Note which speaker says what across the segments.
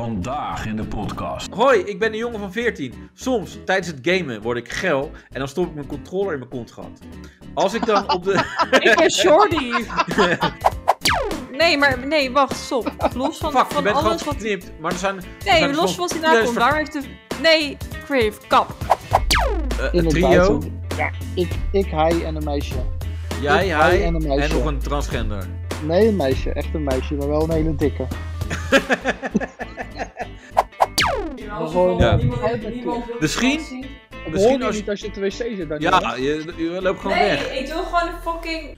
Speaker 1: Vandaag in de podcast.
Speaker 2: Hoi, ik ben een jongen van 14. Soms, tijdens het gamen, word ik geil en dan stop ik mijn controller in mijn kontgat. Als ik dan op de...
Speaker 3: Ik ben Shorty. Nee, maar nee, wacht, stop. Los van,
Speaker 2: Fuck, je
Speaker 3: van
Speaker 2: bent gewoon
Speaker 3: alles wat.
Speaker 2: geknipt. Maar er zijn... er zijn
Speaker 3: Nee,
Speaker 2: dus
Speaker 3: los van
Speaker 2: nog-
Speaker 3: wat hij daar
Speaker 2: er is
Speaker 3: komt. Daar heeft de. Nee, Crave, kap.
Speaker 2: eh, een
Speaker 4: In
Speaker 2: trio.
Speaker 4: Ja. Ik, ik, hij en een meisje.
Speaker 2: Jij,
Speaker 4: Ik,
Speaker 2: hij
Speaker 4: hij en een meisje.
Speaker 2: en nog een transgender.
Speaker 4: Nee, een meisje. Echt een meisje, maar wel een hele dikke. Gewoon,
Speaker 2: Ja. Misschien-
Speaker 5: Misschien?
Speaker 4: Dat
Speaker 2: Misschien
Speaker 4: hoor je
Speaker 2: als-
Speaker 4: niet als je op de wc zit. Dan
Speaker 2: Ja, je, je loopt gewoon
Speaker 5: Nee,
Speaker 2: weg.
Speaker 5: ik wil gewoon een fucking.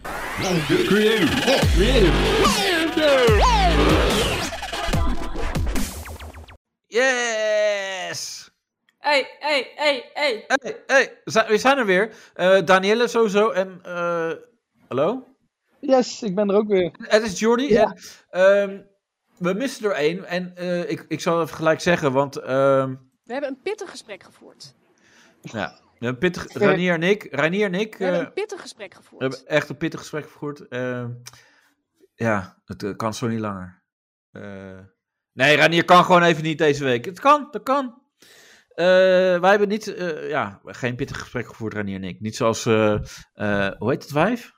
Speaker 1: Creative.
Speaker 2: Yes!
Speaker 5: Hey, hey, hey, hey.
Speaker 2: Hey, hey, zijn- we zijn er weer. Eh Danielle sowieso en... eh, hallo?
Speaker 4: Yes, ik ben er ook weer.
Speaker 2: Het is Jordi.
Speaker 4: Ja.
Speaker 2: En, ehm, we missen er één. En eh, ik, ik zal even gelijk zeggen, want ehm,
Speaker 6: We hebben een pittig gesprek gevoerd.
Speaker 2: we hebben pittig, Ranier en ik, Ranier en ik
Speaker 6: We
Speaker 2: eh,
Speaker 6: hebben een pittig gesprek
Speaker 2: we hebben
Speaker 6: gevoerd.
Speaker 2: echt een pittig gesprek gevoerd. Ehm, ja, het eh, kan zo niet langer. Eh, nee, Ranier kan gewoon even niet deze week. Het kan, dat kan. Eh, wij hebben niet, eh, ja, geen pittig gesprek gevoerd, Ranier en ik. Niet zoals, eh, eh, hoe heet het wijf?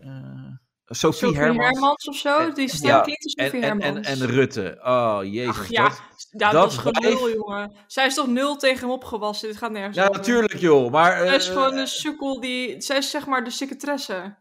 Speaker 2: Eh, Sophie
Speaker 3: Sophie
Speaker 2: Hermans.
Speaker 5: Hermans of zo, die stem
Speaker 2: ja,
Speaker 5: klinkt alsof
Speaker 2: En,
Speaker 5: je
Speaker 2: en, en,
Speaker 5: Hermans.
Speaker 2: en Rutte. Oh, jezus.
Speaker 3: Ach ja,
Speaker 2: dat-
Speaker 3: dat,
Speaker 2: dat
Speaker 3: was gewoon
Speaker 2: blijft-
Speaker 3: nul, jongen. Zij is toch nul tegen hem opgewassen. Dit gaat nergens
Speaker 2: Ja,
Speaker 3: over.
Speaker 2: natuurlijk joh, maar... eh,
Speaker 3: Zij is gewoon een sukkel die... Zij is zeg maar de secretaresse.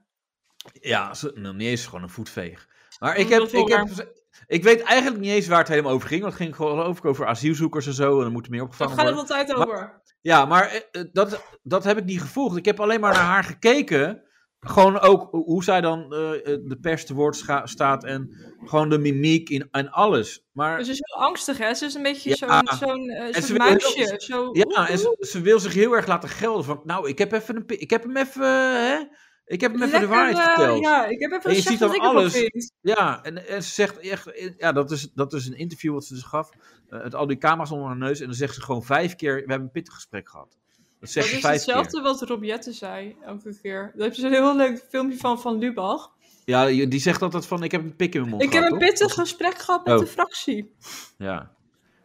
Speaker 2: Ja, ze, nou, niet eens gewoon een voetveeg. Maar ik
Speaker 3: Oh, Dat
Speaker 2: heb,
Speaker 3: is wel
Speaker 2: ik, heb, ik weet eigenlijk niet eens waar het helemaal over ging. Want het ging gewoon over, over asielzoekers en zo. En er moeten meer
Speaker 3: Daar
Speaker 2: opgevangen
Speaker 3: gaat het
Speaker 2: worden.
Speaker 3: altijd
Speaker 2: Maar-
Speaker 3: over.
Speaker 2: Ja, maar eh, eh, dat, dat heb ik niet gevolgd. Ik heb alleen maar naar haar gekeken. Gewoon ook ho- hoe zij dan eh, eh, de pers te woord scha- staat. En gewoon de mimiek in, en alles. Maar
Speaker 3: Dus Ze is heel angstig, hè? Ze is een beetje
Speaker 2: Ja.
Speaker 3: zo'n zo'n eh, soort
Speaker 2: ze wil-
Speaker 3: muisje. Zo...
Speaker 2: Ja, en ze, ze wil zich heel erg laten gelden. Van, nou, ik heb, even een, pi- ik heb hem even, eh, hè? Ik heb hem even de
Speaker 3: Lekker,
Speaker 2: waarheid
Speaker 3: eh,
Speaker 2: verteld. Ja,
Speaker 3: Ja, ik heb even
Speaker 2: En je
Speaker 3: gezegd
Speaker 2: ziet
Speaker 3: wat
Speaker 2: dan
Speaker 3: ik ervan
Speaker 2: alles.
Speaker 3: vind.
Speaker 2: en, en ze zegt echt... Ja, dat is, dat is een interview wat ze dus gaf. eh, met al die camera's onder haar neus. En dan zegt ze gewoon vijf keer... We hebben een pittig gesprek gehad. Dat zegt
Speaker 3: Dat
Speaker 2: ze
Speaker 3: is
Speaker 2: vijf
Speaker 3: hetzelfde wat Robiette zei, elke keer. Daar heb je zo'n heel leuk filmpje van, van Lubach.
Speaker 2: keer. Ja, je- die zegt altijd van... Ik heb een pik in mijn mond
Speaker 3: Ik heb een
Speaker 2: gehad,
Speaker 3: pittig gesprek gehad met
Speaker 2: Oh.
Speaker 3: de fractie.
Speaker 2: toch? Ja.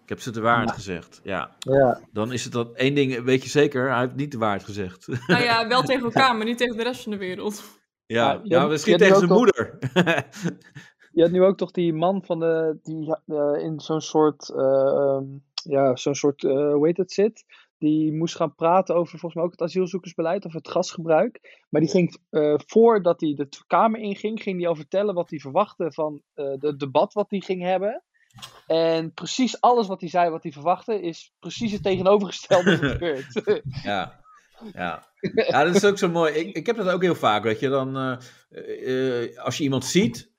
Speaker 2: Ik heb ze de waarheid gezegd. Ja.
Speaker 4: Ja.
Speaker 2: Dan is het dat één ding, weet je zeker, hij heeft niet de waarheid gezegd.
Speaker 3: Nou ja, wel tegen elkaar, maar niet tegen de rest van de wereld.
Speaker 2: Ja,
Speaker 4: je
Speaker 2: ja,
Speaker 4: hebt-
Speaker 2: misschien
Speaker 4: je hebt
Speaker 2: nou, tegen
Speaker 4: nu
Speaker 2: zijn
Speaker 4: ook
Speaker 2: moeder.
Speaker 4: Je hebt nu ook toch die man van de, die eh, in zo'n soort, eh, ehm, ja, zo'n soort, eh, hoe heet dat zit? Die moest gaan praten over volgens mij ook het asielzoekersbeleid of het gasgebruik. Maar die ging, eh, voordat hij de kamer inging, ging hij al vertellen wat hij verwachtte van eh het debat wat hij ging hebben. En precies alles wat hij zei, wat hij verwachtte, is precies het tegenovergestelde gebeurd.
Speaker 2: Ja, ja. ja dat is ook zo mooi. Ik, ik heb dat ook heel vaak, dat je dan, eh, eh, eh, als je iemand ziet,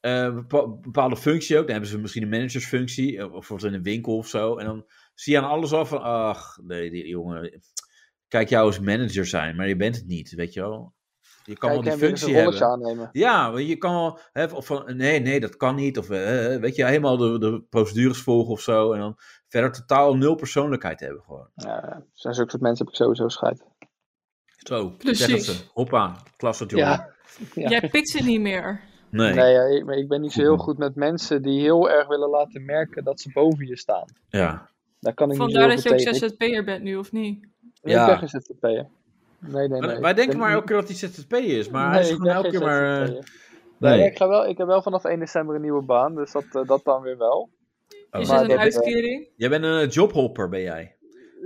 Speaker 2: eh, een bepa- bepaalde functie ook, dan hebben ze misschien een managersfunctie, eh, of bijvoorbeeld in een winkel of zo, en dan zie je aan alles al van, ach, nee, die jongen, kijk jou als manager zijn, maar je bent het niet, weet je wel. Je kan wel die
Speaker 4: Kijk, en weer eens
Speaker 2: functie
Speaker 4: een
Speaker 2: hebben.
Speaker 4: rolletje aannemen.
Speaker 2: Ja, want je kan wel, hè, of van nee, nee, dat kan niet. Of eh, weet je, helemaal de, de procedures volgen of zo. En dan verder totaal nul persoonlijkheid hebben gewoon.
Speaker 4: Ja, zijn zulke soort mensen heb ik sowieso scheid.
Speaker 2: Zo,
Speaker 3: Precies.
Speaker 2: zeggen ze. Hoppa, klas het jongen.
Speaker 4: Ja. Ja.
Speaker 3: Jij pikt ze niet meer.
Speaker 2: Nee.
Speaker 4: Nee, ja, ik, maar ik ben niet zo heel
Speaker 2: Goed.
Speaker 4: goed met mensen die heel erg willen laten merken dat ze boven je staan.
Speaker 2: Ja.
Speaker 4: Daar kan ik
Speaker 3: Vandaar
Speaker 4: niet
Speaker 3: dat
Speaker 4: zo
Speaker 3: je ook
Speaker 4: heel veel tegen.
Speaker 3: ZZP'er bent nu, of niet?
Speaker 2: Oh.
Speaker 4: Nee,
Speaker 2: Ja.
Speaker 4: Ik ben geen ZZP'er. Nee, nee, nee.
Speaker 2: Wij- Wij
Speaker 4: Ik
Speaker 2: denken
Speaker 4: ben
Speaker 2: maar
Speaker 4: niet-
Speaker 2: elke keer dat hij ZZP is, maar
Speaker 4: Nee,
Speaker 2: hij is
Speaker 4: ik
Speaker 2: gewoon
Speaker 4: ben
Speaker 2: elke
Speaker 4: geen
Speaker 2: keer maar... eh,
Speaker 4: ZZP'er.
Speaker 2: Nee.
Speaker 4: Nee. ik, ga wel, ik heb wel vanaf 1 december een nieuwe baan, dus dat, eh, dat dan weer wel.
Speaker 2: Oh.
Speaker 3: Is
Speaker 4: Maar
Speaker 3: het een
Speaker 4: dat-
Speaker 3: uitkering?
Speaker 2: Jij bent een jobhopper, ben jij.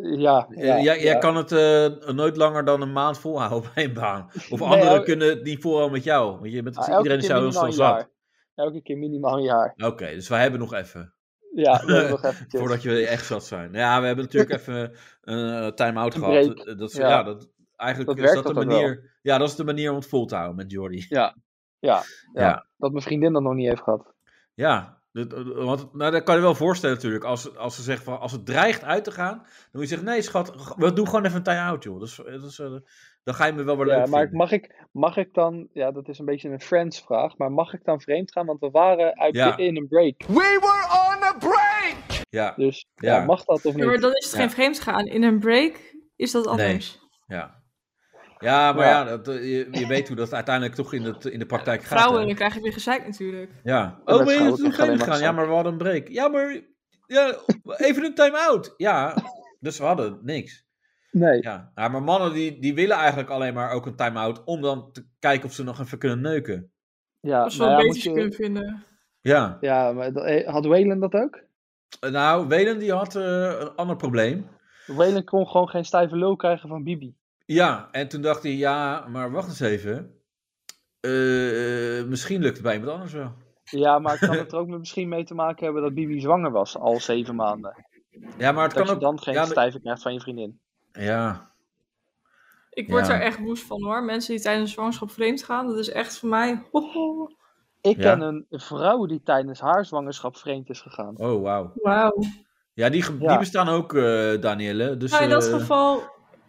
Speaker 4: Ja, ja,
Speaker 2: Eh, jij, jij
Speaker 4: ja.
Speaker 2: kan het eh, nooit langer dan een maand volhouden bij een baan. Of
Speaker 4: Nee,
Speaker 2: anderen
Speaker 4: ook-
Speaker 2: kunnen het niet volhouden met jou. Want je bent,
Speaker 4: Ah, elke
Speaker 2: Dus iedereen is
Speaker 4: keer
Speaker 2: jou heel
Speaker 4: minimaal
Speaker 2: snel
Speaker 4: een
Speaker 2: zat.
Speaker 4: jaar. Elke keer minimaal een jaar.
Speaker 2: Oké, dus wij hebben nog even.
Speaker 4: Ja, dat nog eventjes.
Speaker 2: Voordat je echt zat zijn. Ja, we hebben natuurlijk even eh, een time-out
Speaker 4: Een
Speaker 2: gehad.
Speaker 4: break.
Speaker 2: Dat, is- ja.
Speaker 4: Ja.
Speaker 2: dat, eigenlijk
Speaker 4: Dat
Speaker 2: is dat
Speaker 4: werkt
Speaker 2: de
Speaker 4: dat ook wel.
Speaker 2: manier... Ja, dat is de manier om het vol te houden met Jordi.
Speaker 4: ja,
Speaker 2: ja.
Speaker 4: Dat mijn vriendin dat nog niet heeft gehad.
Speaker 2: Ja, dat- want nou, dat kan je wel voorstellen natuurlijk. Als, als ze zegt van, als het dreigt uit te gaan, dan moet je zeggen, nee schat, we doen gewoon even een time-out joh. Dat is, dat is, eh, dan ga je me wel weer
Speaker 4: Ja,
Speaker 2: leuk
Speaker 4: maar
Speaker 2: vinden.
Speaker 4: mag ik, mag ik dan, ja, dat is een beetje een Friends-vraag, maar mag ik dan vreemd gaan? Want we waren uit,
Speaker 2: Ja.
Speaker 4: in een break.
Speaker 2: Ja,
Speaker 4: Dus
Speaker 2: Ja.
Speaker 4: ja. mag dat of
Speaker 3: Ja, maar
Speaker 4: niet?
Speaker 3: dan is het
Speaker 2: Ja.
Speaker 3: geen vreemd gaan. In een break is dat anders.
Speaker 2: ja. Ja, maar ja,
Speaker 4: Ja.
Speaker 2: dat, eh, je, je weet hoe dat uiteindelijk toch in, het, in de praktijk gaat.
Speaker 3: Vrouwen,
Speaker 2: hè.
Speaker 3: dan krijg je weer gezeik natuurlijk.
Speaker 2: Ja.
Speaker 4: Ja,
Speaker 2: Oh,
Speaker 4: met
Speaker 2: ben je
Speaker 4: vrouwen
Speaker 2: toen
Speaker 4: krijg je alleen
Speaker 2: vreemd
Speaker 4: maar
Speaker 2: gegaan? Ja,
Speaker 4: gezeik.
Speaker 2: maar we hadden een break. Ja, maar ja, even een time-out. Ja, dus we hadden niks.
Speaker 4: Nee.
Speaker 2: Ja. Ja, maar mannen die, die willen eigenlijk alleen maar ook een time-out om dan te kijken of ze nog even kunnen neuken.
Speaker 4: Ja,
Speaker 3: Als we
Speaker 4: nou
Speaker 3: wat
Speaker 4: ja,
Speaker 3: beters
Speaker 4: moet je-
Speaker 3: kunnen vinden.
Speaker 2: Ja,
Speaker 4: ja, maar dat- eh, had Whalen dat ook?
Speaker 2: nou, Welen die had eh, een ander probleem.
Speaker 4: Whalen kon gewoon geen stijve lul krijgen van Bibi.
Speaker 2: Ja, en toen dacht hij, ja, maar wacht eens even. Eh, misschien lukt het bij iemand anders wel.
Speaker 4: Ja, maar kan het er ook misschien mee te maken hebben dat Bibi zwanger was al zeven maanden?
Speaker 2: Ja, maar het
Speaker 4: Dat
Speaker 2: kan
Speaker 4: je
Speaker 2: ook...
Speaker 4: dan geen
Speaker 2: ja,
Speaker 4: stijve krijgt van je vriendin.
Speaker 2: ja,
Speaker 3: Ik word
Speaker 2: Ja.
Speaker 3: er echt woest van hoor. Mensen die tijdens zwangerschap vreemd gaan, dat is echt voor mij. Hoho.
Speaker 4: Ik
Speaker 2: Ja.
Speaker 4: ken een vrouw die tijdens haar zwangerschap vreemd is gegaan.
Speaker 2: oh, wauw.
Speaker 3: Wauw.
Speaker 2: Ja, die, ge- die
Speaker 4: Ja.
Speaker 2: bestaan ook, eh Danielle. Dus,
Speaker 3: Nou, in dat
Speaker 2: eh,
Speaker 3: geval,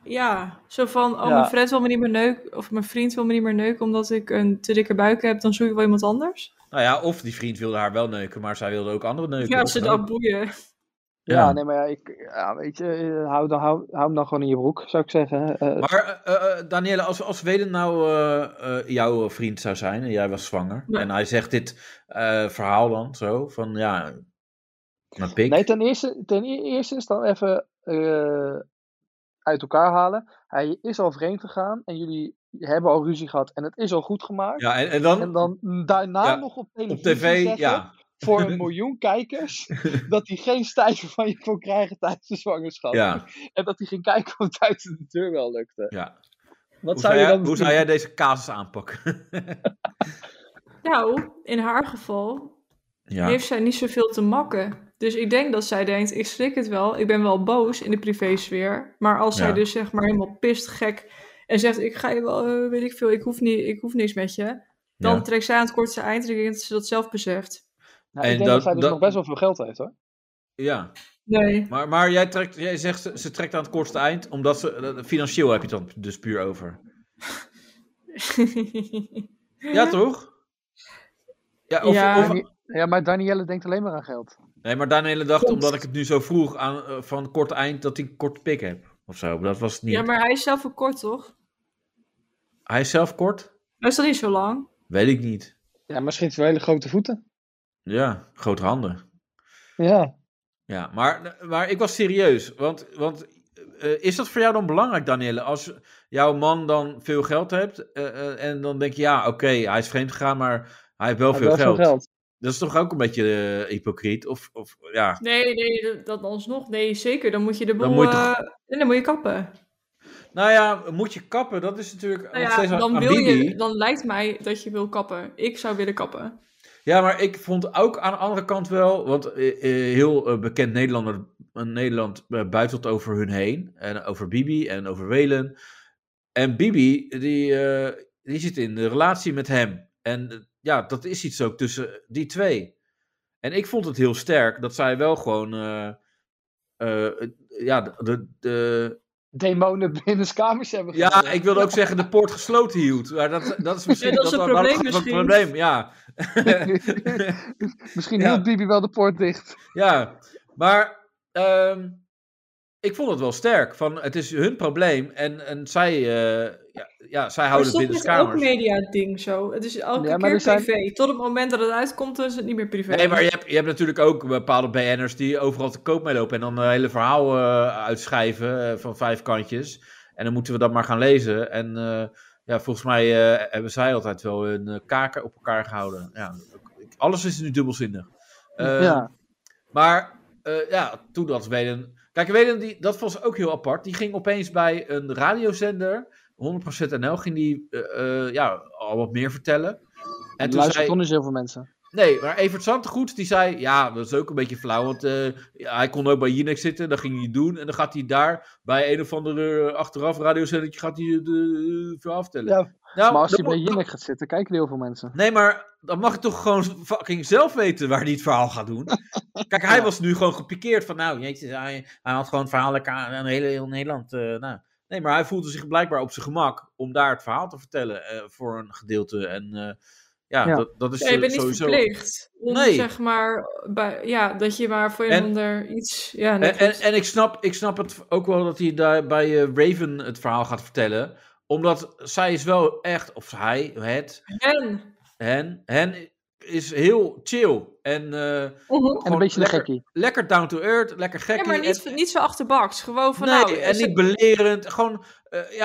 Speaker 3: ja. Zo van, oh,
Speaker 4: Ja.
Speaker 3: mijn vriend wil me niet meer neuken. Of mijn vriend wil me niet meer neuken omdat ik een te dikke buik heb. Dan zoek ik wel iemand anders.
Speaker 2: Nou ja, of die vriend wilde haar wel neuken, maar zij wilde ook andere neuken.
Speaker 3: ja, als ze
Speaker 2: kan ook.
Speaker 3: dat boeien.
Speaker 4: Ja,
Speaker 2: Ja.
Speaker 4: nee, maar ja, ik, ja, weet je, eh, hou, dan, hou, hou hem dan gewoon in je broek, zou ik zeggen. Eh,
Speaker 2: Maar eh, eh, Danielle, als, als Weden nou eh, eh, jouw vriend zou zijn en jij was zwanger.
Speaker 3: Ja.
Speaker 2: En hij zegt dit eh, verhaal dan zo, van ja, mijn pik.
Speaker 4: Nee, ten eerste, ten e- eerste is dan even eh, uit elkaar halen. Hij is al vreemd gegaan en jullie hebben al ruzie gehad en het is al goed gemaakt.
Speaker 2: ja, en, en dan,
Speaker 4: En dan daarna
Speaker 2: Ja,
Speaker 4: nog op
Speaker 2: op
Speaker 4: televisie
Speaker 2: tv,
Speaker 4: zeggen,
Speaker 2: ja.
Speaker 4: voor een miljoen kijkers dat hij geen stijver van je kon krijgen tijdens de zwangerschap.
Speaker 2: ja,
Speaker 4: En dat hij ging kijken of het uit de deur wel lukte.
Speaker 2: ja.
Speaker 4: Wat
Speaker 2: Hoe,
Speaker 4: zou
Speaker 2: zou
Speaker 4: je
Speaker 2: jij,
Speaker 4: dan
Speaker 2: hoe
Speaker 4: doen?
Speaker 2: zou jij deze casus aanpakken?
Speaker 3: Nou, in haar geval
Speaker 2: ja.
Speaker 3: heeft zij niet zoveel te makken. Dus ik denk dat zij denkt, ik schrik het wel. Ik ben wel boos in de privésfeer. Maar als zij
Speaker 2: Ja.
Speaker 3: dus zeg maar helemaal pist, gek... en zegt, ik ga je wel, eh, weet ik veel, ik hoef, niet, ik hoef niks met je... dan
Speaker 2: Ja.
Speaker 3: trekt zij aan het kortste eind en ik denk dat ze dat zelf beseft.
Speaker 4: Nou,
Speaker 2: En
Speaker 4: ik denk
Speaker 2: dat-
Speaker 4: dat zij dus
Speaker 2: dat-
Speaker 4: nog best wel veel geld heeft hoor.
Speaker 2: ja.
Speaker 3: Nee.
Speaker 2: Maar, maar jij, trekt, jij zegt, ze, ze trekt aan het kortste eind, omdat ze, eh, financieel heb je het dan dus puur over. Ja, toch? Ja, of,
Speaker 3: Ja.
Speaker 2: of,
Speaker 4: Ja, maar Danielle denkt alleen maar aan geld.
Speaker 2: Nee, maar daarna hele dacht,
Speaker 3: Klopt.
Speaker 2: omdat ik het nu zo vroeg aan, eh, van kort eind, dat ik een korte pik heb. Of zo, maar dat was het niet.
Speaker 3: ja, maar hij is zelf ook kort, toch?
Speaker 2: Hij is zelf kort?
Speaker 3: Hij is al niet zo lang.
Speaker 2: Weet ik niet.
Speaker 4: Ja, misschien heeft ze wel hele grote voeten.
Speaker 2: Ja, grote handen.
Speaker 4: Ja.
Speaker 2: Ja, maar, maar ik was serieus. Want, want eh, is dat voor jou dan belangrijk, Danielle? Als jouw man dan veel geld hebt eh, eh, en dan denk je, ja, oké, hij is vreemd gegaan, maar hij heeft wel,
Speaker 4: Maar
Speaker 2: veel,
Speaker 4: wel
Speaker 2: geld.
Speaker 4: veel geld.
Speaker 2: Dat is toch ook een beetje eh, hypocriet? Of, of ja.
Speaker 3: Nee, nee, dat- dat alsnog. Nee, zeker. Dan moet je de boel...
Speaker 2: Dan moet je
Speaker 3: eh, en dan moet je kappen.
Speaker 2: Nou ja, moet je kappen, dat is natuurlijk
Speaker 3: Nou
Speaker 2: nog steeds
Speaker 3: ja,
Speaker 2: aan-
Speaker 3: dan,
Speaker 2: aan
Speaker 3: wil
Speaker 2: Bibi.
Speaker 3: je, dan lijkt mij dat je wil kappen. Ik zou willen kappen.
Speaker 2: Ja, maar ik vond ook aan de andere kant wel, want eh, eh, heel eh, bekend Nederlander, eh, Nederland eh, buitelt over hun heen. En over Bibi en over Welen. En Bibi, die, eh, die zit in de relatie met hem. En eh, ja, dat is iets ook tussen die twee. En ik vond het heel sterk dat zij wel gewoon, eh, eh, eh, ja, de, de,
Speaker 4: Demonen binnen kamers hebben
Speaker 2: ja, ik wilde ook zeggen de poort gesloten hield. Maar dat, dat is misschien
Speaker 3: Ja, dat is een
Speaker 2: daar- daar
Speaker 3: probleem
Speaker 2: lag het
Speaker 3: misschien.
Speaker 2: probleem, ja.
Speaker 4: Misschien
Speaker 2: Ja.
Speaker 4: hield Bibi wel de poort dicht.
Speaker 2: Ja, maar ehm, ik vond het wel sterk. Van, het is hun probleem en, en zij, eh, ja, ja, zij
Speaker 3: Maar
Speaker 2: houden het
Speaker 3: stop
Speaker 2: binnen
Speaker 3: is
Speaker 2: de
Speaker 3: ook
Speaker 2: kamers.
Speaker 3: media-ding zo. Het is elke
Speaker 4: Ja, maar
Speaker 3: keer
Speaker 4: er zijn-
Speaker 3: privé. Tot het moment dat het uitkomt, dan is het niet meer privé.
Speaker 2: Nee, maar je hebt, je hebt natuurlijk ook bepaalde BN'ers die overal te koop mee lopen en dan een hele verhaal eh, uitschrijven eh, van vijf kantjes. En dan moeten we dat maar gaan lezen. En eh, ja, volgens mij eh, hebben zij altijd wel hun eh, kaken op elkaar gehouden. Ja, alles is nu dubbelzinnig. Eh,
Speaker 4: ja.
Speaker 2: Maar eh, ja, toen dat Weden. Kijk, Weden, die, dat was ook heel apart. Die ging opeens bij een radiozender, 100% NL, ging die eh, eh, ja, al wat meer vertellen. En toen
Speaker 4: luisteren
Speaker 2: zei,
Speaker 4: toch niet zoveel mensen.
Speaker 2: nee, maar Evert Zantegoed, die zei, ja, dat is ook een beetje flauw, want eh, ja, hij kon ook bij Jinek zitten, dat ging hij doen, en dan gaat hij daar bij een of andere eh, achteraf radiozendertje gaat hij de, de, eh, verhaal vertellen.
Speaker 4: Ja,
Speaker 2: nou,
Speaker 4: maar als
Speaker 2: dat
Speaker 4: hij bij
Speaker 2: moet-
Speaker 4: Jinek gaat zitten, kijken er heel veel mensen.
Speaker 2: Nee, maar dan mag ik toch gewoon fucking zelf weten waar hij het verhaal gaat doen. Kijk, hij
Speaker 4: Ja.
Speaker 2: was nu gewoon gepikeerd van, nou, jeetje, hij, hij had gewoon verhalen lekker aan aan heel, heel Nederland. eh, nou. Nee, maar hij voelde zich blijkbaar op zijn gemak om daar het verhaal te vertellen eh, voor een gedeelte. En eh, ja,
Speaker 4: Ja.
Speaker 2: Dat, dat is
Speaker 3: Ja, je bent niet
Speaker 2: sowieso...
Speaker 3: verplicht. Om,
Speaker 2: Nee.
Speaker 3: zeg maar, bij, ja, dat je maar voor een
Speaker 2: En-
Speaker 3: ander iets... Ja, nee,
Speaker 2: En, en,
Speaker 3: klopt.
Speaker 2: en ik, snap, ik snap het ook wel dat hij daar bij eh, Raven het verhaal gaat vertellen. Omdat zij is wel echt, of hij, het,
Speaker 3: En-
Speaker 2: hen, hen is heel chill. En, eh,
Speaker 3: Mhm.
Speaker 4: En een
Speaker 2: gewoon
Speaker 4: beetje een
Speaker 2: lekker,
Speaker 4: gekkie.
Speaker 2: Lekker down to earth, lekker gekkie.
Speaker 3: Ja, maar
Speaker 2: en-
Speaker 3: niet, niet zo achterbaks. Gewoon van
Speaker 2: nee,
Speaker 3: nou...
Speaker 2: en
Speaker 3: ze-
Speaker 2: niet belerend. Gewoon, eh, ja,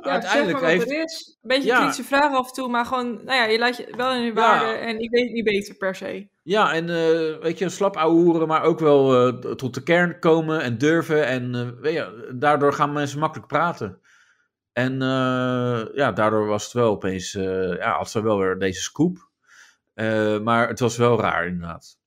Speaker 3: ja,
Speaker 2: uiteindelijk
Speaker 3: zeg maar wat
Speaker 2: heeft...
Speaker 3: er is. Een beetje
Speaker 2: Ja.
Speaker 3: kritische vragen af en toe, maar gewoon... Nou ja, je laat je wel in je waarde en ik weet het niet beter per se.
Speaker 2: Ja, en eh, weet je, slap ouwehoeren, maar ook wel eh, t- tot de kern komen en durven. En eh, weet je, daardoor gaan mensen makkelijk praten. En eh, ja, daardoor was het wel opeens, eh, ja, had ze wel weer deze scoop. Eh, maar het was wel raar inderdaad.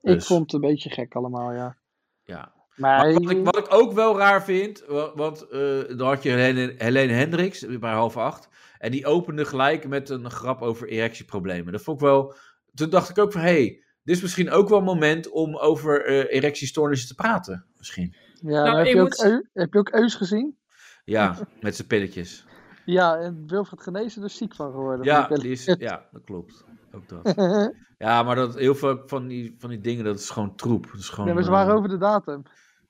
Speaker 4: Ik
Speaker 2: Dus,
Speaker 4: vond het een beetje gek allemaal, ja.
Speaker 2: Ja.
Speaker 4: Maar,
Speaker 2: Maar wat, ik, wat ik ook wel raar vind, wa- want eh, dan had je Helene, Helene Hendricks bij half acht. En die opende gelijk met een grap over erectieproblemen. Dat vond ik wel. Toen dacht ik ook van hé, hey, dit is misschien ook wel een moment om over eh, erectiestoornissen te praten. Misschien.
Speaker 4: ja,
Speaker 3: Nou,
Speaker 4: maar heb,
Speaker 3: ik
Speaker 4: je
Speaker 3: moet-
Speaker 4: ook, Eu- heb je ook Eus gezien?
Speaker 2: Ja, met zijn pilletjes.
Speaker 4: Ja, en Wilfred Genezen er dus ziek van geworden.
Speaker 2: Ja,
Speaker 4: van
Speaker 2: die
Speaker 4: die
Speaker 2: is, ja, dat klopt. Ook dat. Ja, maar dat, heel veel van die, van die dingen, dat is gewoon troep. Dat is gewoon,
Speaker 4: Nee, maar ze waren
Speaker 2: eh,
Speaker 4: over de datum.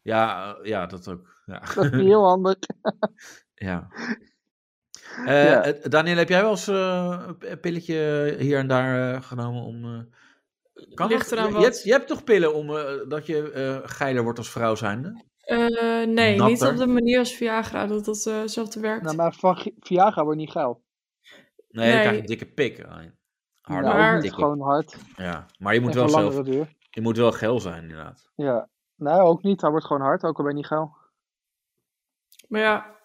Speaker 2: ja, eh, ja, dat ook. Ja.
Speaker 4: Dat is niet heel handig.
Speaker 2: Ja. Eh
Speaker 4: Ja.
Speaker 2: eh, Daniel, heb jij wel eens eh, een p- een pilletje hier en daar eh, genomen om. eh, kan
Speaker 3: Ligt
Speaker 2: dat?
Speaker 3: eraan
Speaker 2: je,
Speaker 3: wat.
Speaker 2: Je, hebt, je hebt toch pillen om eh, dat je eh, geiler wordt als vrouw zijnde?
Speaker 3: Eh, nee, niet
Speaker 2: Natter.
Speaker 3: op de manier als Viagra, dat dat eh, hetzelfde werkt.
Speaker 4: Nou, maar van Gi- Viagra wordt niet geil.
Speaker 2: Nee, dan
Speaker 3: Nee.
Speaker 2: krijg je een dikke pik. Harder,
Speaker 4: Nou,
Speaker 3: maar-
Speaker 4: niet
Speaker 2: dikke.
Speaker 4: gewoon hard.
Speaker 2: Ja. Maar je moet
Speaker 4: en
Speaker 2: wel
Speaker 4: van
Speaker 2: zelf,
Speaker 4: langere duur.
Speaker 2: je moet wel geil zijn inderdaad.
Speaker 4: Ja. Nou, ook niet. Hij wordt gewoon hard, ook al ben je niet geil.
Speaker 3: Maar ja,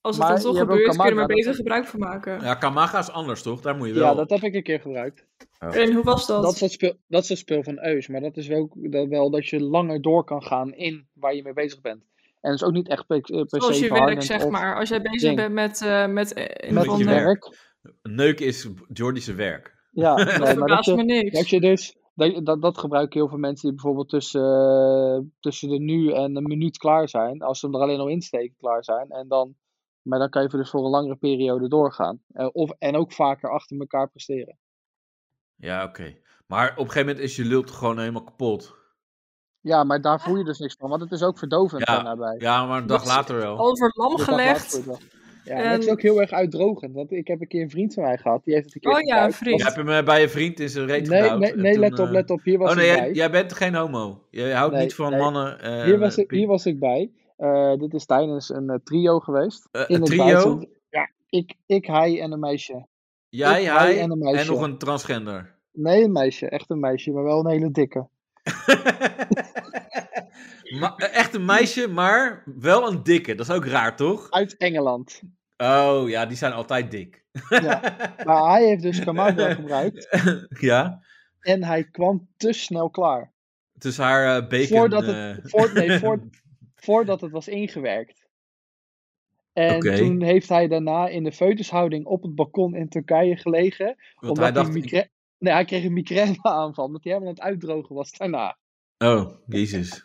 Speaker 3: als het
Speaker 4: Maar
Speaker 3: dan toch
Speaker 4: je hebt
Speaker 3: gebeurt, kun
Speaker 4: ook
Speaker 3: je er
Speaker 4: Kamada,
Speaker 3: maar
Speaker 4: dat-
Speaker 3: beter gebruik van maken.
Speaker 2: Ja, Kamaga is anders toch? Daar moet je wel.
Speaker 4: Ja, dat heb ik een keer gebruikt.
Speaker 3: En hoe was dat?
Speaker 4: Dat is dat, speel, dat is dat speel van Eus. Maar dat is wel, dat wel dat je langer door kan gaan in waar je mee bezig bent. En dat is ook niet echt per, eh, per
Speaker 3: Zoals
Speaker 4: se
Speaker 3: je werk,
Speaker 4: verhardend
Speaker 3: zeg
Speaker 4: of
Speaker 3: maar. Als jij bezig
Speaker 4: ding.
Speaker 3: bent met, eh met, eh, in
Speaker 4: Met
Speaker 3: van,
Speaker 4: je
Speaker 3: eh,
Speaker 4: werk.
Speaker 2: Neuken is Jordi zijn werk.
Speaker 4: Ja, nee,
Speaker 3: dat
Speaker 4: maar dat
Speaker 3: verbaast
Speaker 4: je,
Speaker 3: me niks.
Speaker 4: Dat je dus, dat, dat, dat gebruiken heel veel mensen die bijvoorbeeld tussen, eh, tussen de nu en een minuut klaar zijn. Als ze hem er alleen al insteken klaar zijn. En dan, maar dan kan je dus voor een langere periode doorgaan. Eh, of, en ook vaker achter elkaar presteren.
Speaker 2: Ja, oké. Maar op een gegeven moment is je lult gewoon helemaal kapot.
Speaker 4: Ja, maar daar voel je dus niks van. Want het is ook verdovend
Speaker 2: Ja,
Speaker 4: daarbij.
Speaker 2: Ja, maar een
Speaker 3: Dat
Speaker 2: dag
Speaker 3: is
Speaker 2: later wel.
Speaker 3: Over lam gelegd.
Speaker 4: Ja, en dat is
Speaker 3: En-
Speaker 4: ook heel erg uitdrogend. Want ik heb een keer een vriend van mij gehad. Die heeft het een keer
Speaker 3: Oh ja,
Speaker 4: gebruikt.
Speaker 3: vriend.
Speaker 2: Je hebt hem eh, bij je vriend in zijn reet
Speaker 4: Nee,
Speaker 2: gedouwd
Speaker 4: nee,
Speaker 2: en
Speaker 4: nee
Speaker 2: toen,
Speaker 4: let op,
Speaker 2: eh,
Speaker 4: let op. Hier was
Speaker 2: Oh nee,
Speaker 4: ik
Speaker 2: jij,
Speaker 4: bij.
Speaker 2: jij bent geen homo. Je houdt
Speaker 4: Nee,
Speaker 2: niet van
Speaker 4: nee.
Speaker 2: mannen. eh,
Speaker 4: hier, was ik,
Speaker 2: Piet.
Speaker 4: hier was ik bij. Eh, dit is tijdens een eh, trio geweest.
Speaker 2: Eh,
Speaker 4: in
Speaker 2: een
Speaker 4: het
Speaker 2: trio,
Speaker 4: buitenland. Ja, ik, ik, hij en een meisje.
Speaker 2: jij,
Speaker 4: ik,
Speaker 2: hij
Speaker 4: hij en een
Speaker 2: en,
Speaker 4: meisje.
Speaker 2: nog een transgender.
Speaker 4: Nee, een meisje, echt een meisje, maar wel een hele dikke.
Speaker 2: Ma- eh, echt een meisje, maar wel een dikke. Dat is ook raar, toch?
Speaker 4: Uit Engeland.
Speaker 2: Oh ja, die zijn altijd dik.
Speaker 4: Ja. Maar hij heeft dus Camargo gebruikt
Speaker 2: ja,
Speaker 4: en hij kwam te snel klaar.
Speaker 2: het is haar eh, bacon.
Speaker 4: Voordat
Speaker 2: eh,
Speaker 4: het, voor, nee, voor, voordat het was ingewerkt. En
Speaker 2: Oké.
Speaker 4: toen heeft hij daarna in de feutushouding op het balkon in Turkije gelegen.
Speaker 2: want
Speaker 4: omdat
Speaker 2: hij
Speaker 4: hij,
Speaker 2: dacht...
Speaker 4: migra- nee, hij kreeg een migraineaanval, omdat hij helemaal aan het uitdrogen was daarna.
Speaker 2: Oh, jezus.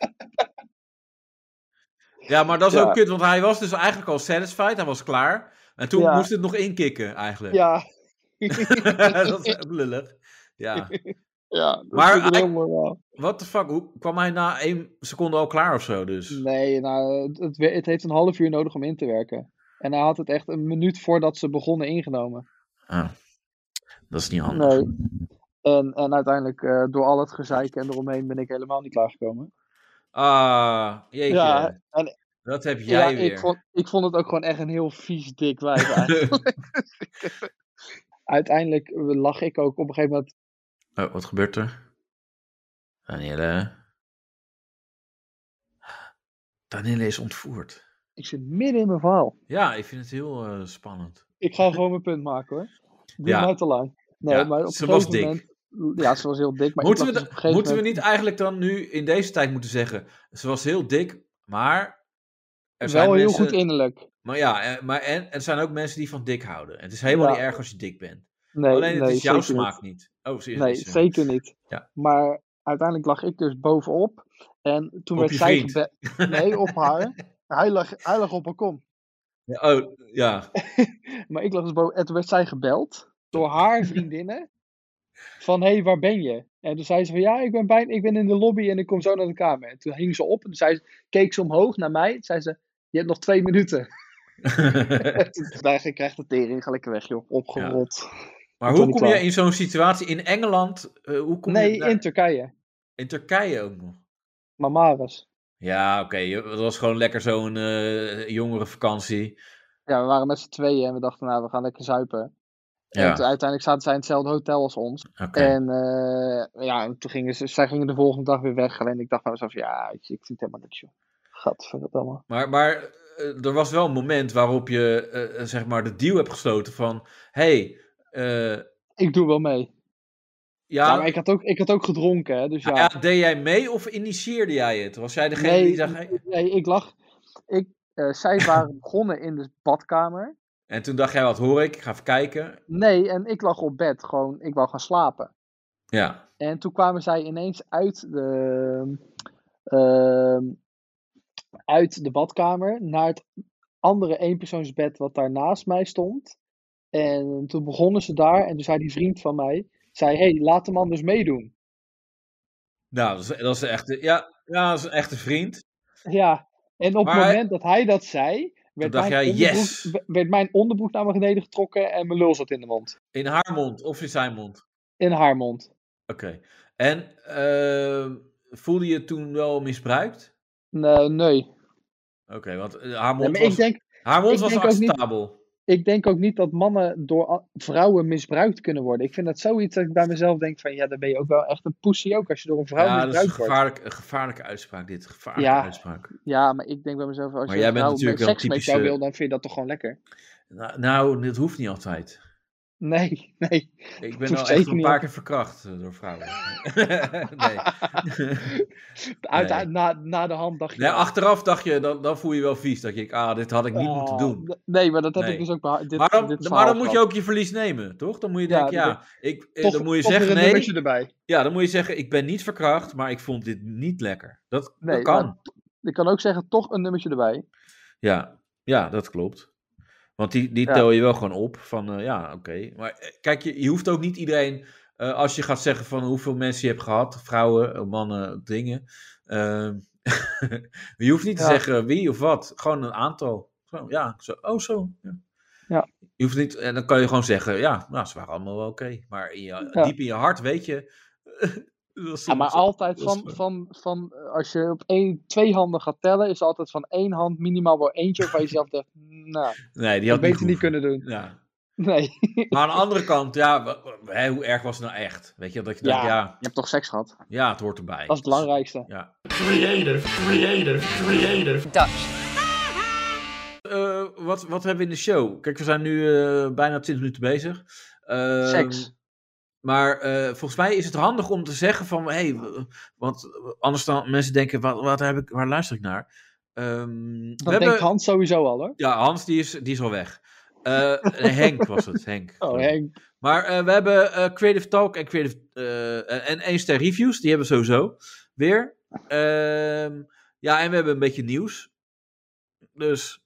Speaker 2: ja, maar dat is
Speaker 4: Ja.
Speaker 2: ook kut, want hij was dus eigenlijk al satisfied. Hij was klaar. En toen
Speaker 4: Ja.
Speaker 2: moest het nog inkikken, eigenlijk.
Speaker 4: Ja,
Speaker 2: dat is ook lullig. Ja.
Speaker 4: ja dat
Speaker 2: Maar
Speaker 4: vind ik
Speaker 2: hij-
Speaker 4: heel mooi wel.
Speaker 2: What the fuck? Hoe kwam hij na één seconde al klaar of zo? Dus.
Speaker 4: Nee, nou, het, het, het heeft een half uur nodig om in te werken. En hij had het echt een minuut voordat ze begonnen ingenomen.
Speaker 2: Ah, dat is niet handig.
Speaker 4: Nee. En, en uiteindelijk, eh, door al het gezeik en eromheen, ben ik helemaal niet klaargekomen.
Speaker 2: Ah, jeetje.
Speaker 4: Ja, en-
Speaker 2: dat heb jij
Speaker 4: ja,
Speaker 2: weer.
Speaker 4: Ik, vond, ik vond het ook gewoon echt een heel vies dik wijf eigenlijk. uiteindelijk eh, lag ik ook op een gegeven moment.
Speaker 2: Oh, wat gebeurt er? Danielle. Danielle is ontvoerd.
Speaker 4: Ik zit midden in mijn verhaal.
Speaker 2: Ja, ik vind het heel eh, spannend.
Speaker 4: Ik ga gewoon mijn punt maken hoor. Doe
Speaker 2: Ja.
Speaker 4: mij te lang. Nee,
Speaker 2: Ja,
Speaker 4: maar op
Speaker 2: ze
Speaker 4: een
Speaker 2: was
Speaker 4: gegeven
Speaker 2: dik.
Speaker 4: moment- Ja, ze was heel dik. Maar
Speaker 2: moeten we,
Speaker 4: ik lag
Speaker 2: da-
Speaker 4: dus op een gegeven
Speaker 2: moeten we
Speaker 4: moment
Speaker 2: niet eigenlijk dan nu in deze tijd moeten zeggen... Ze was heel dik, maar... Er zijn
Speaker 4: wel heel
Speaker 2: mensen,
Speaker 4: goed innerlijk.
Speaker 2: Maar ja, eh, maar en, er zijn ook mensen die van dik houden. En het is helemaal
Speaker 4: Ja.
Speaker 2: niet erg als je dik bent.
Speaker 4: Nee,
Speaker 2: Alleen het
Speaker 4: nee,
Speaker 2: is jouw
Speaker 4: zeker niet.
Speaker 2: smaak niet. Oh, ze is
Speaker 4: Nee,
Speaker 2: niet zo.
Speaker 4: zeker niet.
Speaker 2: Ja.
Speaker 4: Maar uiteindelijk lag ik dus bovenop. En toen
Speaker 2: Op
Speaker 4: werd
Speaker 2: je
Speaker 4: zij
Speaker 2: vriend.
Speaker 4: gebeld. Nee, op haar. Hij lag, hij lag op het balkon.
Speaker 2: Ja, Oh, ja.
Speaker 4: Maar ik lag dus boven. En toen werd zij gebeld door haar vriendinnen. Van hé, hey, waar ben je? En toen zei ze van ja, ik ben, bijna, ik ben in de lobby en ik kom zo naar de kamer. En toen hing ze op en toen zei ze, keek ze omhoog naar mij. Toen zei ze, je hebt nog twee minuten. Toen dacht ik, ik krijg de tering, ga lekker weg joh, opgerold.
Speaker 2: Maar hoe kom je in zo'n situatie in Engeland? eh, hoe kom
Speaker 4: Nee,
Speaker 2: je daar-
Speaker 4: in Turkije.
Speaker 2: in Turkije ook nog?
Speaker 4: Mamares.
Speaker 2: Ja, oké. je- Het was gewoon lekker zo'n eh jongerenvakantie.
Speaker 4: Ja, we waren met z'n tweeën en we dachten, nou, we gaan lekker zuipen. En
Speaker 2: Ja,
Speaker 4: toen- uiteindelijk zaten zij in hetzelfde hotel als ons.
Speaker 2: oké.
Speaker 4: En eh, ja, en toen gingen ze, zij gingen de volgende dag weer weg. Alleen ik dacht bij mezelf, ja, weet je, ik vind het helemaal niks, joh. Gadverdamme.
Speaker 2: Maar, maar eh, er was wel een moment waarop je eh, zeg maar de deal hebt gesloten van... Hé, hey, eh,
Speaker 4: Ik doe wel mee. Ja,
Speaker 2: ja,
Speaker 4: maar ik had ook, ik had ook gedronken, hè, dus ja.
Speaker 2: ja, deed jij mee of initieerde jij het? Was jij degene
Speaker 4: Nee,
Speaker 2: die zag... hey?
Speaker 4: Nee, ik lag. Ik, eh, zij waren begonnen in de badkamer.
Speaker 2: En toen dacht jij, wat hoor ik? Ik ga even kijken.
Speaker 4: Nee, en ik lag op bed. Gewoon, ik wou gaan slapen.
Speaker 2: Ja,
Speaker 4: En toen kwamen zij ineens uit de, ehm, uit de badkamer naar het andere eenpersoonsbed wat daar naast mij stond. En toen begonnen ze daar en toen zei die vriend van mij, zei, hey, laat de man dus meedoen.
Speaker 2: nou, dat is, dat is echt... Ja, ja, dat is echt een vriend.
Speaker 4: Ja, en op
Speaker 2: Maar-
Speaker 4: het moment dat hij dat zei, werd,
Speaker 2: dacht
Speaker 4: mijn,
Speaker 2: jij,
Speaker 4: onderbroek,
Speaker 2: yes.
Speaker 4: w- werd mijn onderbroek naar mijn beneden getrokken en mijn lul zat in de mond.
Speaker 2: In haar mond of in zijn mond.
Speaker 4: In haar mond.
Speaker 2: Oké. En eh, voelde je je toen wel misbruikt?
Speaker 4: Nee, eh, nee.
Speaker 2: Oké, want eh, haar
Speaker 4: Nee,
Speaker 2: mond
Speaker 4: maar ik
Speaker 2: was,
Speaker 4: denk,
Speaker 2: haar mond
Speaker 4: ik
Speaker 2: was
Speaker 4: denk ook niet-
Speaker 2: acceptabel.
Speaker 4: ik denk ook niet dat mannen door a- vrouwen misbruikt kunnen worden. Ik vind dat zoiets dat ik bij mezelf denk van ja, dan ben je ook wel echt een pussy ook als je door een vrouw
Speaker 2: Ja, dat is een,
Speaker 4: misbruikt wordt.
Speaker 2: gevaarlijk, een gevaarlijke uitspraak dit. Gevaarlijke
Speaker 4: Ja.
Speaker 2: uitspraak.
Speaker 4: Ja, maar ik denk bij mezelf als
Speaker 2: Maar
Speaker 4: je
Speaker 2: jij
Speaker 4: een
Speaker 2: bent
Speaker 4: vrouw
Speaker 2: natuurlijk
Speaker 4: met
Speaker 2: wel
Speaker 4: seks met
Speaker 2: typische-
Speaker 4: jou wil, dan vind je dat toch gewoon lekker.
Speaker 2: Nou, nou, dit hoeft niet altijd.
Speaker 4: Nee, nee.
Speaker 2: Ik ben
Speaker 4: hoeft
Speaker 2: al echt
Speaker 4: zeker
Speaker 2: een
Speaker 4: niet
Speaker 2: paar
Speaker 4: altijd.
Speaker 2: keer verkracht eh, door vrouwen. nee.
Speaker 4: Uit,
Speaker 2: Nee.
Speaker 4: na, na de hand dacht je.
Speaker 2: nee, achteraf dacht je, dan, dan voel je je wel vies. Dat je, ah, dit had ik niet
Speaker 4: ah,
Speaker 2: moeten doen.
Speaker 4: d- Nee, maar dat heb
Speaker 2: Nee.
Speaker 4: ik dus ook bij dit,
Speaker 2: maar dan,
Speaker 4: dit
Speaker 2: maar
Speaker 4: verhaal
Speaker 2: dan moet je
Speaker 4: gehad.
Speaker 2: ook je verlies nemen, toch? Dan moet je
Speaker 4: Ja,
Speaker 2: denken, ja,
Speaker 4: dat-
Speaker 2: ik, eh,
Speaker 4: Toch-
Speaker 2: dan moet je
Speaker 4: toch weer
Speaker 2: zeggen,
Speaker 4: een
Speaker 2: nee,
Speaker 4: nummertje erbij.
Speaker 2: Ja, dan moet je zeggen, ik ben niet verkracht, maar ik vond dit niet lekker. Dat, dat
Speaker 4: Nee,
Speaker 2: kan.
Speaker 4: maar- Ik kan ook zeggen, toch een nummertje erbij.
Speaker 2: Ja. ja, dat klopt. Want die, die
Speaker 4: Ja.
Speaker 2: tel je wel gewoon op van, eh, ja, oké. Maar eh, kijk, je, je hoeft ook niet iedereen, eh, als je gaat zeggen van hoeveel mensen je hebt gehad, vrouwen, eh, mannen, dingen. eh, je hoeft niet te
Speaker 4: Ja.
Speaker 2: zeggen wie of wat, gewoon een aantal. Zo, ja, zo, oh zo. Ja.
Speaker 4: Ja.
Speaker 2: Je hoeft niet, en dan kan je gewoon zeggen, ja, nou, ze waren allemaal wel oké. Maar in je,
Speaker 4: Ja.
Speaker 2: diep in je hart weet je... dat ze-
Speaker 4: Ja, maar
Speaker 2: ze-
Speaker 4: altijd
Speaker 2: dat
Speaker 4: van,
Speaker 2: ze-
Speaker 4: van, van, eh, als je op één, twee handen gaat tellen, is er altijd van één hand minimaal wel eentje waarvan je zelf denkt, nou,
Speaker 2: Nee, die
Speaker 4: dat
Speaker 2: had
Speaker 4: beter
Speaker 2: gehoeven.
Speaker 4: niet kunnen doen.
Speaker 2: Ja.
Speaker 4: Nee.
Speaker 2: Maar aan de andere kant, ja, w- w- hè, hoe erg was het nou echt? Weet je, dat je denkt,
Speaker 4: Ja.
Speaker 2: ja,
Speaker 4: Je hebt toch seks gehad? Dat
Speaker 2: ja, het hoort erbij.
Speaker 4: is het belangrijkste.
Speaker 2: Ja.
Speaker 6: Dutch.
Speaker 2: Eh, wat, wat hebben we in de show? Kijk, we zijn nu eh, bijna 20 minuten bezig. Eh,
Speaker 4: Seks.
Speaker 2: Maar eh, volgens mij is het handig om te zeggen van, hey, w- want anders dan mensen denken, wat, wat heb ik, waar luister ik naar? Ehm, we
Speaker 4: Dat denkt Hans sowieso al hoor.
Speaker 2: Ja, Hans, die is, die is al weg. Eh, nee, Henk was het, Henk.
Speaker 4: Oh, Henk.
Speaker 2: Maar eh, we hebben eh, Creative Talk en Creative. eh, en- en één ster reviews, die hebben we sowieso weer. Ehm, ja, en we hebben een beetje nieuws. Dus.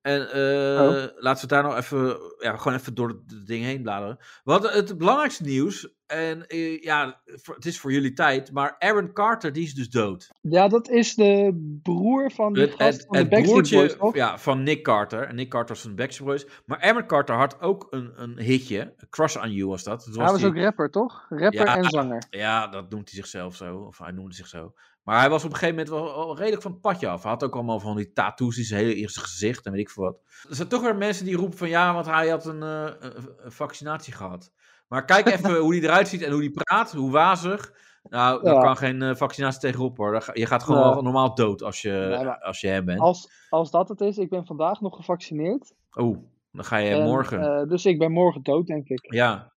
Speaker 2: En eh,
Speaker 4: Oh.
Speaker 2: laten we het daar nou even. Ja, gewoon even door het ding heen bladeren. Wat het belangrijkste nieuws. En eh, ja, voor- het is voor jullie tijd. Maar Aaron Carter, die is dus dood.
Speaker 4: Ja, dat is de broer van die
Speaker 2: Het,
Speaker 4: gast
Speaker 2: het,
Speaker 4: van de
Speaker 2: het
Speaker 4: Backstreet Boys,
Speaker 2: broertje
Speaker 4: toch?
Speaker 2: ja, van Nick Carter. En Nick Carter was van de Backstreet Boys. Maar Aaron Carter had ook een, een hitje. Crush on You was dat. dat was
Speaker 4: Hij was
Speaker 2: die-
Speaker 4: ook rapper, toch? Rapper
Speaker 2: Ja.
Speaker 4: en zanger.
Speaker 2: Ja, dat noemt hij zichzelf zo. Of hij noemde zich zo. Maar hij was op een gegeven moment wel, wel redelijk van het padje af. Hij had ook allemaal van die tattoos in zijn hele eerste gezicht en weet ik veel wat. Er zijn toch weer mensen die roepen van ja, want hij had een, eh, een- een vaccinatie gehad. Maar kijk even hoe hij eruit ziet en hoe hij praat, hoe wazig. Nou, daar
Speaker 4: Ja.
Speaker 2: kan geen eh, vaccinatie tegenop hoor. Daar ga- Je gaat gewoon
Speaker 4: Nee.
Speaker 2: wel normaal dood als je,
Speaker 4: Nee, maar-
Speaker 2: als je hem bent.
Speaker 4: Als, als dat het is, ik ben vandaag nog gevaccineerd.
Speaker 2: Oeh, dan ga je
Speaker 4: En,
Speaker 2: morgen.
Speaker 4: eh, dus ik ben morgen dood, denk ik.
Speaker 2: Ja.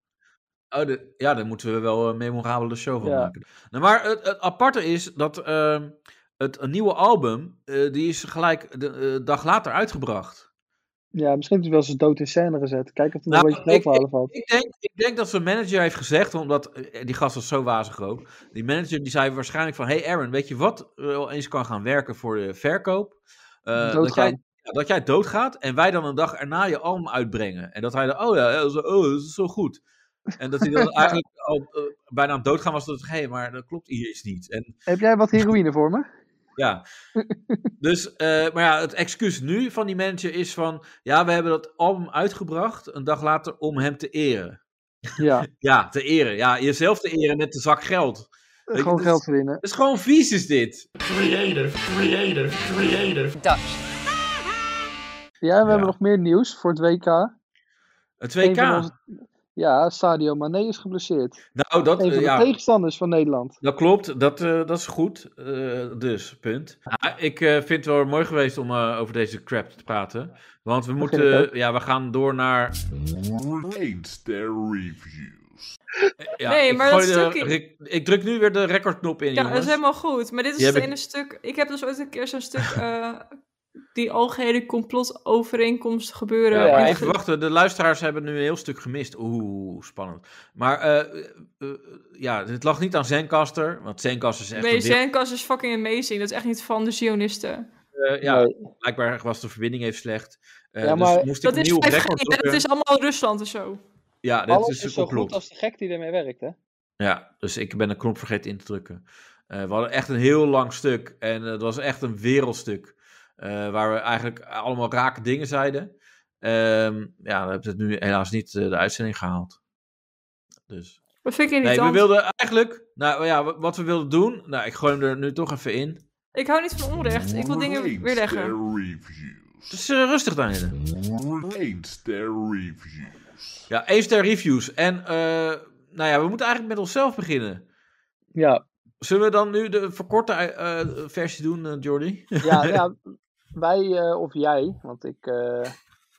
Speaker 2: Oh, de- ja, daar moeten we wel een memorabele show van
Speaker 4: Ja.
Speaker 2: maken. Nou, maar het, het aparte is dat ehm, het nieuwe album, eh, die is gelijk de eh, dag later uitgebracht.
Speaker 4: Ja, misschien heeft hij wel zijn dood in scène gezet. Kijk of hij
Speaker 2: Nou,
Speaker 4: nog een beetje
Speaker 2: ik-
Speaker 4: geld halen valt.
Speaker 2: Ik denk, ik denk dat zijn manager heeft gezegd, omdat eh, die gast was zo wazig ook. Die manager die zei waarschijnlijk van, hey Aaron, weet je wat wel eens kan gaan werken voor de verkoop? Eh, dat,
Speaker 4: Doodgaan.
Speaker 2: jij, ja, dat jij doodgaat en wij dan een dag erna je album uitbrengen. En dat hij dan, oh ja, eh, zo, oh, dat is zo goed. En dat hij dan eigenlijk al eh, bijna aan doodgaan was, dat hé, hey, maar dat klopt hier iets niet. En
Speaker 4: Heb jij wat heroïne voor me?
Speaker 2: ja. Dus, eh, maar ja, het excuus nu van die manager is van, ja, we hebben dat album uitgebracht een dag later om hem te eren.
Speaker 4: Ja,
Speaker 2: Ja, te eren. Ja, jezelf te eren met de zak geld. Weet je,
Speaker 4: Eh, gewoon
Speaker 2: dat
Speaker 4: geld
Speaker 2: Is,
Speaker 4: verdienen.
Speaker 2: dat is gewoon vies is dit.
Speaker 4: Ja, en we hebben
Speaker 2: Ja.
Speaker 4: nog meer nieuws voor het WK.
Speaker 2: Het
Speaker 4: Een van
Speaker 2: 2K.
Speaker 4: onze- Ja, Sadio Mane is geblesseerd.
Speaker 2: Nou, dat,
Speaker 4: Een van
Speaker 2: eh,
Speaker 4: de
Speaker 2: ja,
Speaker 4: tegenstanders van Nederland.
Speaker 2: dat klopt. Dat, eh, dat is goed. Eh, dus, punt. Ah, ik eh, vind het wel mooi geweest om eh, over deze crap te praten. Want we
Speaker 4: vind ik
Speaker 2: moeten... Ja, we gaan door naar...
Speaker 1: Eendster Reviews.
Speaker 2: eh, Ja,
Speaker 3: Nee,
Speaker 2: ik,
Speaker 3: maar dat
Speaker 2: gooi de
Speaker 3: stukje-
Speaker 2: rec- ik druk nu weer de recordknop in,
Speaker 3: Ja, dat
Speaker 2: jongens.
Speaker 3: is helemaal goed. Maar dit is
Speaker 2: Die
Speaker 3: het
Speaker 2: heb
Speaker 3: ene stuk... Ik heb dus ooit een keer zo'n stuk... eh, die algehele complotovereenkomst gebeuren.
Speaker 2: Ja,
Speaker 4: Ja,
Speaker 2: maar
Speaker 3: En
Speaker 2: even
Speaker 3: ge-
Speaker 2: wachten, de luisteraars hebben nu een heel stuk gemist. Oeh, spannend. Maar eh, eh, eh, ja, het lag niet aan Zencaster, want Zencaster is echt
Speaker 3: Nee,
Speaker 2: een wereld-
Speaker 3: Zenkast is dus fucking amazing. Dat is echt niet van de Zionisten.
Speaker 2: eh, ja,
Speaker 4: Nee.
Speaker 2: blijkbaar was de verbinding even slecht. Eh,
Speaker 4: Ja, maar
Speaker 2: dus moest ik
Speaker 3: Dat
Speaker 2: een
Speaker 3: is
Speaker 2: nieuw
Speaker 3: 5G,
Speaker 2: record
Speaker 3: hè?
Speaker 2: zoeken.
Speaker 3: het is allemaal Rusland en zo.
Speaker 2: Ja, dat
Speaker 4: Alles
Speaker 2: is dus
Speaker 4: is
Speaker 2: een
Speaker 4: zo goed
Speaker 2: complot.
Speaker 4: als de gek die ermee werkt, hè?
Speaker 2: Ja, dus ik ben een knop vergeten in te drukken. Eh, we hadden echt een heel lang stuk en het was echt een wereldstuk. eh, waar we eigenlijk allemaal rake dingen zeiden. Ehm, ja, we hebben het nu helaas niet eh, de uitzending gehaald. Dus...
Speaker 3: Dat vind ik
Speaker 2: Nee,
Speaker 3: irritant.
Speaker 2: we wilden eigenlijk, nou ja, wat we wilden doen, nou ik gooi hem er nu toch even in.
Speaker 3: Ik hou niet van onrecht. Ik wil dingen weer
Speaker 2: eh.
Speaker 3: leggen.
Speaker 1: Eendster Reviews.
Speaker 2: Dus eh, rustig Daniel.
Speaker 1: Eendster Reviews.
Speaker 2: Ja, één ster reviews. En eh, nou ja, we moeten eigenlijk met onszelf beginnen.
Speaker 4: Ja,
Speaker 2: Zullen we dan nu de verkorte eh, eh, versie doen, eh, Jordi?
Speaker 4: ja, ja wij eh, of jij, want ik, eh,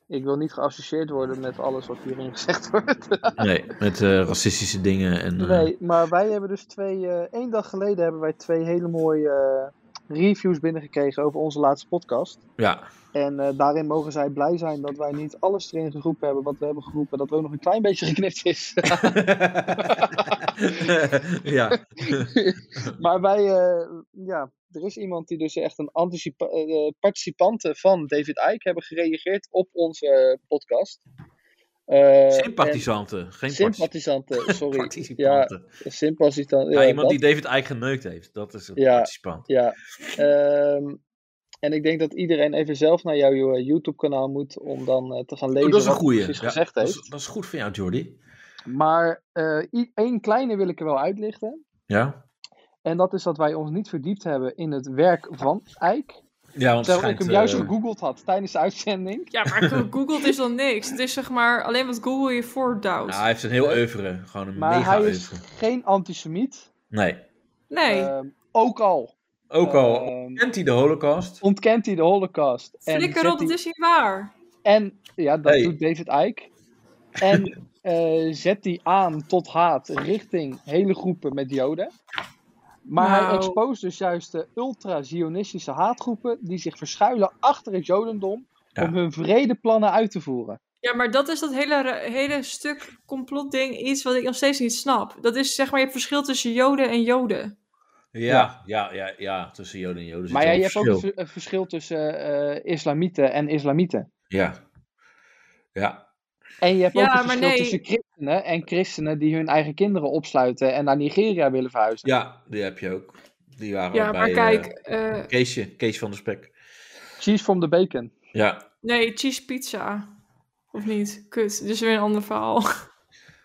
Speaker 4: ik wil niet geassocieerd worden met alles wat hierin gezegd wordt.
Speaker 2: Nee, met eh, racistische dingen en... eh,
Speaker 4: Nee, maar wij hebben dus twee, eh, één dag geleden hebben wij twee hele mooie eh, reviews binnengekregen over onze laatste podcast.
Speaker 2: Ja,
Speaker 4: En eh, daarin mogen zij blij zijn dat wij niet alles erin geroepen hebben wat we hebben geroepen. Dat er ook nog een klein beetje geknipt is.
Speaker 2: ja.
Speaker 4: maar wij, eh, ja, er is iemand die dus echt een anticipa- eh, participante van David Icke hebben gereageerd op onze eh, podcast. Eh,
Speaker 2: Sympathisanten, geen
Speaker 4: en- Sympathisanten,
Speaker 2: particip-
Speaker 4: sorry. ja,
Speaker 2: participanten.
Speaker 4: sympathisanten.
Speaker 2: Ja,
Speaker 4: Ja,
Speaker 2: iemand
Speaker 4: dat.
Speaker 2: die David Eyck geneukt heeft, dat is een
Speaker 4: Ja. Oh,
Speaker 2: participant.
Speaker 4: Ja, ehm, en ik denk dat iedereen even zelf naar jouw eh, YouTube-kanaal moet om dan eh, te gaan lezen
Speaker 2: Oh, dat is een
Speaker 4: wat hij
Speaker 2: goeie.
Speaker 4: precies
Speaker 2: Ja,
Speaker 4: gezegd
Speaker 2: dat,
Speaker 4: heeft.
Speaker 2: is, dat is goed van jou, Jordi.
Speaker 4: Maar eh, i- één kleine wil ik er wel uitlichten.
Speaker 2: Ja,
Speaker 4: En dat is dat wij ons niet verdiept hebben in het werk van Eik.
Speaker 2: ja want het
Speaker 4: Terwijl ik
Speaker 2: schijnt,
Speaker 4: hem juist
Speaker 2: eh,
Speaker 4: gegoogeld had tijdens de uitzending.
Speaker 3: Ja, maar Google is dan niks. Het is zeg maar alleen wat Google je voorduwt.
Speaker 2: Nou, hij heeft een heel oeuvre. Gewoon een
Speaker 4: Maar
Speaker 2: mega
Speaker 4: hij is
Speaker 2: oeuvre.
Speaker 4: geen antisemiet.
Speaker 2: Nee.
Speaker 3: Nee.
Speaker 4: Ehm, ook al
Speaker 2: Ook al
Speaker 4: ehm,
Speaker 2: kent hij de holocaust.
Speaker 4: ontkent hij de holocaust. En
Speaker 3: Flikker
Speaker 4: zet
Speaker 3: op,
Speaker 4: hij-
Speaker 3: dat is niet waar.
Speaker 4: En ja, dat
Speaker 2: Hey.
Speaker 4: doet David Icke. En eh, zet die aan tot haat richting hele groepen met Joden. Maar hij
Speaker 3: Nou.
Speaker 4: expose dus juist de ultra-Zionistische haatgroepen die zich verschuilen achter het Jodendom
Speaker 2: Ja.
Speaker 4: om hun vrede plannen uit te voeren.
Speaker 3: Ja, maar dat is dat hele, ra- hele stuk complotding iets wat ik nog steeds niet snap. Dat is zeg maar je hebt verschil tussen joden en joden.
Speaker 2: Ja, ja, ja, ja. Tussen joden en joden zit
Speaker 4: Maar ja,
Speaker 2: wel
Speaker 4: je
Speaker 2: een
Speaker 4: hebt ook
Speaker 2: verschil.
Speaker 4: een ver- een verschil tussen eh, islamieten en islamieten.
Speaker 2: Ja. Ja.
Speaker 4: En je hebt
Speaker 3: Ja,
Speaker 4: ook een
Speaker 3: maar
Speaker 4: verschil
Speaker 3: nee.
Speaker 4: tussen christenen en christenen die hun eigen kinderen opsluiten en naar Nigeria willen verhuizen.
Speaker 2: ja, die heb je ook. Die waren
Speaker 3: Ja,
Speaker 2: bij,
Speaker 3: maar
Speaker 2: eh,
Speaker 3: kijk, eh,
Speaker 2: Keesje, Kees van de Spek.
Speaker 4: Cheese from the bacon.
Speaker 2: Ja.
Speaker 3: nee, cheese pizza. Of niet? Kut, dit is weer een ander verhaal.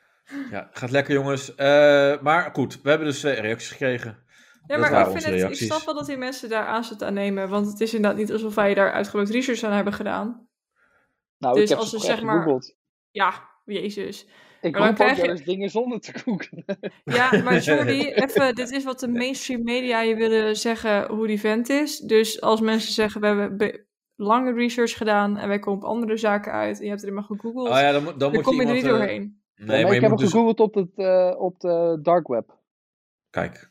Speaker 2: ja, gaat lekker jongens. Eh, maar goed, we hebben dus eh, reacties gekregen.
Speaker 3: Ja,
Speaker 2: Dat
Speaker 3: maar
Speaker 2: waren
Speaker 3: ik, vind
Speaker 2: onze
Speaker 3: het, ik
Speaker 2: reacties.
Speaker 3: snap wel dat die mensen daar aanzet aan nemen. Want het is inderdaad niet alsof wij daar uitgebreid research aan hebben gedaan.
Speaker 4: Nou,
Speaker 3: Dus
Speaker 4: ik heb
Speaker 3: als
Speaker 4: ze
Speaker 3: we
Speaker 4: echt
Speaker 3: zeg maar-
Speaker 4: gegoogeld.
Speaker 3: Ja, jezus.
Speaker 4: Ik
Speaker 3: Maar dan
Speaker 4: hoop ook
Speaker 3: krijg je-
Speaker 4: wel eens dingen zonder te googelen.
Speaker 3: Ja, maar Jordi, even, dit is wat de mainstream media je willen zeggen hoe die vent is. Dus als mensen zeggen, we hebben be- lange research gedaan en wij komen op andere zaken uit en je hebt er maar gegoogeld,
Speaker 2: Oh ja, dan, moet- dan
Speaker 3: dan
Speaker 2: moet
Speaker 3: kom je,
Speaker 2: je
Speaker 3: er
Speaker 2: iemand...
Speaker 3: niet
Speaker 2: eh,
Speaker 3: doorheen.
Speaker 2: Nee,
Speaker 4: maar
Speaker 2: maar
Speaker 4: ik
Speaker 2: je
Speaker 4: heb
Speaker 2: moet
Speaker 4: het
Speaker 2: dus...
Speaker 4: gegoogeld op, het, eh, op de dark web.
Speaker 2: Kijk.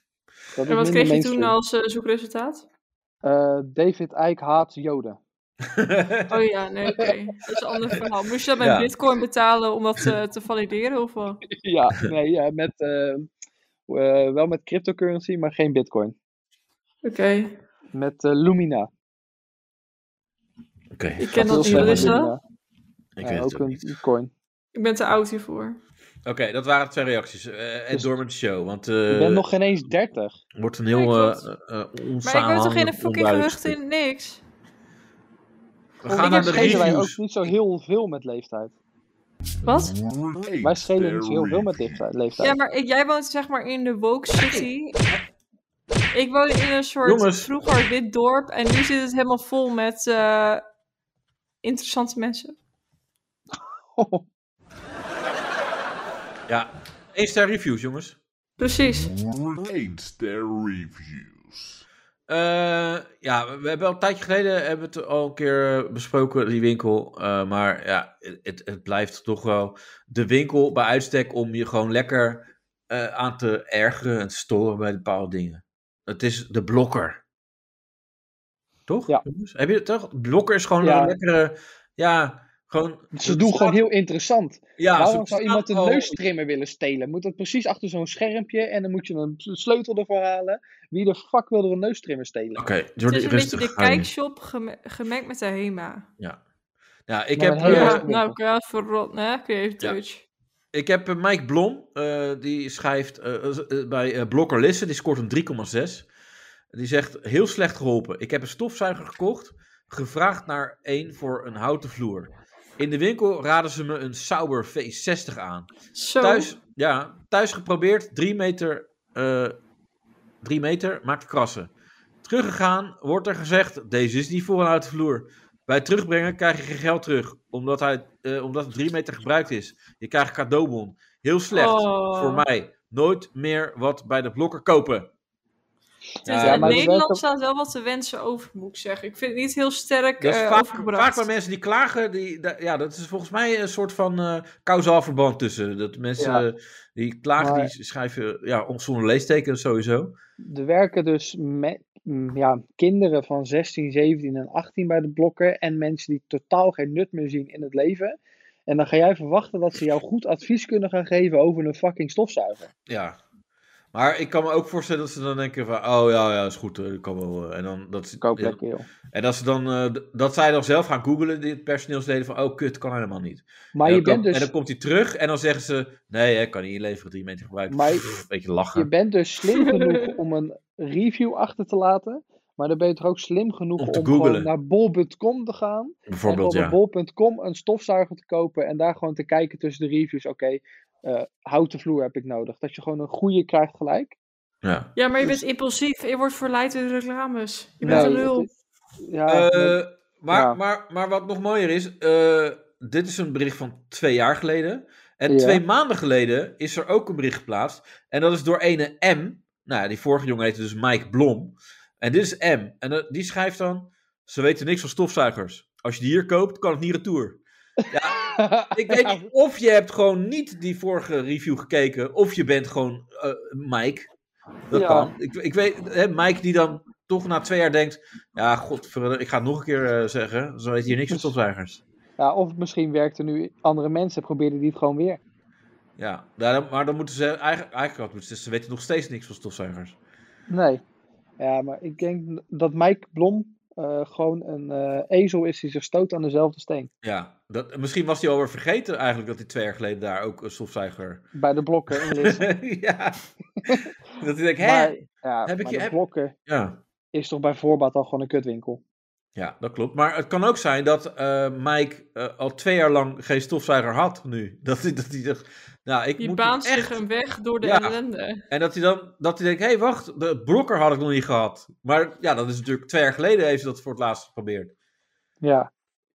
Speaker 4: Dat
Speaker 3: En
Speaker 4: is
Speaker 3: wat kreeg je
Speaker 4: minder
Speaker 3: toen
Speaker 4: mainstream.
Speaker 3: als eh, zoekresultaat?
Speaker 4: Eh, David Eyck haat Joden.
Speaker 3: Oh ja, nee, oké. Dat is een ander verhaal. Moest je dat met
Speaker 2: Ja.
Speaker 3: bitcoin betalen om dat eh, te valideren of wat?
Speaker 4: ja, nee, ja, met, eh, eh, wel met cryptocurrency, maar geen bitcoin.
Speaker 3: Oké,
Speaker 4: Met eh, Lumina.
Speaker 2: Oké,
Speaker 3: ik ken dat niet. dus, eh.
Speaker 4: heel
Speaker 3: Wat is
Speaker 4: slim,
Speaker 3: dat?
Speaker 4: Lumina.
Speaker 2: ik
Speaker 4: Ja,
Speaker 2: weet het
Speaker 4: ook
Speaker 2: ook niet.
Speaker 4: een coin.
Speaker 3: Ik ben te oud hiervoor.
Speaker 2: Oké, dat waren twee reacties. Eh en
Speaker 4: Dus-
Speaker 2: door met de show, want...
Speaker 4: Ik
Speaker 2: eh
Speaker 4: ben nog geen eens 30.
Speaker 2: Wordt een
Speaker 3: Nee,
Speaker 2: heel eh
Speaker 3: klopt.
Speaker 2: eh, eh,
Speaker 3: Maar ik ben toch in
Speaker 2: onsamenhangend,
Speaker 3: een fucking
Speaker 2: onduidelijk
Speaker 3: gerucht
Speaker 2: stuk.
Speaker 3: in niks?
Speaker 2: We
Speaker 4: Volgens
Speaker 2: gaan naar de
Speaker 4: mij schelen wij ook
Speaker 2: reviews.
Speaker 4: niet zo heel veel met leeftijd.
Speaker 3: Wat?
Speaker 4: Wij schelen niet zo heel veel met leeftijd. leeftijd.
Speaker 3: Ja, maar ik- jij woont zeg maar in de woke city. Ik woon in een soort
Speaker 2: Jongens.
Speaker 3: vroeger dit dorp en nu zit het helemaal vol met eh, interessante mensen.
Speaker 2: Ja. Eén ster reviews, jongens.
Speaker 3: Precies.
Speaker 1: Rate their reviews.
Speaker 2: Eh, ja, we hebben al een tijdje geleden hebben we het al een keer eh, besproken, die winkel. Eh, maar ja, het, het blijft toch wel de winkel bij uitstek om je gewoon lekker eh, aan te ergeren en te storen bij bepaalde dingen. Het is de blokker. Toch?
Speaker 4: Ja.
Speaker 2: jongens? Heb je het toch? Blokker is gewoon
Speaker 4: Ja.
Speaker 2: een lekkere. Ja, gewoon.
Speaker 4: Ze doen gewoon heel interessant.
Speaker 2: Ja,
Speaker 4: Waarom
Speaker 2: ze
Speaker 4: zou iemand een
Speaker 2: staat al-
Speaker 4: neustrimmer willen stelen? Moet dat precies achter zo'n schermpje en dan moet je een sleutel ervoor halen? Wie de fuck wil er een neustrimmer stelen?
Speaker 2: Oké,
Speaker 3: Het
Speaker 2: Jordi,
Speaker 3: is een beetje
Speaker 2: rustig.
Speaker 3: de
Speaker 2: aan je.
Speaker 3: kijkshop geme- gemengd met de HEMA.
Speaker 2: Ja, ik
Speaker 4: Maar
Speaker 2: heb.
Speaker 4: een hele
Speaker 2: eh,
Speaker 4: Oh, Ja.
Speaker 3: Ja, nou, ja, verrot, hè? Creative
Speaker 2: Ja.
Speaker 3: Touch.
Speaker 2: Ik heb eh, Mike Blom, eh, die schrijft eh, eh, bij eh, Blokker Lissen, die scoort een 3,6. Die zegt, heel slecht geholpen. Ik heb een stofzuiger gekocht, gevraagd naar één voor een houten vloer. In de winkel raden ze me een Sauber V60 aan.
Speaker 3: Zo.
Speaker 2: Thuis, ja, thuis geprobeerd, 3 meter, eh 3 meter, maakt krassen. Teruggegaan, wordt er gezegd, deze is niet voor een houten vloer. Bij het terugbrengen krijg je geen geld terug, omdat, hij, eh, omdat het 3 meter gebruikt is. Je krijgt een cadeaubon. Heel slecht,
Speaker 3: Oh.
Speaker 2: voor mij. Nooit meer wat bij de blokker kopen.
Speaker 3: Dus
Speaker 2: Ja,
Speaker 3: in
Speaker 4: maar die werken-
Speaker 3: Nederland staat wel wat te wensen over, moet ik zeggen. Ik vind het niet heel sterk
Speaker 2: Dat is
Speaker 3: eh,
Speaker 2: vaak,
Speaker 3: overgebracht.
Speaker 2: vaak bij mensen die klagen, die, da- ja, dat is volgens mij een soort van eh kausaal verband tussen. Dat mensen
Speaker 4: Ja.
Speaker 2: eh, die klagen,
Speaker 4: Maar-
Speaker 2: die schrijven ja, ons zonder leestekens sowieso.
Speaker 4: Er werken dus me- mm, ja, kinderen van 16, 17 en 18 bij de blokken. En mensen die totaal geen nut meer zien in het leven. En dan ga jij verwachten dat ze jou goed advies kunnen gaan geven over een fucking stofzuiger.
Speaker 2: Ja. Maar ik kan me ook voorstellen dat ze dan denken van, oh ja, ja, is goed, eh, dat kan wel. eh, En, dan, dat, ze-
Speaker 4: Koop
Speaker 2: ja.
Speaker 4: lekker joh.
Speaker 2: en dat, ze dan, eh, d- dat zij dan zelf gaan googlen, dit personeelsleden, van, oh kut, kan helemaal niet.
Speaker 4: Maar
Speaker 2: en,
Speaker 4: je
Speaker 2: dan
Speaker 4: bent
Speaker 2: kan- en
Speaker 4: dus
Speaker 2: dan komt hij terug en dan zeggen ze, nee, hè, kan niet inleveren, drie meter gebruikt.
Speaker 4: Maar-
Speaker 2: Pff, beetje lachen.
Speaker 4: Je bent dus slim genoeg om een review achter te laten. Maar dan ben je toch ook slim genoeg
Speaker 2: Om
Speaker 4: om,
Speaker 2: te googlen.
Speaker 4: gewoon naar bol.com te gaan.
Speaker 2: bijvoorbeeld,
Speaker 4: en
Speaker 2: ja.
Speaker 4: op bol.com een stofzuiger te kopen. En daar gewoon te kijken tussen de reviews. Oké, eh, houten vloer heb ik nodig. Dat je gewoon een goede krijgt gelijk.
Speaker 2: ja.
Speaker 3: Ja, maar je bent impulsief. Je wordt verleid door de reclames. Je
Speaker 4: Nee,
Speaker 3: bent een
Speaker 4: Nou, dat
Speaker 3: lul.
Speaker 4: is- Ja,
Speaker 2: Eh, maar,
Speaker 4: ja.
Speaker 2: maar, maar wat nog mooier is, eh, dit is een bericht van twee jaar geleden. En
Speaker 4: Ja.
Speaker 2: twee maanden geleden is er ook een bericht geplaatst. En dat is door ene M. Nou, ja, die vorige jongen heette dus Mike Blom. En dit is M. En eh, die schrijft dan: Ze weten niks van stofzuigers. Als je die hier koopt, kan het niet retour. Ik weet niet of je hebt gewoon niet die vorige review gekeken. Of je bent gewoon eh, Mike. Dat
Speaker 4: Ja.
Speaker 2: kan. Ik, ik weet, hè, Mike die dan toch na twee jaar denkt. Ja, god, ik ga het nog een keer eh, zeggen. Zo weet hier niks van stofzuigers.
Speaker 4: ja, of misschien werkten nu andere mensen. Probeerden die het gewoon weer.
Speaker 2: Ja, daar- maar dan moeten ze eigenlijk, eigenlijk wat moeten ze, ze weten nog steeds niks van stofzuigers.
Speaker 4: Nee. Ja, maar ik denk dat Mike Blom eh, gewoon een eh, ezel is die zich stoot aan dezelfde steen.
Speaker 2: Ja, dat, misschien was hij alweer vergeten eigenlijk dat hij twee jaar geleden daar ook een stofzuiger.
Speaker 4: Bij de blokken in Lissen.
Speaker 2: ja. dat hij denkt, hè?
Speaker 4: Maar, ja,
Speaker 2: Heb ik
Speaker 4: maar
Speaker 2: je-
Speaker 4: de
Speaker 2: heb-
Speaker 4: blokken
Speaker 2: Ja.
Speaker 4: is toch bij voorbaat al gewoon een kutwinkel.
Speaker 2: ja, dat klopt. Maar het kan ook zijn dat eh, Mike eh, al twee jaar lang geen stofzuiger had nu. Dat hij, dat hij dacht, nou, ik
Speaker 3: Je
Speaker 2: moet
Speaker 3: baant
Speaker 2: hem echt...
Speaker 3: zich een weg door de
Speaker 2: Ja.
Speaker 3: ellende.
Speaker 2: En dat hij dan dat hij denkt, hé, hey, wacht, de blokker had ik nog niet gehad. Maar ja, dat is natuurlijk twee jaar geleden heeft hij dat voor het laatst geprobeerd.
Speaker 4: Ja,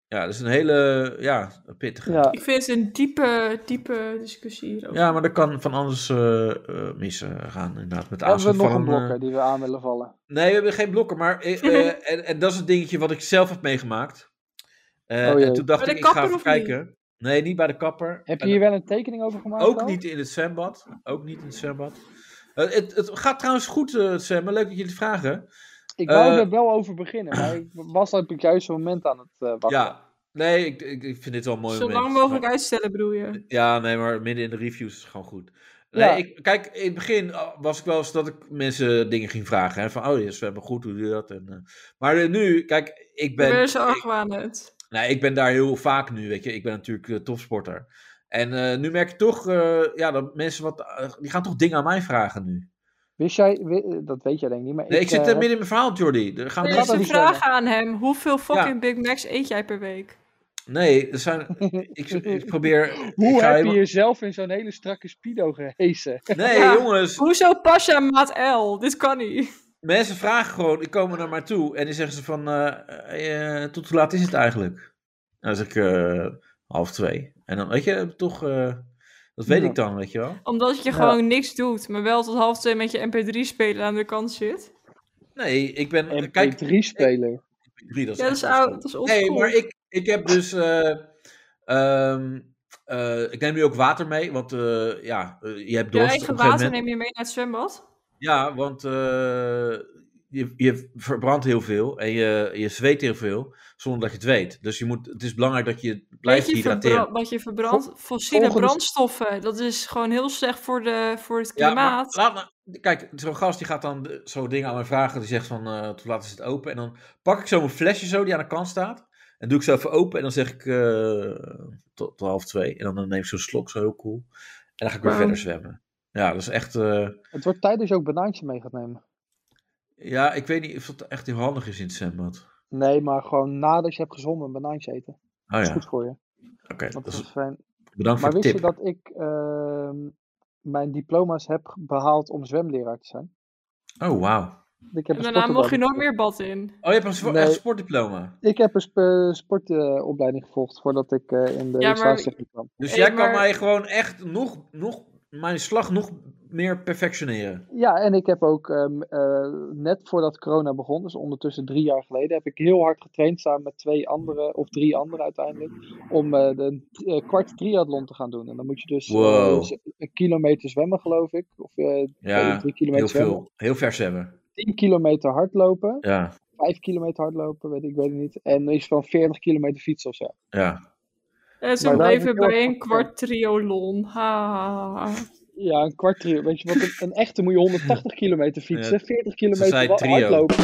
Speaker 2: Ja, dat is een hele, ja, pittige.
Speaker 4: ja.
Speaker 3: Ik vind het een diepe, diepe discussie hierover.
Speaker 2: Ja, maar dat kan van alles eh, eh, mis eh, gaan, inderdaad. Met
Speaker 4: Hebben
Speaker 2: aanzet
Speaker 4: we nog
Speaker 2: van,
Speaker 4: een blokker
Speaker 2: eh,
Speaker 4: die we aan willen vallen?
Speaker 2: nee, we hebben geen blokken, maar eh, eh, en, en dat is het dingetje wat ik zelf heb meegemaakt. Eh,
Speaker 4: Oh jee.
Speaker 2: en toen dacht
Speaker 3: Bij
Speaker 2: ik,
Speaker 3: de
Speaker 2: ik ga
Speaker 3: kapper
Speaker 2: even
Speaker 3: of niet?
Speaker 2: kijken. Nee, niet bij de kapper. Eh,
Speaker 4: Heb je
Speaker 2: En
Speaker 4: hier wel een tekening over gemaakt?
Speaker 2: ook
Speaker 4: al?
Speaker 2: niet in het zwembad. Ook niet in het zwembad. Eh, het, het gaat trouwens goed, eh, het zwemmen. Leuk dat jullie het vragen.
Speaker 4: Ik wou
Speaker 2: Eh,
Speaker 4: er wel over beginnen, maar ik was op het juiste moment aan het eh, wachten.
Speaker 2: Ja, nee, ik, ik, ik vind dit wel een mooi
Speaker 3: Zo
Speaker 2: moment.
Speaker 3: lang mogelijk uitstellen, bedoel je.
Speaker 2: Ja, nee, maar midden in de reviews is gewoon goed. Nee,
Speaker 4: Ja.
Speaker 2: ik, kijk, in het begin oh, was ik wel eens dat ik mensen dingen ging vragen. Hè, van, oh yes, we hebben goed, hoe doe je dat? En, eh, maar eh, nu, kijk, ik
Speaker 3: Ben,
Speaker 2: ben,
Speaker 3: ben zo argwanend.
Speaker 2: nou, ik ben daar heel vaak nu, weet je. Ik ben natuurlijk eh, topsporter. En eh, nu merk ik toch, eh, ja, dat mensen wat, eh, die gaan toch dingen aan mij vragen nu.
Speaker 4: Wist jij, wi- eh, dat weet jij denk ik niet, maar
Speaker 2: Nee, ik,
Speaker 4: eh,
Speaker 2: zit er
Speaker 4: heb-
Speaker 2: midden in mijn verhaal, Jordi. Er gaan
Speaker 3: Er
Speaker 4: dat
Speaker 3: is
Speaker 2: mensen-
Speaker 4: ook
Speaker 3: een
Speaker 4: niet
Speaker 3: vraag
Speaker 4: stellen.
Speaker 3: aan hem. Hoeveel fucking Big Macs eet jij per week?
Speaker 2: Nee, er zijn, ik, ik probeer...
Speaker 4: Hoe
Speaker 2: ik ga
Speaker 4: heb je
Speaker 2: helemaal-
Speaker 4: jezelf in zo'n hele strakke spido gehezen?
Speaker 2: Nee,
Speaker 3: Ja.
Speaker 2: jongens.
Speaker 3: Hoezo Pasha maat L? Dit kan niet.
Speaker 2: Mensen vragen gewoon, ik kom er naar maar toe. En dan zeggen ze van, eh, eh, tot hoe laat is het eigenlijk? Nou, dan zeg ik eh, half twee. En dan, weet je, toch, eh, dat weet
Speaker 4: Ja.
Speaker 2: ik dan, weet je wel.
Speaker 3: Omdat je
Speaker 4: Ja.
Speaker 3: gewoon niks doet, maar wel tot half twee met je mp3-speler aan de kant zit.
Speaker 2: Nee, ik ben, Eh, kijk,
Speaker 4: MP3-speler.
Speaker 2: drie, dat is,
Speaker 3: Ja, dat is
Speaker 2: echt wel
Speaker 3: oud.
Speaker 2: zo.
Speaker 3: Dat is oldschool.
Speaker 2: Nee, maar ik, ik heb dus. eh, ehm, eh, ik neem nu ook water mee, want eh, ja, eh, je hebt
Speaker 3: Je
Speaker 2: dorst. op
Speaker 3: eigen
Speaker 2: een gegeven
Speaker 3: water
Speaker 2: moment.
Speaker 3: neem je mee naar het zwembad.
Speaker 2: Ja, want eh, je, je verbrandt heel veel en je, je zweet heel veel zonder dat je het weet. Dus je moet, het is belangrijk dat je blijft
Speaker 3: Weet je
Speaker 2: hydrateren.
Speaker 3: verbra- wat je verbrandt? Fossiele
Speaker 4: volgens-
Speaker 3: brandstoffen. Dat is gewoon heel slecht voor, de, voor het
Speaker 2: Ja, maar
Speaker 3: klimaat.
Speaker 2: laat me- kijk, zo'n gast die gaat dan de- zo dingen aan mij vragen. Die zegt van, eh toen laat is het open. En dan pak ik zo mijn flesje zo die aan de kant staat. En doe ik zo even open. En dan zeg ik eh, tot, tot half twee. En dan, dan neem ik zo'n slok, zo heel cool. En dan ga ik weer
Speaker 3: Wauw.
Speaker 2: verder zwemmen. Ja, dat is echt... eh,
Speaker 4: Het wordt tijd dat je ook banaantje mee gaat nemen.
Speaker 2: ja, ik weet niet of dat echt heel handig is in het zwembad.
Speaker 4: Nee, maar gewoon nadat je hebt gezwommen een banaantje eten.
Speaker 2: Oh
Speaker 4: Dat
Speaker 2: ja,
Speaker 4: is goed
Speaker 2: oké.
Speaker 4: voor je. Dat
Speaker 2: dat
Speaker 4: is
Speaker 2: is-
Speaker 4: fijn.
Speaker 2: Bedankt
Speaker 4: Maar
Speaker 2: voor
Speaker 4: wist
Speaker 2: de
Speaker 4: je
Speaker 2: tip.
Speaker 4: dat ik ehm, mijn diploma's heb behaald om zwemleraar te zijn?
Speaker 2: Oh, wauw.
Speaker 4: Ik heb
Speaker 3: En
Speaker 4: een
Speaker 3: daarna
Speaker 4: sportopleiding
Speaker 3: mocht je nooit
Speaker 4: gevolgd.
Speaker 3: meer bad in.
Speaker 2: Oh, je hebt een spo-
Speaker 4: Nee.
Speaker 2: echt sportdiploma.
Speaker 4: Ik heb een sp- eh, sportopleiding gevolgd voordat ik eh, in de
Speaker 3: Ja, maar-
Speaker 4: restauratietechniek kwam.
Speaker 2: Dus
Speaker 3: Hey,
Speaker 2: jij kan
Speaker 3: maar-
Speaker 2: mij gewoon echt nog, nog... Mijn slag nog meer perfectioneren.
Speaker 4: Ja, en ik heb ook ehm, eh, net voordat corona begon, dus ondertussen drie jaar geleden, heb ik heel hard getraind samen met twee andere, of drie anderen uiteindelijk, om eh, de eh, kwart triathlon te gaan doen. En dan moet je dus eh,
Speaker 2: Wow.
Speaker 4: z- een kilometer zwemmen, geloof ik, of eh, twee of
Speaker 2: Ja,
Speaker 4: drie
Speaker 2: heel
Speaker 4: kilometer zwemmen,
Speaker 2: veel. Heel vers hebben.
Speaker 4: tien kilometer hardlopen,
Speaker 2: Ja,
Speaker 4: vijf kilometer hardlopen, weet ik, weet het niet, en iets van 40 kilometer fietsen of zo.
Speaker 2: ja.
Speaker 3: En Eh, ze
Speaker 4: Maar daar heb
Speaker 3: bleven
Speaker 4: ik wel
Speaker 3: bij
Speaker 4: wat
Speaker 3: een
Speaker 4: van.
Speaker 3: kwart triolon. Ha.
Speaker 4: Ja, een kwart trio. Weet je, want een, een echte moet je 180 kilometer fietsen,
Speaker 2: Ja.
Speaker 4: 40
Speaker 2: zei
Speaker 4: kilometer wa-
Speaker 2: trio.
Speaker 4: hardlopen.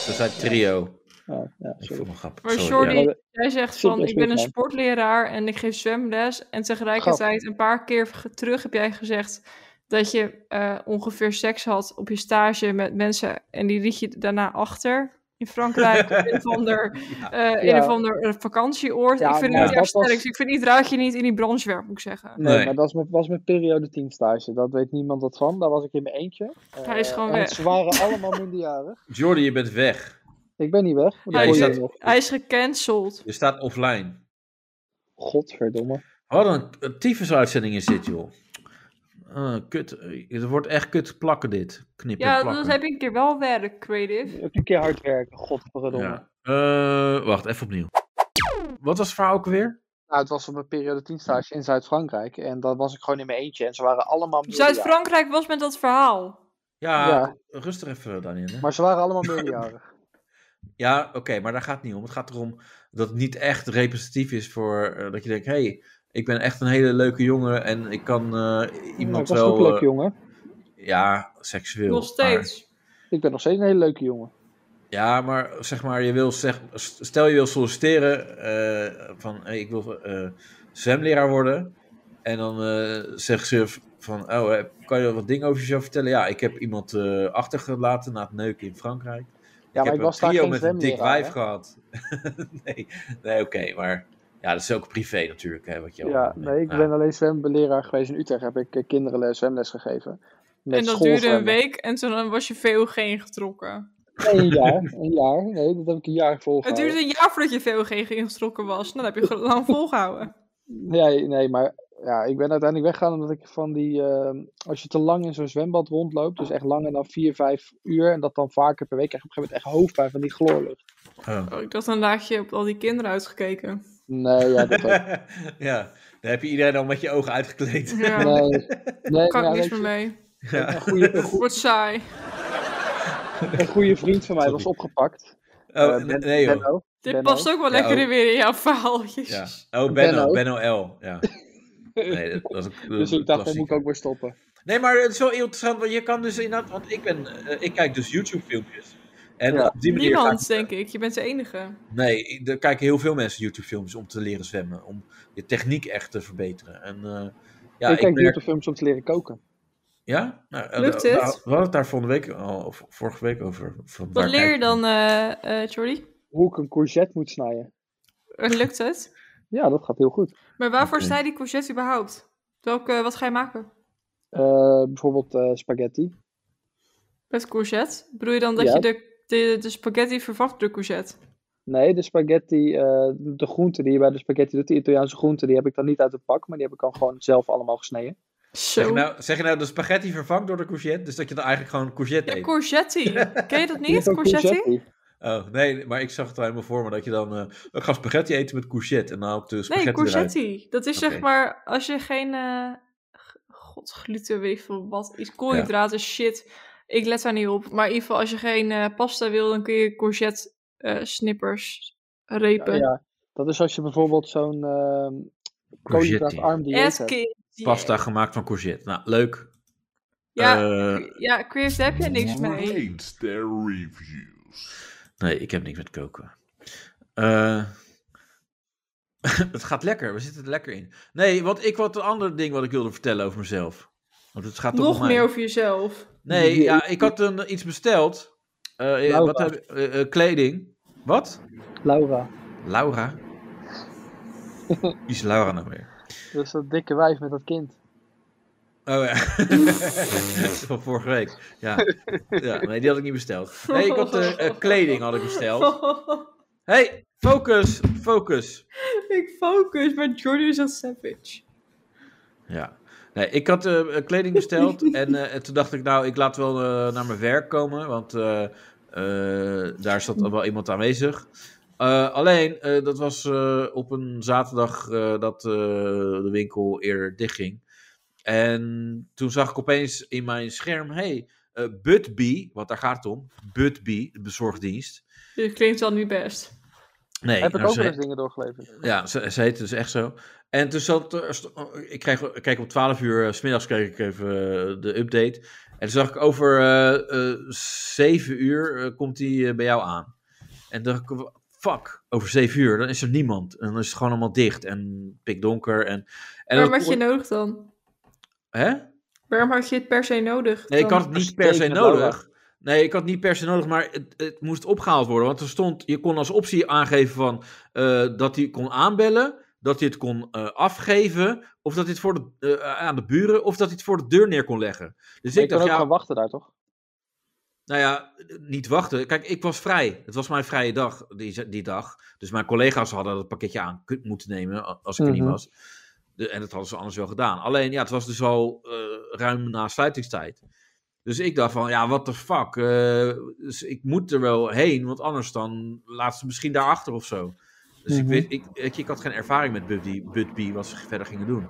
Speaker 2: Ze zijn trio.
Speaker 4: Ja, ja,
Speaker 2: Ik vond
Speaker 4: sorry.
Speaker 2: hem grappig.
Speaker 3: Maar
Speaker 2: Sorry,
Speaker 3: Jordi,
Speaker 2: ja.
Speaker 4: Ja.
Speaker 3: jij zegt
Speaker 4: Sorry,
Speaker 3: van,
Speaker 4: dat is
Speaker 3: ik ben een
Speaker 4: misgaan.
Speaker 3: sportleraar en ik geef zwemles. En tegelijkertijd, een paar keer ge- terug heb jij gezegd dat je eh, ongeveer seks had op je stage met mensen. En die liet je daarna achter in Frankrijk, op een of ander, eh, een
Speaker 4: Ja.
Speaker 3: of ander eh, vakantieoord.
Speaker 4: Ja,
Speaker 3: ik vind
Speaker 4: maar
Speaker 3: het niet erg
Speaker 4: dat was-
Speaker 3: sterk. Ik vind niet raak je niet in die branche werk, moet ik zeggen.
Speaker 4: Nee,
Speaker 2: Nee.
Speaker 4: maar dat was mijn, was mijn periode 10 stage. Dat weet niemand wat van. Daar was ik in mijn eentje.
Speaker 3: Hij is
Speaker 4: Eh,
Speaker 3: gewoon
Speaker 4: en
Speaker 3: weg.
Speaker 4: Ze waren allemaal minderjarig.
Speaker 2: Jordi, je bent weg.
Speaker 4: Ik ben niet weg. want
Speaker 2: Ja,
Speaker 4: ik
Speaker 2: je,
Speaker 4: hoor
Speaker 2: staat,
Speaker 4: je nog.
Speaker 3: Hij is gecanceld.
Speaker 2: je staat offline.
Speaker 4: Godverdomme.
Speaker 2: Wat een een tyfusuitzending is dit, joh. Ah, kut. Eh, Het wordt echt kut plakken, dit. Knippen,
Speaker 3: Ja,
Speaker 2: plakken.
Speaker 3: dat heb ik een keer wel werk, creative.
Speaker 4: Even een keer hard werken. Godverdomme.
Speaker 2: Ja. Eh, wacht, even opnieuw. Wat was het verhaal ook weer?
Speaker 4: Nou, het was op mijn periode 10 stage in Zuid-Frankrijk. En dan was ik gewoon in mijn eentje. En ze waren allemaal minderjarig.
Speaker 3: Zuid-Frankrijk was met dat verhaal.
Speaker 2: Ja,
Speaker 4: Ja.
Speaker 2: rustig even, Daniel. hè.
Speaker 4: Maar ze waren allemaal minderjarig.
Speaker 2: Ja, oké, maar daar gaat het niet om. Het gaat erom dat het niet echt representatief is voor eh, dat je denkt: hé, hey, ik ben echt een hele leuke jongen en ik kan eh,
Speaker 4: Maar ik
Speaker 2: iemand
Speaker 4: was ook
Speaker 2: wel.
Speaker 4: leuk,
Speaker 2: eh,
Speaker 4: jongen.
Speaker 2: ja, seksueel.
Speaker 3: Nog steeds.
Speaker 4: Ik ben nog steeds een hele leuke jongen.
Speaker 2: maar- ja, maar zeg maar, je wil zeg, stel je wil solliciteren eh, van: hey, ik wil eh zwemleraar worden. En dan zegt zeggen ze van: oh, eh, kan je wat dingen over jezelf vertellen? Ja, ik heb iemand eh, achtergelaten na het neuken in Frankrijk.
Speaker 4: Ja,
Speaker 2: ik
Speaker 4: maar
Speaker 2: heb
Speaker 4: ik was
Speaker 2: een
Speaker 4: daar
Speaker 2: trio
Speaker 4: geen
Speaker 2: met een dik
Speaker 4: zwemleraar.
Speaker 2: wijf
Speaker 4: hè?
Speaker 2: gehad. nee, nee oké, maar ja, dat is ook privé natuurlijk. Hè, wat je
Speaker 4: Ja,
Speaker 2: allemaal-
Speaker 4: nee, ik
Speaker 2: ja.
Speaker 4: ben alleen zwemleraar geweest. In Utrecht heb ik eh, kinderen les- zwemles gegeven. Met
Speaker 3: en dat duurde
Speaker 4: schoolzwemmen.
Speaker 3: een week en toen was je VOG ingetrokken.
Speaker 4: Nee, een jaar. Een jaar. Nee, dat heb ik een jaar
Speaker 3: Het
Speaker 4: volgehouden.
Speaker 3: duurde een jaar voordat je VOG ingetrokken was. Nou, dat heb je gewoon lang volgehouden.
Speaker 4: Nee, nee, maar ja, ik ben uiteindelijk weggegaan omdat ik van die... ehm, als je te lang in zo'n zwembad rondloopt, dus echt langer dan 4, 5 uur... en dat dan vaker per week, krijg je op een gegeven moment echt hoofdpijn van die chloorlucht.
Speaker 2: Oh.
Speaker 3: Oh, ik dacht, dan laat je op al die kinderen uitgekeken.
Speaker 4: Nee, ja, dat ook.
Speaker 2: ja, daar heb je iedereen al met je ogen uitgekleed.
Speaker 3: Ja, daar
Speaker 4: Nee, nee,
Speaker 3: kan
Speaker 4: ja,
Speaker 3: ik niks
Speaker 4: weet
Speaker 3: meer
Speaker 4: je,
Speaker 3: mee.
Speaker 2: Ja.
Speaker 4: Een goede, een, goe-
Speaker 3: Wordt saai.
Speaker 4: een goede vriend van mij was opgepakt.
Speaker 2: Oh,
Speaker 4: Eh,
Speaker 2: nee,
Speaker 4: Ben-
Speaker 2: nee joh.
Speaker 4: Benno.
Speaker 3: Dit
Speaker 4: Benno.
Speaker 3: past ook wel
Speaker 2: Ja,
Speaker 3: lekker
Speaker 2: ook.
Speaker 3: in weer in jouw verhaal. Jezus.
Speaker 2: Ja. Oh, Benno,
Speaker 4: Benno.
Speaker 2: Benno L. Ja. Nee, dat, dat is een
Speaker 4: Dus ik dacht, daar moet ik ook weer stoppen.
Speaker 2: Nee, maar het is wel interessant, want je kan dus inderdaad... Want ik, ben, eh, ik kijk dus YouTube-filmpjes. En
Speaker 4: Ja.
Speaker 2: op die manier ga ik
Speaker 3: Niemand, denk ik. Je bent de enige.
Speaker 2: Nee, ik- er kijken heel veel mensen YouTube-films om te leren zwemmen. Om je techniek echt te verbeteren. En, eh, ja,
Speaker 4: ik kijk
Speaker 2: merk-
Speaker 4: YouTube-films om te leren koken.
Speaker 2: Ja? Nou, eh,
Speaker 3: Lukt
Speaker 2: we-
Speaker 3: het?
Speaker 2: We we hadden het daar volgende week al, of vorige week over. Van
Speaker 3: Wat
Speaker 2: waar
Speaker 3: leer je nou
Speaker 2: kijk-
Speaker 3: dan, eh eh, Jordi?
Speaker 4: Hoe ik een courgette moet snijden.
Speaker 3: Eh, Lukt het?
Speaker 4: Ja, dat gaat heel goed.
Speaker 3: Maar waarvoor
Speaker 2: Oké.
Speaker 3: snij je die courgette überhaupt? Welke, wat ga je maken?
Speaker 4: Eh, bijvoorbeeld eh, spaghetti.
Speaker 3: Met courgette? Bedoel je dan dat
Speaker 4: Ja.
Speaker 3: je de, de, de spaghetti vervangt door courgette?
Speaker 4: Nee, de spaghetti, eh, de groente die je bij de spaghetti doet, de Italiaanse groente, die heb ik dan niet uit het pak, maar die heb ik dan gewoon zelf allemaal gesneden.
Speaker 2: Zeg je,
Speaker 3: Zo.
Speaker 2: nou, zeg je nou de spaghetti vervangt door de courgette? Dus dat je dan eigenlijk gewoon courgette
Speaker 3: Ja,
Speaker 2: eet?
Speaker 3: courgette. Ken je dat
Speaker 4: Je
Speaker 3: niet?
Speaker 4: hebt ook
Speaker 3: Courgette?
Speaker 2: Oh, nee, maar ik zag het helemaal voor me dat je dan... eh ik ga spaghetti eten met courgette en dan haal ik de spaghetti
Speaker 3: Nee,
Speaker 2: eruit.
Speaker 3: courgette. Dat is zeg
Speaker 2: Oké.
Speaker 3: maar als je geen. eh, g- God, gluten, weet ik veel wat. Iets koolhydraten, shit. Ik let daar niet op. Maar in ieder geval, als je geen eh, pasta wil, dan kun je courgette eh, snippers
Speaker 4: Ja,
Speaker 3: repen.
Speaker 4: ja, dat is als je bijvoorbeeld zo'n uh, koolhydraatarm dieet hebt.
Speaker 3: Eske-
Speaker 2: Pasta gemaakt van courgette. Nou, leuk.
Speaker 3: Ja,
Speaker 2: Eh,
Speaker 3: ja, Chris, daar heb jij niks mee.
Speaker 1: Rate their reviews.
Speaker 2: nee, ik heb niks met koken. Eh, het gaat lekker. We zitten er lekker in. Nee, want ik wat een ander ding wat ik wilde vertellen over mezelf. Want het gaat toch om
Speaker 3: Nog
Speaker 2: mij.
Speaker 3: meer over jezelf.
Speaker 2: Nee, ja, ik had een, iets besteld. Eh, eh,
Speaker 4: Laura.
Speaker 2: wat heb, eh, eh, kleding. Wat?
Speaker 4: Laura,
Speaker 2: Laura. Wie is Laura nou weer?
Speaker 4: dat is dus dat dikke wijf met dat kind.
Speaker 2: Oh ja. Van vorige week. Ja. ja. Nee, die had ik niet besteld. Nee, ik had eh, eh, kleding had ik besteld. hey, focus, focus.
Speaker 3: ik focus, maar Jordan is een savage.
Speaker 2: Ja. Nee, ik had eh, eh, kleding besteld en eh, en toen dacht ik, nou, ik laat wel eh, naar mijn werk komen, want eh, eh, daar zat al wel iemand aanwezig. Eh, alleen, eh, dat was eh, op een zaterdag eh, dat eh, de winkel eerder dichtging. En toen zag ik opeens in mijn scherm, hey, eh Budbee, want daar gaat het om, Budbee, de bezorgdienst.
Speaker 3: Dit klinkt wel niet best.
Speaker 2: Nee,
Speaker 4: heb ik
Speaker 2: nou,
Speaker 4: ook
Speaker 2: ze-
Speaker 4: wel eens dingen doorgeleverd.
Speaker 2: ja, ze, ze heette dus echt zo. En toen zat er. st- oh, Ik kreeg, ik kreeg om 12 uur eh, s middags kreeg ik even eh, de update. En toen zag ik over eh eh 7 uur eh, komt die eh, bij jou aan. En toen dacht ik, fuck, over 7 uur, dan is er niemand. En dan is het gewoon allemaal dicht en pikdonker. En, en
Speaker 3: Waarom
Speaker 2: dat-
Speaker 3: had je het nodig dan?
Speaker 2: Hè?
Speaker 3: Waarom had je het per se nodig?
Speaker 2: Nee, ik
Speaker 3: dan?
Speaker 2: had het niet per se
Speaker 4: Uitstekend, Laura.
Speaker 2: nodig. Nee, ik had het niet per se nodig, maar het, het moest opgehaald worden. Want er stond, je kon als optie aangeven van eh, dat hij kon aanbellen, dat hij het kon eh, afgeven, of dat hij het voor de, eh, aan de buren, of dat hij het voor de deur neer kon leggen. Dus
Speaker 4: Maar je
Speaker 2: ik
Speaker 4: kan
Speaker 2: dacht,
Speaker 4: ook
Speaker 2: ja,
Speaker 4: gaan wachten daar, toch?
Speaker 2: nou ja, niet wachten. Kijk, ik was vrij. Het was mijn vrije dag, die, die dag. Dus mijn collega's hadden dat pakketje aan kun- moeten nemen a- als ik er
Speaker 4: Mhm.
Speaker 2: niet was. De- en dat hadden ze anders wel gedaan. Alleen, ja, het was dus al eh, ruim na sluitingstijd. Dus ik dacht van, ja, what the fuck. eh, dus ik moet er wel heen, want anders dan laat ze misschien daarachter of zo. Dus ik,
Speaker 4: Mhm.
Speaker 2: weet, ik, weet je, ik had geen ervaring met Buddy, Budbee, wat ze verder gingen doen.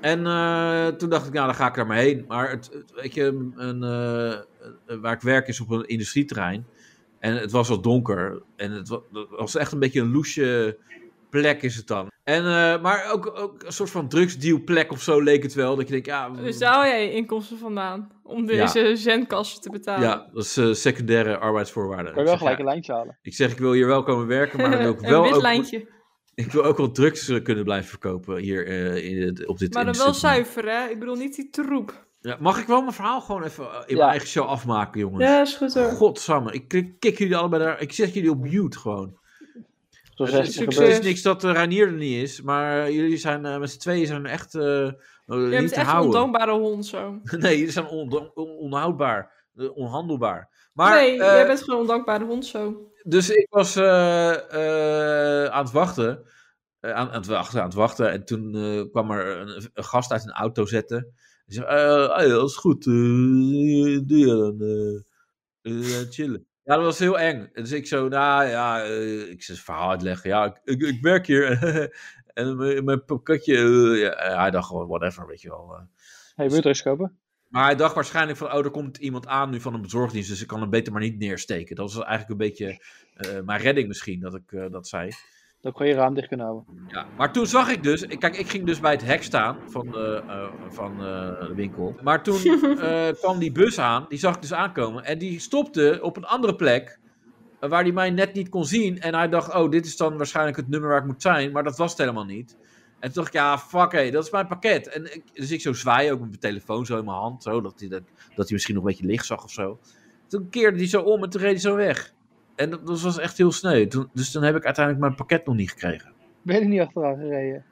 Speaker 2: En eh, toen dacht ik, nou, dan ga ik daar maar heen. Maar het, het- weet je, een, eh, waar ik werk is op een industrieterrein. En het was al donker. En het wa- dat was echt een beetje een loesje plek is het dan. En, eh, maar ook, ook een soort van drugsdeal plek of zo leek het wel. Dat je denkt, ja...
Speaker 3: Dus daar haal jij je inkomsten vandaan? Om deze zendkasten te betalen?
Speaker 2: Ja, dat is eh, secundaire arbeidsvoorwaarden.
Speaker 4: Kan
Speaker 2: Ik
Speaker 4: je wel
Speaker 2: zeg,
Speaker 4: gelijk
Speaker 2: ja,
Speaker 4: een lijntje halen.
Speaker 2: ik zeg, ik wil hier wel komen werken, maar dan wil ik
Speaker 3: Een
Speaker 2: wel
Speaker 3: wit
Speaker 2: ook,
Speaker 3: lijntje.
Speaker 2: ik wil ook wel drugs eh, kunnen blijven verkopen hier eh, in, het- op dit
Speaker 3: Maar dan wel
Speaker 2: industrieterrein.
Speaker 3: zuiver, hè? Ik bedoel, niet die troep.
Speaker 2: Ja, mag ik wel mijn verhaal gewoon even eh, in
Speaker 4: Ja.
Speaker 2: mijn eigen show afmaken, jongens?
Speaker 3: is goed
Speaker 2: Godsamme, ik kik kik jullie allebei daar. Ik zet jullie op mute gewoon.
Speaker 4: Zo'n
Speaker 2: Het is,
Speaker 4: 60
Speaker 2: het
Speaker 3: succes.
Speaker 4: gebeurt.
Speaker 2: is niks dat eh, Reinier er niet is, maar eh, jullie zijn eh, met z'n tweeën zijn echt eh, eh,
Speaker 3: Je
Speaker 2: niet
Speaker 3: bent
Speaker 2: te
Speaker 3: echt een
Speaker 2: houden.
Speaker 3: ondankbare hond zo.
Speaker 2: Nee, jullie zijn on- on- onhoudbaar, eh, onhandelbaar. Maar,
Speaker 3: nee,
Speaker 2: eh,
Speaker 3: jij bent gewoon een ondankbare hond zo.
Speaker 2: Dus ik was eh, eh, aan het wachten. Eh, aan, aan het wachten, aan het wachten. En toen eh, kwam er een, een gast uit een auto zetten. Hij zei, eh, ah ja, dat is goed. eh, doe je dan eh, eh, chillen. Ja, dat was heel eng. Dus ik zo, nou ja, eh, ik zit het verhaal uitleggen. Ja, ik, ik, ik werk hier. en mijn, mijn pakketje. eh, ja, hij dacht gewoon, whatever, weet je wel. eh.
Speaker 4: Hey, wil je drugs kopen?
Speaker 2: Maar hij dacht waarschijnlijk van, oh, er komt iemand aan nu van een bezorgdienst, dus ik kan hem beter maar niet neersteken. Dat was eigenlijk een beetje eh, mijn redding misschien, dat ik eh, dat zei.
Speaker 4: Dan kan je raam dicht kunnen houden.
Speaker 2: Ja. Maar toen zag ik dus, kijk, ik ging dus bij het hek staan van, eh, eh, van eh, de winkel. Maar toen eh, kwam die bus aan, die zag ik dus aankomen. En die stopte op een andere plek, eh, waar hij mij net niet kon zien. En hij dacht, oh, dit is dan waarschijnlijk het nummer waar ik moet zijn. Maar dat was het helemaal niet. En toen dacht ik, ja, fuck, hey, dat is mijn pakket. En ik, dus ik zo zwaaien, ook met mijn telefoon zo in mijn hand. Zo, dat hij dat, dat hij misschien nog een beetje licht zag of zo. Toen keerde hij zo om en toen reed hij zo weg. En dat, dat was echt heel sneu. Toen, dus toen heb ik uiteindelijk mijn pakket nog niet gekregen.
Speaker 4: Ben je er niet achteraan gereden?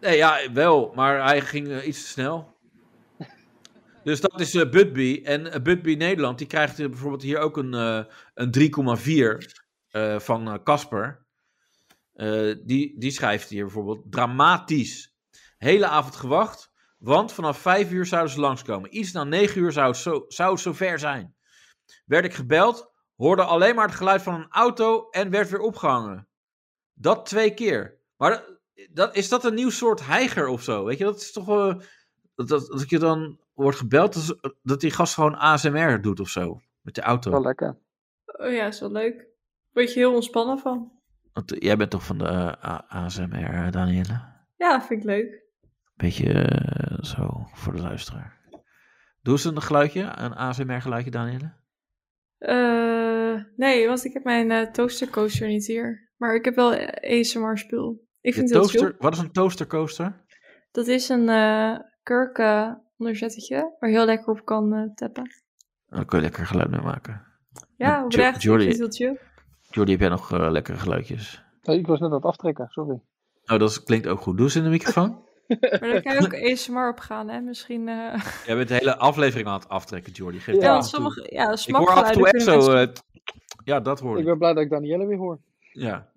Speaker 2: Nee, ja, wel, maar hij ging eh, iets te snel. Dus dat is eh Budby. En eh, Budby Nederland, die krijgt eh, bijvoorbeeld hier ook een, eh, een 3,4 eh, van eh, Casper. Eh, die, die schrijft hier bijvoorbeeld dramatisch. Hele avond gewacht, want vanaf 5 uur zouden ze langskomen. Iets na 9 uur zou het, zo, zou het zover zijn. Werd ik gebeld, hoorde alleen maar het geluid van een auto en werd weer opgehangen. Dat twee keer. Maar dat, dat, is dat een nieuw soort heiger of zo? Weet je, dat is toch. eh, dat, dat, dat je dan wordt gebeld, dat, is- dat die gast gewoon ASMR doet of zo. Met de auto.
Speaker 4: Wel lekker.
Speaker 3: Oh ja, is wel leuk. Word je heel ontspannen van.
Speaker 2: Want jij bent toch van de eh, A- ASMR, Danielle?
Speaker 3: Ja, vind ik leuk.
Speaker 2: Beetje eh, zo voor de luisteraar. Doe eens een geluidje, een ASMR-geluidje, Danielle.
Speaker 3: Eh, nee, want ik heb mijn eh, toastercoaster niet hier. Maar ik heb wel eh, ASMR-spul. Ik
Speaker 2: Je
Speaker 3: vind het heel chill.
Speaker 2: toaster, wat is een toastercoaster?
Speaker 3: Dat is een eh kurken onderzettetje waar je heel lekker op kan eh, tappen.
Speaker 2: Daar kun je lekker geluid mee maken.
Speaker 3: Ja,
Speaker 2: Jo-
Speaker 3: oprecht. Ik
Speaker 2: Jordi.
Speaker 3: vind het heel chill.
Speaker 2: Jordi, heb jij nog eh, lekkere geluidjes?
Speaker 4: Oh, ik was net aan het aftrekken, sorry.
Speaker 2: Oh, dat is- klinkt ook goed. Doe eens in de microfoon.
Speaker 3: Maar daar kan je ook ASMR op gaan, hè? Misschien. eh,
Speaker 2: jij bent de hele aflevering aan het aftrekken, Jordi. Geef
Speaker 4: Ja,
Speaker 2: het
Speaker 3: Ja,
Speaker 2: aan
Speaker 3: want
Speaker 2: toe.
Speaker 3: sommige ja,
Speaker 2: Ik hoor af en
Speaker 3: smakgeluiden
Speaker 2: toe echt
Speaker 3: kunnen
Speaker 2: zo...
Speaker 3: mensen-
Speaker 2: eh, ja, dat hoor
Speaker 4: Ik
Speaker 2: ik.
Speaker 4: ben blij dat ik Danielle weer hoor.
Speaker 2: Ja.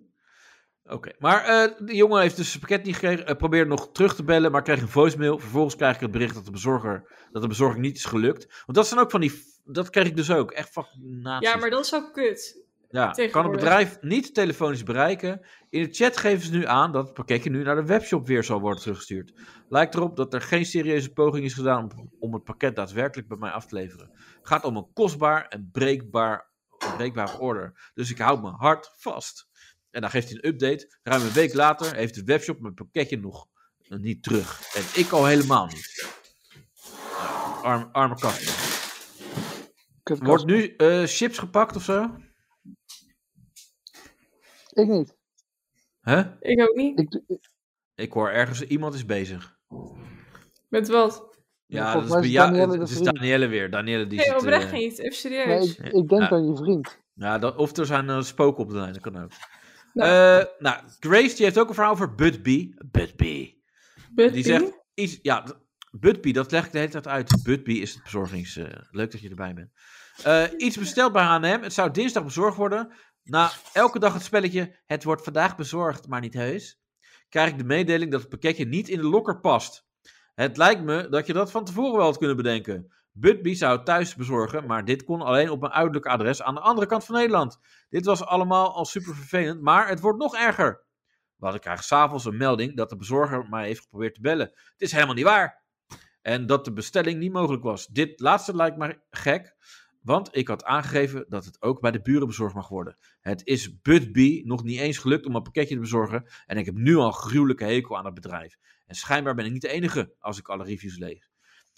Speaker 2: Oké, maar eh, de jongen heeft dus zijn pakket niet gekregen. eh, probeerde nog terug te bellen, maar kreeg een voicemail. Vervolgens krijg ik het bericht dat de bezorger, dat de bezorging niet is gelukt. Want dat zijn ook van die, f- dat kreeg ik dus ook. Echt fucking nazi's.
Speaker 3: Ja, maar dat is ook kut.
Speaker 2: Ja, kan het
Speaker 3: tegenwoordig.
Speaker 2: bedrijf niet telefonisch bereiken. In de chat geven ze nu aan dat het pakketje nu naar de webshop weer zal worden teruggestuurd. Lijkt erop dat er geen serieuze poging is gedaan om, om het pakket daadwerkelijk bij mij af te leveren. Het gaat om een kostbaar en breekbaar, een breekbare order. Dus ik houd mijn hart vast. En dan geeft hij een update. Ruim een week later heeft de webshop mijn pakketje nog niet terug. En ik al helemaal niet. Nou, Arme, arme kast.
Speaker 4: Kut,
Speaker 2: Wordt nu eh, chips gepakt of zo?
Speaker 4: Ik niet.
Speaker 2: Huh?
Speaker 3: Ik ook niet.
Speaker 4: Ik,
Speaker 2: Ik hoor ergens iemand is bezig.
Speaker 3: Met wat?
Speaker 2: Ja, dat
Speaker 4: volgens
Speaker 2: is,
Speaker 4: mij is
Speaker 2: Bea-
Speaker 4: Danielle
Speaker 2: het
Speaker 4: de
Speaker 2: het is
Speaker 4: vriend.
Speaker 2: Danielle weer. Danielle die
Speaker 3: Nee,
Speaker 2: zit,
Speaker 3: oprecht
Speaker 2: eh,
Speaker 3: niet. Even
Speaker 4: nee,
Speaker 3: serieus.
Speaker 4: ik, ik denk
Speaker 2: Ja.
Speaker 4: aan je vriend.
Speaker 2: ja, dat, of er zijn eh, spoken op de lijn, dat kan ook.
Speaker 3: Nou.
Speaker 2: Eh, nou, Grace die heeft ook een verhaal over Budby. Budby.
Speaker 3: Buddy?
Speaker 2: Die zegt iets. Ja, d- Budbee, dat leg ik de hele tijd uit. Budbee is het bezorgings. eh, leuk dat je erbij bent. Eh, iets besteld bij HM. Het zou dinsdag bezorgd worden. Na elke dag het spelletje. Het wordt vandaag bezorgd, maar niet heus. Krijg ik de mededeling dat het pakketje niet in de lokker past. Het lijkt me dat je dat van tevoren wel had kunnen bedenken. Budbee zou het thuis bezorgen, maar dit kon alleen op een uiterlijk adres aan de andere kant van Nederland. Dit was allemaal al super vervelend, maar het wordt nog erger. Want ik krijg s'avonds een melding dat de bezorger mij heeft geprobeerd te bellen. Het is helemaal niet waar. En dat de bestelling niet mogelijk was. Dit laatste lijkt me gek, want ik had aangegeven dat het ook bij de buren bezorgd mag worden. Het is Budbee nog niet eens gelukt om een pakketje te bezorgen en ik heb nu al een gruwelijke hekel aan het bedrijf. En schijnbaar ben ik niet de enige als ik alle reviews lees.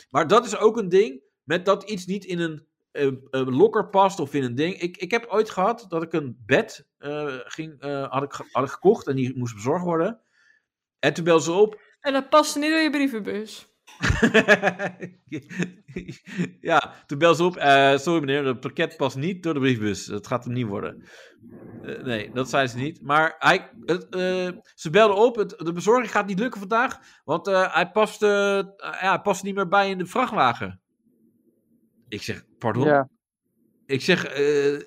Speaker 2: Maar dat is ook een ding met dat iets niet in een eh, eh, lokker past of in een ding. Ik, ik heb ooit gehad dat ik een bed eh, ging, eh, had, ik, ge- had ik gekocht en die moest bezorgd worden. En toen belde ze op
Speaker 3: En dat past niet door je brievenbus.
Speaker 2: ja, toen bel ze op. eh, sorry meneer, het pakket past niet door de briefbus. Dat gaat hem niet worden. Eh, nee, dat zei ze niet. Maar hij, het, eh, ze belden op. Het, de bezorging gaat niet lukken vandaag. Want eh, hij, past, eh, ja, hij past niet meer bij in de vrachtwagen. Ik zeg, pardon?
Speaker 4: Ja,
Speaker 2: Ik zeg, eh,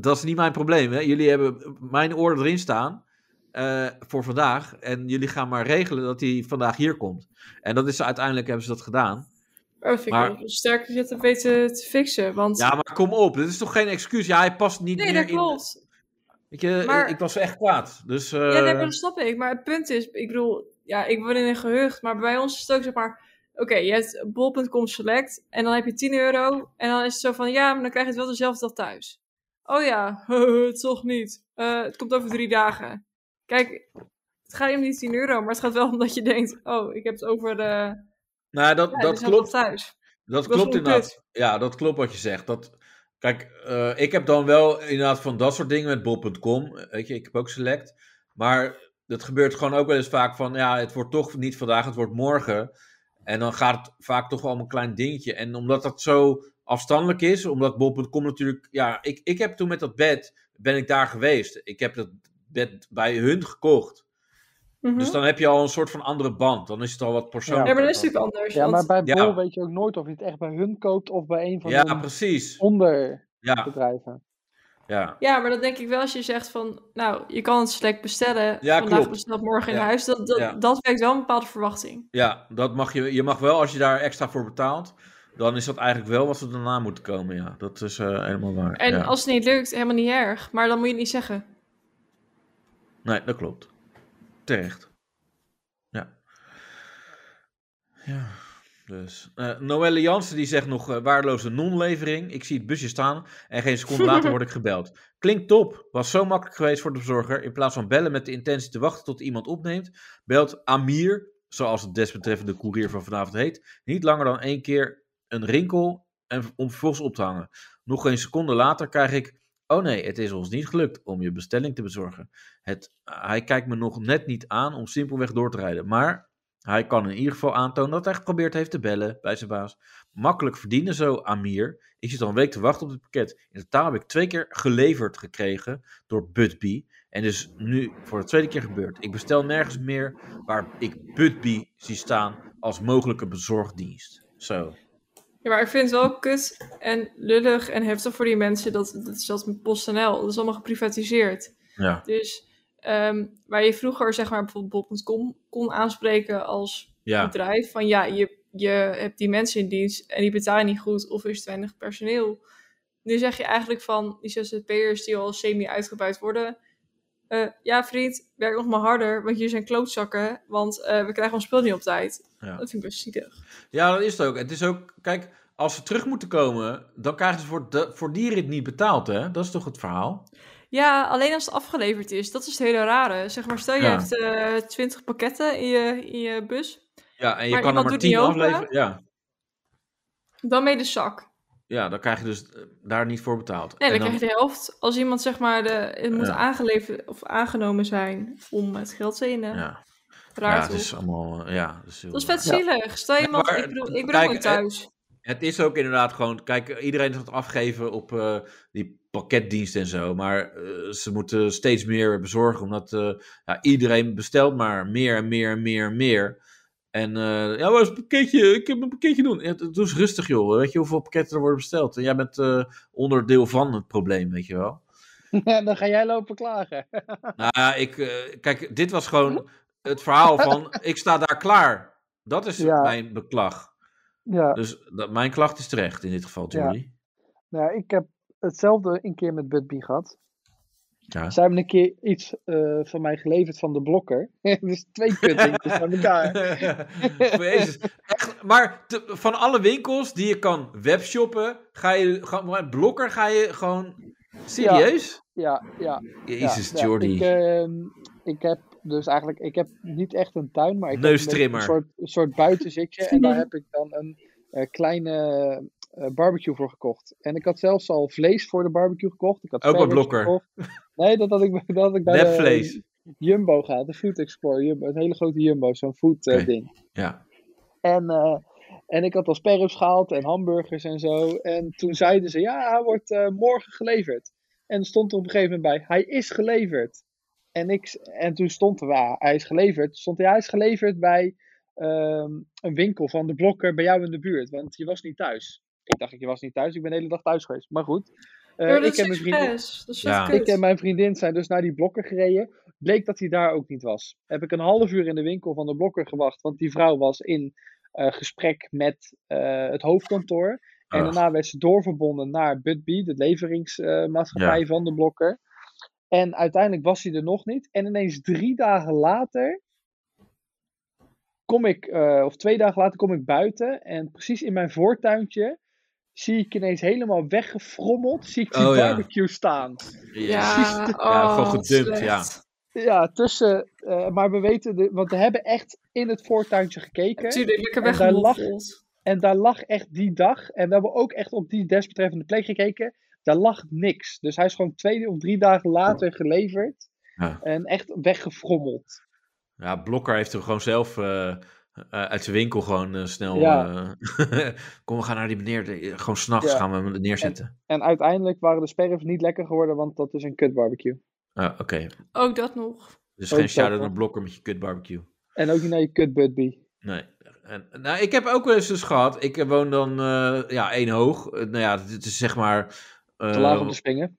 Speaker 2: dat is niet mijn probleem. Hè? Jullie hebben mijn order erin staan eh, voor vandaag. En jullie gaan maar regelen dat hij vandaag hier komt. En dat is uiteindelijk hebben ze dat gedaan.
Speaker 3: Oh, dat vind
Speaker 2: Maar-
Speaker 3: ik wel sterk dat je dat weet eh, te fixen. Want...
Speaker 2: Ja, maar kom op. Dit is toch geen excuus? Ja, hij past niet
Speaker 3: nee,
Speaker 2: meer
Speaker 3: dat
Speaker 2: in...
Speaker 3: klopt.
Speaker 2: Weet je,
Speaker 3: Maar-
Speaker 2: ik was echt kwaad. Dus, eh,
Speaker 3: Ja, nee, maar dat snap ik. Maar het punt is, ik bedoel, ja, ik woon in een gehucht, maar bij ons is het ook zeg maar, oké, je hebt bol.com select en dan heb je 10 euro en dan is het zo van, ja, maar dan krijg je het wel dezelfde dag thuis. Oh ja, toch niet. Eh, het komt over drie dagen. Kijk, het gaat niet om die 10 euro, maar het gaat wel om dat je denkt, oh, ik heb het over eh ja,
Speaker 2: nou, dat, dat
Speaker 3: dezelfde
Speaker 2: klopt.
Speaker 3: dag thuis.
Speaker 2: Dat
Speaker 3: Dat is
Speaker 2: klopt
Speaker 3: wel
Speaker 2: inderdaad. Ja, dat klopt wat je zegt. Dat, kijk, eh, ik heb dan wel inderdaad van dat soort dingen met bol.com. eh, Weet je, ik heb ook select. Maar dat gebeurt gewoon ook wel eens vaak van, ja, het wordt toch niet vandaag, het wordt morgen. En dan gaat het vaak toch wel om een klein dingetje. En omdat dat zo afstandelijk is, omdat bol.com natuurlijk, ja, ik, ik heb toen met dat bed, ben ik daar geweest. Ik heb dat bed bij hun gekocht.
Speaker 3: Mhm.
Speaker 2: Dus dan heb je al een soort van andere band. Dan is het al wat persoonlijker.
Speaker 3: ja, maar dat is natuurlijk anders.
Speaker 4: Ja, maar
Speaker 3: want-
Speaker 4: bij
Speaker 2: Ja.
Speaker 4: Bol weet je ook nooit of je het echt bij hun koopt of bij een van
Speaker 2: Ja,
Speaker 4: de
Speaker 2: precies.
Speaker 4: onderbedrijven.
Speaker 2: Ja, ja.
Speaker 3: ja, maar dat denk ik wel als je zegt van, nou, je kan het slecht bestellen.
Speaker 2: Ja,
Speaker 3: vandaag
Speaker 2: klopt.
Speaker 3: besteld, morgen in
Speaker 2: Ja.
Speaker 3: huis. Dat, dat,
Speaker 2: Ja.
Speaker 3: dat werkt wel een bepaalde verwachting.
Speaker 2: ja dat mag je, je mag wel, als je daar extra voor betaalt, dan is dat eigenlijk wel wat er daarna moet komen. Ja, dat is eh, helemaal waar.
Speaker 3: En
Speaker 2: ja.
Speaker 3: als het niet lukt, helemaal niet erg. Maar dan moet je het niet zeggen.
Speaker 2: Nee, dat klopt. Terecht. Ja. Ja. Dus. eh Noelle Jansen die zegt nog eh, waardeloze non-levering. Ik zie het busje staan en geen seconde later word ik gebeld. Klinkt top. Was zo makkelijk geweest voor de bezorger. In plaats van bellen met de intentie te wachten tot iemand opneemt, belt Amir, zoals het desbetreffende koerier van vanavond heet, niet langer dan één keer een rinkel en om vervolgens op te hangen. Nog geen seconde later krijg ik, oh nee, het is ons niet gelukt om je bestelling te bezorgen. Het, hij kijkt me nog net niet aan om simpelweg door te rijden. Maar hij kan in ieder geval aantonen dat hij geprobeerd heeft te bellen bij zijn baas. Makkelijk verdienen zo, Amir. Ik zit al een week te wachten op het pakket. In totaal heb ik twee keer geleverd gekregen door Budbee. En dus nu voor de tweede keer gebeurd. Ik bestel nergens meer waar ik Budbee zie staan als mogelijke bezorgdienst. Zo.
Speaker 3: Ja, maar ik vind het wel kut en lullig en heftig voor die mensen. Dat, dat is dat met PostNL. Dat is allemaal geprivatiseerd.
Speaker 2: Ja.
Speaker 3: Dus ehm, waar je vroeger zeg maar bijvoorbeeld bol.com kon aanspreken als
Speaker 2: Ja.
Speaker 3: bedrijf van ja, je, je hebt die mensen in dienst en die betalen niet goed of er is te weinig personeel. Nu zeg je eigenlijk van die ZZP'ers die al semi uitgebuit worden. eh, ja, vriend, werk nog maar harder, want hier zijn klootzakken, want eh, we krijgen ons spul niet op tijd.
Speaker 2: Ja.
Speaker 3: Dat vind ik best zielig.
Speaker 2: Ja, dat is het ook. Het is ook, kijk, als ze terug moeten komen, dan krijgen ze voor, de, voor die rit niet betaald, hè? Dat is toch het verhaal?
Speaker 3: Ja, alleen als het afgeleverd is, dat is het hele rare. Zeg maar, stel je
Speaker 2: Ja.
Speaker 3: hebt eh 20 pakketten in je, in je bus,
Speaker 2: Ja, en je
Speaker 3: Maar
Speaker 2: kan er
Speaker 3: iemand
Speaker 2: maar
Speaker 3: doet
Speaker 2: 10
Speaker 3: niet open.
Speaker 2: afleveren. Ja,
Speaker 3: dan mee de zak.
Speaker 2: ja, dan krijg je dus eh, daar niet voor betaald.
Speaker 3: Nee,
Speaker 2: En
Speaker 3: dan,
Speaker 2: dan-
Speaker 3: krijg je de helft. Als iemand zeg maar de, het moet
Speaker 2: Ja.
Speaker 3: aangeleverd of aangenomen zijn om het geld te innen.
Speaker 2: ja.
Speaker 3: Raar
Speaker 2: ja,
Speaker 3: toch?
Speaker 2: het is allemaal. eh, Ja, dat is, heel-
Speaker 3: Dat is vet
Speaker 4: Ja.
Speaker 3: zielig. Stel je
Speaker 2: Nee,
Speaker 3: iemand,
Speaker 2: maar-
Speaker 3: ik bedoel, ik ben
Speaker 2: kijk,
Speaker 3: ook een
Speaker 2: eh,
Speaker 3: thuis.
Speaker 2: Het is ook inderdaad gewoon. Kijk, iedereen is aan het afgeven op eh, die pakketdiensten en zo. Maar eh, ze moeten steeds meer bezorgen. Omdat eh, ja, iedereen bestelt maar meer en meer en meer en meer. En eh, ja, waar is het pakketje? Ik heb een pakketje doen. Ja, doe eens rustig, joh. Weet je hoeveel pakketten er worden besteld? En jij bent eh, onderdeel van het probleem, weet je wel.
Speaker 4: Ja, dan ga jij lopen klagen.
Speaker 2: Nou ja, ik, eh, kijk, dit was
Speaker 4: Hm?
Speaker 2: gewoon het verhaal van ik sta daar klaar. Dat is
Speaker 4: Ja.
Speaker 2: mijn beklag.
Speaker 4: Ja,
Speaker 2: Dus dat, mijn klacht is terecht in dit geval,
Speaker 4: Ja.
Speaker 2: Julie.
Speaker 4: nou, ik heb hetzelfde een keer met Budbee gehad.
Speaker 2: Ja.
Speaker 4: Zij hebben een keer iets eh, van mij geleverd van de blokker. dus twee kutdingetjes aan elkaar.
Speaker 2: Jezus. Echt, maar te- van alle winkels die je kan webshoppen, ga je gewoon maar blokker ga je gewoon serieus?
Speaker 4: Ja, ja.
Speaker 2: Jezus,
Speaker 4: ja, ja.
Speaker 2: Jordi.
Speaker 4: Ik, ehm, ik heb dus eigenlijk, ik heb niet echt een tuin, maar ik heb een beetje
Speaker 2: Neustrimmer.
Speaker 4: een soort, een soort buitenzitje. en daar heb ik dan een eh, kleine eh, barbecue voor gekocht. En ik had zelfs al vlees voor de barbecue gekocht. Ik had
Speaker 2: Ook bij
Speaker 4: spareribs
Speaker 2: Blokker.
Speaker 4: gekocht. Nee, dat had ik, bij- dat had ik bij eh, de
Speaker 2: Nepvlees.
Speaker 4: Jumbo gehaald. De Food Explorer Jumbo. Een hele grote Jumbo, zo'n food eh,
Speaker 2: Oké.
Speaker 4: ding.
Speaker 2: Ja.
Speaker 4: En, eh, en ik had al sperrups gehaald en hamburgers en zo. En toen zeiden ze, ja, hij wordt eh, morgen geleverd. En er stond er op een gegeven moment bij, hij is geleverd. En, ik, s- en toen stond er, waar hij is geleverd. Toen Stond er, hij is geleverd bij ehm, een winkel van de blokker bij jou in de buurt. Want je was niet thuis. Ik dacht, je was niet thuis. Ik ben de hele dag thuis geweest. Maar goed. Eh,
Speaker 3: Ja, maar
Speaker 4: ik,
Speaker 3: dat
Speaker 4: en
Speaker 3: is dus
Speaker 4: mijn vriendin,
Speaker 3: expres. Dat is
Speaker 2: Ja.
Speaker 3: ja.
Speaker 4: ik en mijn vriendin zijn dus naar die blokker gereden. Bleek dat hij daar ook niet was. Heb ik een half uur in de winkel van de blokker gewacht. Want die vrouw was in eh, gesprek met eh, het hoofdkantoor. En
Speaker 2: Ah.
Speaker 4: daarna werd ze doorverbonden naar Budbee, de leveringsmaatschappij
Speaker 2: Ja.
Speaker 4: van de blokker. En uiteindelijk was hij er nog niet. En ineens drie dagen later kom ik, eh, of twee dagen later kom ik buiten. En precies in mijn voortuintje zie ik ineens helemaal weggefrommeld, zie ik die
Speaker 2: Oh, ja.
Speaker 4: barbecue staan.
Speaker 3: Ja, oh,
Speaker 2: gewoon
Speaker 3: wat
Speaker 2: gedumpt, ja.
Speaker 3: slecht.
Speaker 4: Ja, tussen, eh, maar we weten, de, want we hebben echt in het voortuintje gekeken.
Speaker 3: Natuurlijk, lekker
Speaker 4: En daar lag-
Speaker 3: weggemoffeld.
Speaker 4: En daar lag echt die dag. En we hebben ook echt op die desbetreffende plek gekeken. Daar lag niks. Dus hij is gewoon twee of drie dagen later geleverd.
Speaker 2: Ja.
Speaker 4: En echt weggefrommeld.
Speaker 2: Ja, Blokker heeft hem gewoon zelf eh, eh, uit zijn winkel gewoon eh, snel.
Speaker 4: Ja.
Speaker 2: eh, kom, we gaan naar die meneer. de- eh, Gewoon s'nachts
Speaker 4: Ja.
Speaker 2: gaan we hem neerzetten.
Speaker 4: En uiteindelijk waren de sperren niet lekker geworden, want dat is een kut barbecue.
Speaker 2: Ah, Oké.
Speaker 3: Ook dat nog.
Speaker 2: Dus
Speaker 4: Ook
Speaker 2: geen
Speaker 4: dat,
Speaker 2: shout-out
Speaker 4: hoor.
Speaker 2: naar Blokker met je kut barbecue.
Speaker 4: En ook niet naar je kut Budby.
Speaker 2: Nee. En, nou, ik heb ook wel eens dus gehad. Ik eh, woon dan eh, ja, één hoog. Eh, nou ja, het is zeg maar. eh,
Speaker 4: Te laag om te springen.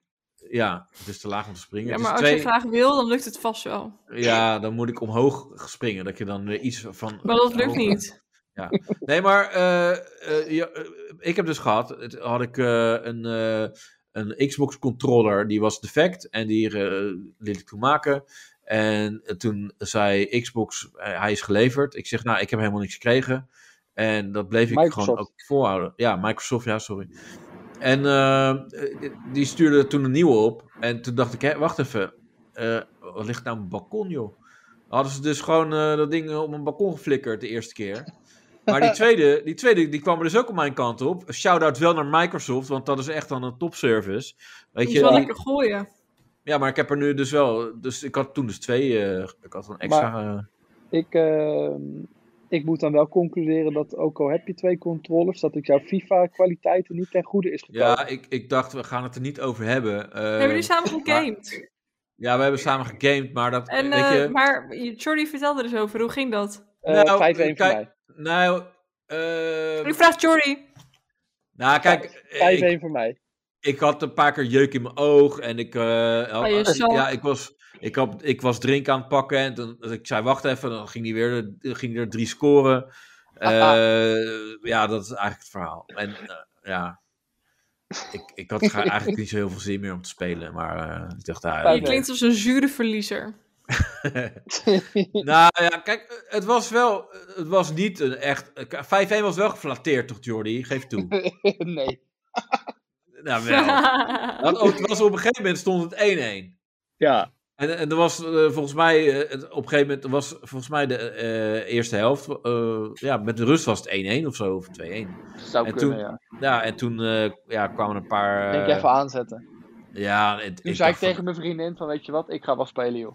Speaker 2: Ja, het is te laag om te springen.
Speaker 3: Ja,
Speaker 4: dus
Speaker 2: Het
Speaker 3: maar
Speaker 2: is
Speaker 3: als je
Speaker 2: twee-
Speaker 3: graag wil, dan lukt het vast wel.
Speaker 2: Ja, dan moet ik omhoog springen. Dat je dan weer iets van.
Speaker 3: Maar dat
Speaker 2: Oh,
Speaker 3: lukt niet.
Speaker 2: Nee, maar eh, eh, ja, eh, ik heb dus gehad. Het, had ik eh, een, eh, een Xbox controller. Die was defect. En die eh, liet ik toen maken. En eh, toen zei Xbox, eh, hij is geleverd. Ik zeg, nou, ik heb helemaal niks gekregen. En dat bleef ik gewoon
Speaker 4: Microsoft.
Speaker 2: ook volhouden. Ja, Microsoft, ja, sorry. En eh, die stuurde toen een nieuwe op. En toen dacht ik, hè, wacht even. Eh, wat ligt nou op een balkon, joh? Hadden ze dus gewoon eh, dat ding op een balkon geflikkerd de eerste keer. Maar die tweede, die tweede die kwam er dus ook op mijn kant op. Shout-out wel naar Microsoft, want dat is echt dan een topservice. Weet
Speaker 3: Je
Speaker 2: je, eh,
Speaker 3: moet wel
Speaker 2: die-
Speaker 3: lekker gooien.
Speaker 2: ja, maar ik heb er nu dus wel. Dus ik had toen dus twee. eh, ik had een extra. eh,
Speaker 4: Ik, eh, ik moet dan wel concluderen dat ook al heb je twee controllers, dat ik jouw FIFA-kwaliteiten niet ten goede is gekomen.
Speaker 2: ja, ik, ik dacht, we gaan het er niet over hebben. Eh,
Speaker 3: Hebben jullie samen gegamed?
Speaker 2: Ja, we hebben samen gegamed, maar dat.
Speaker 3: En,
Speaker 2: weet
Speaker 3: eh,
Speaker 2: je,
Speaker 3: maar Jordi vertelde er dus over. Hoe ging dat?
Speaker 4: Eh,
Speaker 2: nou,
Speaker 4: 5-1 voor
Speaker 2: kijk,
Speaker 4: mij.
Speaker 2: Nou, eh,
Speaker 3: Ik vraag Jordi.
Speaker 2: nou, kijk.
Speaker 4: 5-1
Speaker 2: Ik,
Speaker 4: voor mij.
Speaker 2: ik had een paar keer jeuk in mijn oog en ik. eh, had-
Speaker 3: je zak.
Speaker 2: ja, ik was. Ik, had, ik was drink aan het pakken en toen, dus ik zei wacht even, dan ging hij weer ging hij er drie scoren. Eh, ja, dat is eigenlijk het verhaal. En eh, ja, ik, ik had gra- eigenlijk niet zo heel veel zin meer om te spelen, maar eh, ik dacht, ah,
Speaker 4: Oké.
Speaker 3: Je klinkt als een zure verliezer.
Speaker 2: Nou ja, kijk, het was wel, het was niet een echt, 5-1 was wel geflatteerd toch Jordi, geef toe.
Speaker 4: nee.
Speaker 2: nou wel. Want ook, het was op een gegeven moment stond het 1-1.
Speaker 4: Ja.
Speaker 2: En, en er was eh, volgens mij, eh, het- op een gegeven moment was volgens mij de eh, eerste helft, eh, ja, met de rust was het 1-1 of zo, of 2-1.
Speaker 4: Zou
Speaker 2: En
Speaker 4: kunnen,
Speaker 2: toen-
Speaker 4: ja.
Speaker 2: Ja, en toen eh, ja, kwamen een paar...
Speaker 4: Denk
Speaker 2: eh,
Speaker 4: even aanzetten.
Speaker 2: Ja, het,
Speaker 4: Toen zei ik
Speaker 2: dacht van-
Speaker 4: tegen mijn vriendin van, weet je wat, ik ga wel spelen, joh.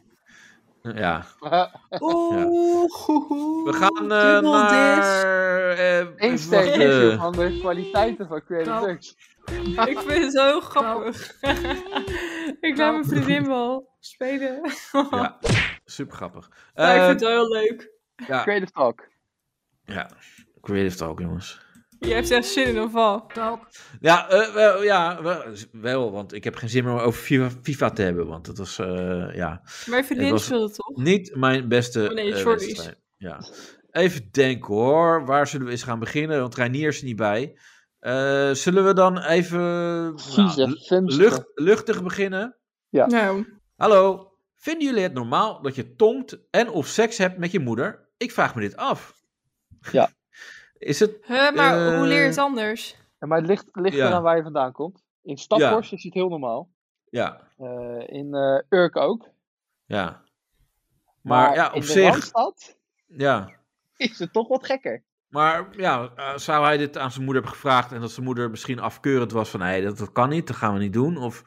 Speaker 2: Ja.
Speaker 3: Oeh,
Speaker 2: We gaan eh, naar... eh,
Speaker 4: Eén steek,
Speaker 2: wacht, eh,
Speaker 4: van de kwaliteiten van Creative
Speaker 3: Nou.
Speaker 4: Dux.
Speaker 3: Ik vind het zo grappig. ik laat mijn vriendin wel spelen.
Speaker 2: ja, super grappig.
Speaker 3: Ja, ik
Speaker 2: Eh,
Speaker 3: vind het wel heel leuk.
Speaker 2: ja,
Speaker 4: Creative Talk.
Speaker 2: Ja, creative talk, jongens.
Speaker 3: Je hebt echt zin in een val.
Speaker 2: Ja, eh, wel, ja wel, wel, want ik heb geen zin meer om over FIFA, FIFA te hebben, want dat was eh, ja,
Speaker 3: Mijn vriendin
Speaker 2: Het was-
Speaker 3: speelde toch?
Speaker 2: niet mijn beste
Speaker 3: Oh nee,
Speaker 2: eh,
Speaker 3: sorry.
Speaker 2: wedstrijd. Ja. Even denken hoor, waar zullen we eens gaan beginnen? Want Reinier is er niet bij. Eh, zullen we dan even nou,
Speaker 4: Jezus, Fumster.
Speaker 2: lucht, luchtig beginnen?
Speaker 3: Nou,
Speaker 2: Hallo, vinden jullie het normaal dat je tongt en of seks hebt met je moeder? Ik vraag me dit af.
Speaker 4: Ja.
Speaker 2: Is het
Speaker 3: hè, maar
Speaker 2: Eh,
Speaker 3: hoe leer je het anders?
Speaker 4: Ja, maar het ligt, ligt
Speaker 2: Ja.
Speaker 4: eraan waar je vandaan komt. In Staphorst is het heel normaal.
Speaker 2: ja,
Speaker 4: Eh, in eh Urk ook.
Speaker 2: ja. Maar, ja,
Speaker 4: in
Speaker 2: op
Speaker 4: de
Speaker 2: zich.
Speaker 4: Randstad
Speaker 2: Ja,
Speaker 4: is het toch wat gekker.
Speaker 2: maar ja, eh, zou hij dit aan zijn moeder hebben gevraagd en dat zijn moeder misschien afkeurend was van nee, dat, dat kan niet, dat gaan we niet doen. Of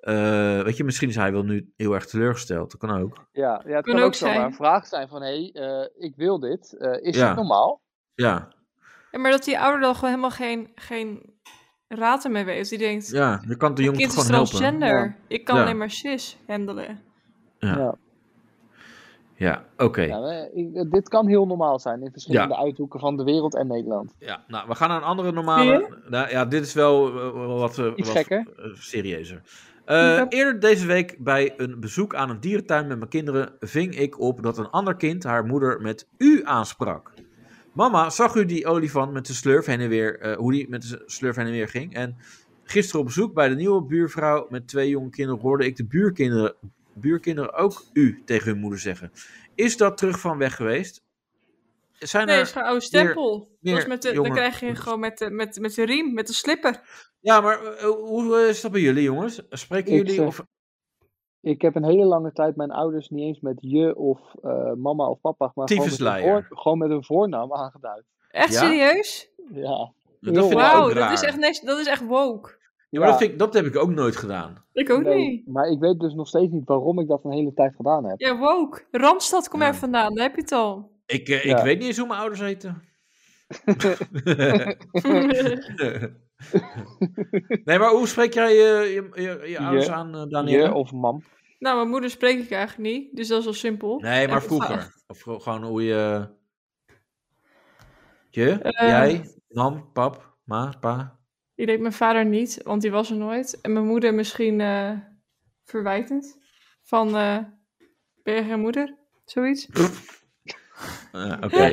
Speaker 2: eh, weet je, misschien is hij wel nu heel erg teleurgesteld, dat kan ook.
Speaker 4: Ja, ja het kan,
Speaker 3: ook
Speaker 4: ook
Speaker 3: zijn.
Speaker 4: zomaar een vraag zijn van... hé, hey, eh, ik wil dit. Eh, is
Speaker 2: Ja.
Speaker 4: het normaal?
Speaker 2: Ja,
Speaker 3: Ja, maar dat die ouder dan gewoon helemaal geen, geen raad ermee weet. Die denkt,
Speaker 2: ja, je kan de
Speaker 3: mijn
Speaker 2: jongen
Speaker 3: kind
Speaker 2: toch
Speaker 3: is
Speaker 2: gewoon helpen.
Speaker 3: transgender. Ik kan
Speaker 2: Ja.
Speaker 3: alleen maar cis handelen.
Speaker 2: Ja, oké.
Speaker 4: Ja, maar, ik- eh, dit kan heel normaal zijn in verschillende uithoeken van de wereld en Nederland.
Speaker 2: Ja, nou, we gaan naar een andere normale. Nou, ja, dit is wel eh, wel wat, eh,
Speaker 4: Iets
Speaker 2: wat,
Speaker 4: gekker.
Speaker 2: eh, serieuzer. Eh, Eerder deze week bij een bezoek aan een dierentuin met mijn kinderen ving ik op dat een ander kind haar moeder met u aansprak. Mama, zag u die olifant met zijn slurf heen en weer, eh, hoe die met zijn slurf heen en weer ging? En gisteren op bezoek bij de nieuwe buurvrouw met twee jonge kinderen hoorde ik de buurkinderen, buurkinderen ook u tegen hun moeder zeggen. Is dat terug van weg geweest? Zijn
Speaker 3: Nee,
Speaker 2: er...
Speaker 3: dat is gewoon oude stempel.
Speaker 2: meer
Speaker 3: dat is met de, dan
Speaker 2: jongen-
Speaker 3: krijg je gewoon met de, met, met de riem, met de slipper.
Speaker 2: Ja, maar eh, hoe eh, is dat bij jullie, jongens? Spreken
Speaker 4: Ik
Speaker 2: jullie
Speaker 4: zeg-
Speaker 2: of...
Speaker 4: Ik heb een hele lange tijd mijn ouders niet eens met je of eh, mama of papa... maar gewoon met, hun
Speaker 2: Tyfusleier.
Speaker 4: voor- gewoon met hun voornaam aangeduid.
Speaker 3: Echt
Speaker 2: Ja?
Speaker 3: serieus?
Speaker 4: Ja,
Speaker 2: Dat vind ik
Speaker 3: Wauw,
Speaker 2: ook
Speaker 3: dat
Speaker 2: raar.
Speaker 3: is echt niks- dat is echt woke.
Speaker 2: Ja, maar
Speaker 4: Ja.
Speaker 2: Dat, vind ik, dat heb ik ook nooit gedaan.
Speaker 3: Ik ook
Speaker 4: nee,
Speaker 3: niet.
Speaker 4: Maar ik weet dus nog steeds niet waarom ik dat een hele tijd gedaan heb.
Speaker 3: Ja, woke. Randstad, kom
Speaker 2: Ja.
Speaker 3: er vandaan, daar heb je het al.
Speaker 2: Ik, eh,
Speaker 4: Ja.
Speaker 2: ik weet niet eens hoe mijn ouders heten. nee, maar hoe spreek jij eh, je, je, je ouders aan, eh, Daniel?
Speaker 4: Je of mam.
Speaker 3: Nou, mijn moeder spreek ik eigenlijk niet, dus dat is wel simpel.
Speaker 2: Nee, maar
Speaker 3: En-
Speaker 2: vroeger. Of gro- gewoon hoe je... Je,
Speaker 3: Eh.
Speaker 2: jij, mam, pap, ma, pa.
Speaker 3: Die deed mijn vader niet, want die was er nooit. En mijn moeder misschien eh, verwijtend. Van, eh ben je geen moeder? Zoiets.
Speaker 2: Eh, Oké.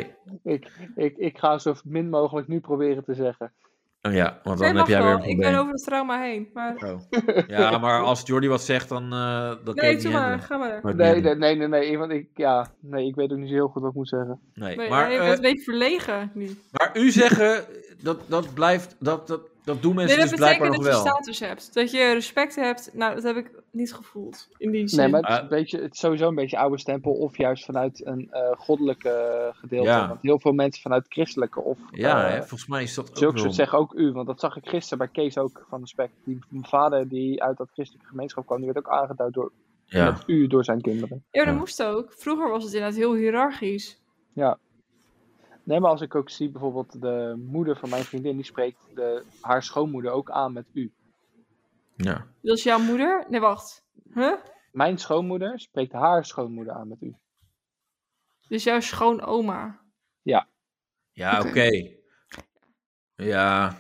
Speaker 4: Ik, ik, ik ga zo min mogelijk nu proberen te zeggen.
Speaker 2: Oh ja, want dan
Speaker 3: Nee,
Speaker 2: heb
Speaker 3: mag
Speaker 2: jij weer een
Speaker 3: wel. Ik ben
Speaker 2: probleem.
Speaker 3: over het trauma heen. Maar...
Speaker 2: Oh. Ja, maar als Jordi wat zegt, dan eh, dat kun je
Speaker 3: Nee,
Speaker 2: het
Speaker 3: doe
Speaker 2: niet
Speaker 3: maar.
Speaker 2: handelen.
Speaker 3: Ga maar.
Speaker 2: Maar het
Speaker 4: Nee,
Speaker 2: niet
Speaker 4: nee,
Speaker 2: doen.
Speaker 4: nee, nee, nee, want ik, ja, nee, ik weet ook niet zo heel goed wat ik moet zeggen.
Speaker 2: Nee,
Speaker 3: Nee,
Speaker 2: Maar,
Speaker 3: nee, ik
Speaker 2: eh, dus
Speaker 3: ben een beetje verlegen nu.
Speaker 2: maar u zeggen, dat, dat blijft, dat, dat, dat doen
Speaker 3: Nee,
Speaker 2: mensen
Speaker 3: dat
Speaker 2: dus
Speaker 3: betekent
Speaker 2: blijkbaar
Speaker 3: dat
Speaker 2: nog
Speaker 3: je
Speaker 2: wel.
Speaker 3: status hebt. Dat je respect hebt. Nou, dat heb ik niet gevoeld. In die zin.
Speaker 4: Nee, maar het is,
Speaker 2: Ah.
Speaker 4: een beetje, het is sowieso een beetje oude stempel of juist vanuit een eh, goddelijke eh, gedeelte.
Speaker 2: Ja.
Speaker 4: Want heel veel mensen vanuit christelijke of
Speaker 2: Ja,
Speaker 4: eh,
Speaker 2: hè, volgens mij is dat ook
Speaker 4: zulke
Speaker 2: wel...
Speaker 4: soort zeggen ook u. Want dat zag ik gisteren bij Kees ook van de spek. Die, mijn vader die uit dat christelijke gemeenschap kwam, die werd ook aangeduid door
Speaker 2: Ja.
Speaker 4: met u door zijn kinderen.
Speaker 3: Ja, dat
Speaker 2: Ja.
Speaker 3: moest ook. Vroeger was het inderdaad heel hiërarchisch.
Speaker 4: Nee, maar als ik ook zie bijvoorbeeld de moeder van mijn vriendin, die spreekt de, haar schoonmoeder ook aan met u.
Speaker 2: ja.
Speaker 3: Dat is jouw moeder? Nee, wacht. Huh?
Speaker 4: Mijn schoonmoeder spreekt haar schoonmoeder aan met u.
Speaker 3: Dus jouw schoonoma.
Speaker 2: Ja, oké.
Speaker 3: Oké.
Speaker 2: Ja,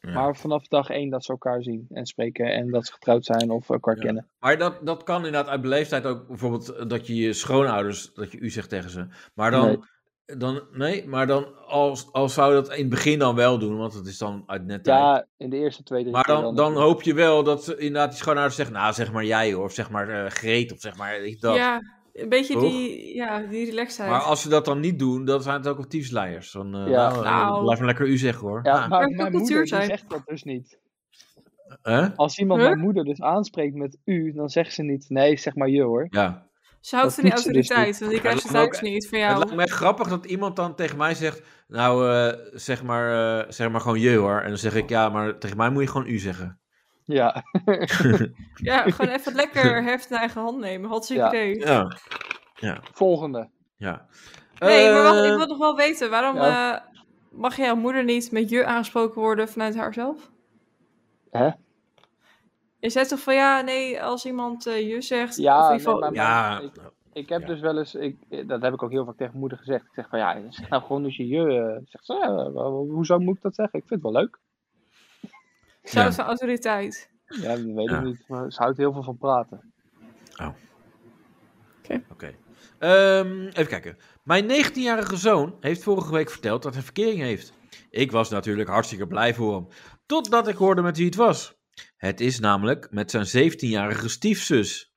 Speaker 2: Ja.
Speaker 4: Maar vanaf dag één dat ze elkaar zien en spreken en dat ze getrouwd zijn of elkaar
Speaker 2: Ja.
Speaker 4: kennen.
Speaker 2: maar dat, dat kan inderdaad uit beleefdheid ook bijvoorbeeld eh, dat je je schoonouders, dat je u zegt tegen ze. Maar dan, dan nee, maar dan als, als zou je dat in het begin dan wel doen, want het is dan uit net tijd.
Speaker 4: Ja, in de eerste twee, drie
Speaker 2: Maar
Speaker 4: keer
Speaker 2: dan, dan hoop je wel dat ze inderdaad die schoonouders zeggen, nou zeg maar jij hoor, of zeg maar eh, Greet, of zeg maar weet je dat.
Speaker 3: Ja, een beetje
Speaker 2: Toch?
Speaker 3: die, ja, die relaxedheid.
Speaker 2: Maar als ze dat dan niet doen, dan zijn het ook tiefsleiers. Dan, eh,
Speaker 4: Ja.
Speaker 2: nou, eh,
Speaker 3: Nou.
Speaker 2: Laat me lekker u zeggen hoor.
Speaker 4: Ja,
Speaker 2: Ah,
Speaker 4: maar
Speaker 3: kan
Speaker 4: mijn
Speaker 3: cultuur
Speaker 4: moeder die
Speaker 3: zijn.
Speaker 4: zegt dat dus niet.
Speaker 2: hè?
Speaker 4: Als iemand
Speaker 3: Huh?
Speaker 4: mijn moeder dus aanspreekt met u, dan zegt ze niet, nee, zeg maar je hoor.
Speaker 2: ja.
Speaker 3: ze houdt
Speaker 4: dat
Speaker 3: van die
Speaker 4: doet ze dus
Speaker 3: autoriteit, want
Speaker 2: Maar
Speaker 3: die krijgt ze
Speaker 2: het lijkt me
Speaker 3: thuis niet van
Speaker 2: Het
Speaker 3: jou.
Speaker 2: lijkt mij grappig dat iemand dan tegen mij zegt, nou eh, zeg, maar, eh, zeg maar gewoon je hoor. En dan zeg ik, ja, maar tegen mij moet je gewoon u zeggen.
Speaker 4: Ja,
Speaker 3: Ja, gewoon even lekker heft in eigen hand nemen. Hartstikke
Speaker 4: Ja.
Speaker 3: idee.
Speaker 2: Ja.
Speaker 4: volgende.
Speaker 2: ja.
Speaker 3: Nee, maar wacht,
Speaker 2: Eh,
Speaker 3: ik wil nog wel weten, waarom
Speaker 4: ja.
Speaker 3: eh, mag jouw moeder niet met je aangesproken worden vanuit haarzelf?
Speaker 4: Hè?
Speaker 3: Je zei toch van ja, nee, als iemand eh, je zegt,
Speaker 4: Ja,
Speaker 3: of in
Speaker 4: nee,
Speaker 3: ieder geval-
Speaker 4: maar-
Speaker 2: Ja,
Speaker 4: Ik- Ik heb
Speaker 2: Ja.
Speaker 4: dus wel eens, ik, dat heb ik ook heel vaak tegen moeder gezegd. Ik zeg van ja, zeg nou gewoon dat je je. eh, Zegt ze, ja, wa- wa- hoezo moet ik dat zeggen? Ik vind het wel leuk.
Speaker 3: ze houdt van autoriteit.
Speaker 4: Ja, dat weet
Speaker 2: Ja.
Speaker 4: ik niet. Maar ze houdt heel veel van praten.
Speaker 2: oké. Ehm, even kijken. Mijn 19-jarige zoon heeft vorige week verteld dat hij verkering heeft. Ik was natuurlijk hartstikke blij voor hem. Totdat ik hoorde met wie het was. Het is namelijk met zijn 17-jarige stiefzus.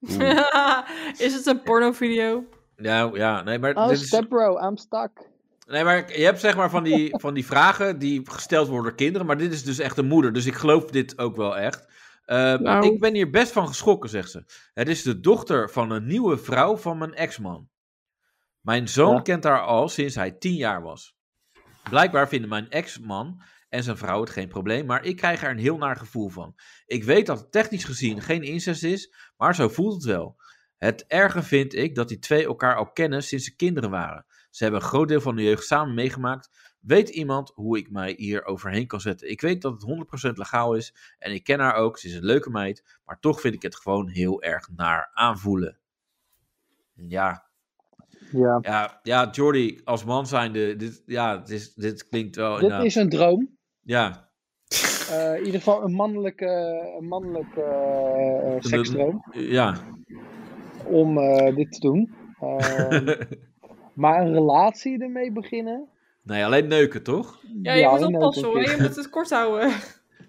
Speaker 2: Oeh.
Speaker 3: Is het een pornovideo?
Speaker 2: Nou ja, nee, maar dit is-
Speaker 4: bro, Oh, I'm stuck.
Speaker 2: Nee, maar je hebt zeg maar van die, van die vragen die gesteld worden door kinderen. Maar dit is dus echt een moeder. Dus ik geloof dit ook wel echt. Eh,
Speaker 3: Nou.
Speaker 2: Ik ben hier best van geschrokken, zegt ze. Het is de dochter van een nieuwe vrouw van mijn ex-man. Mijn zoon
Speaker 4: Ja.
Speaker 2: kent haar al sinds hij tien jaar was. Blijkbaar vinden mijn ex-man en zijn vrouw het geen probleem, maar ik krijg er een heel naar gevoel van. Ik weet dat het technisch gezien geen incest is, maar zo voelt het wel. Het erge vind ik dat die twee elkaar al kennen sinds ze kinderen waren. Ze hebben een groot deel van de jeugd samen meegemaakt. Weet iemand hoe ik mij hier overheen kan zetten? Ik weet dat het 100% legaal is en ik ken haar ook. Ze is een leuke meid, maar toch vind ik het gewoon heel erg naar aanvoelen. Ja,
Speaker 4: Ja.
Speaker 2: ja, ja Jordy, als man zijnde, dit, ja, dit, is- dit klinkt wel
Speaker 4: Dit
Speaker 2: inderdaad-
Speaker 4: is een droom.
Speaker 2: Ja,
Speaker 4: Eh, in ieder geval een mannelijke, een mannelijke eh, eh, seksdroom.
Speaker 2: ja.
Speaker 4: Om eh, dit te doen. Ehm, maar een relatie ermee beginnen.
Speaker 2: Nee, alleen neuken, toch?
Speaker 3: Ja, je moet
Speaker 4: nee,
Speaker 3: oppassen
Speaker 4: denk
Speaker 3: hoor,
Speaker 4: ik.
Speaker 3: je moet het kort houden.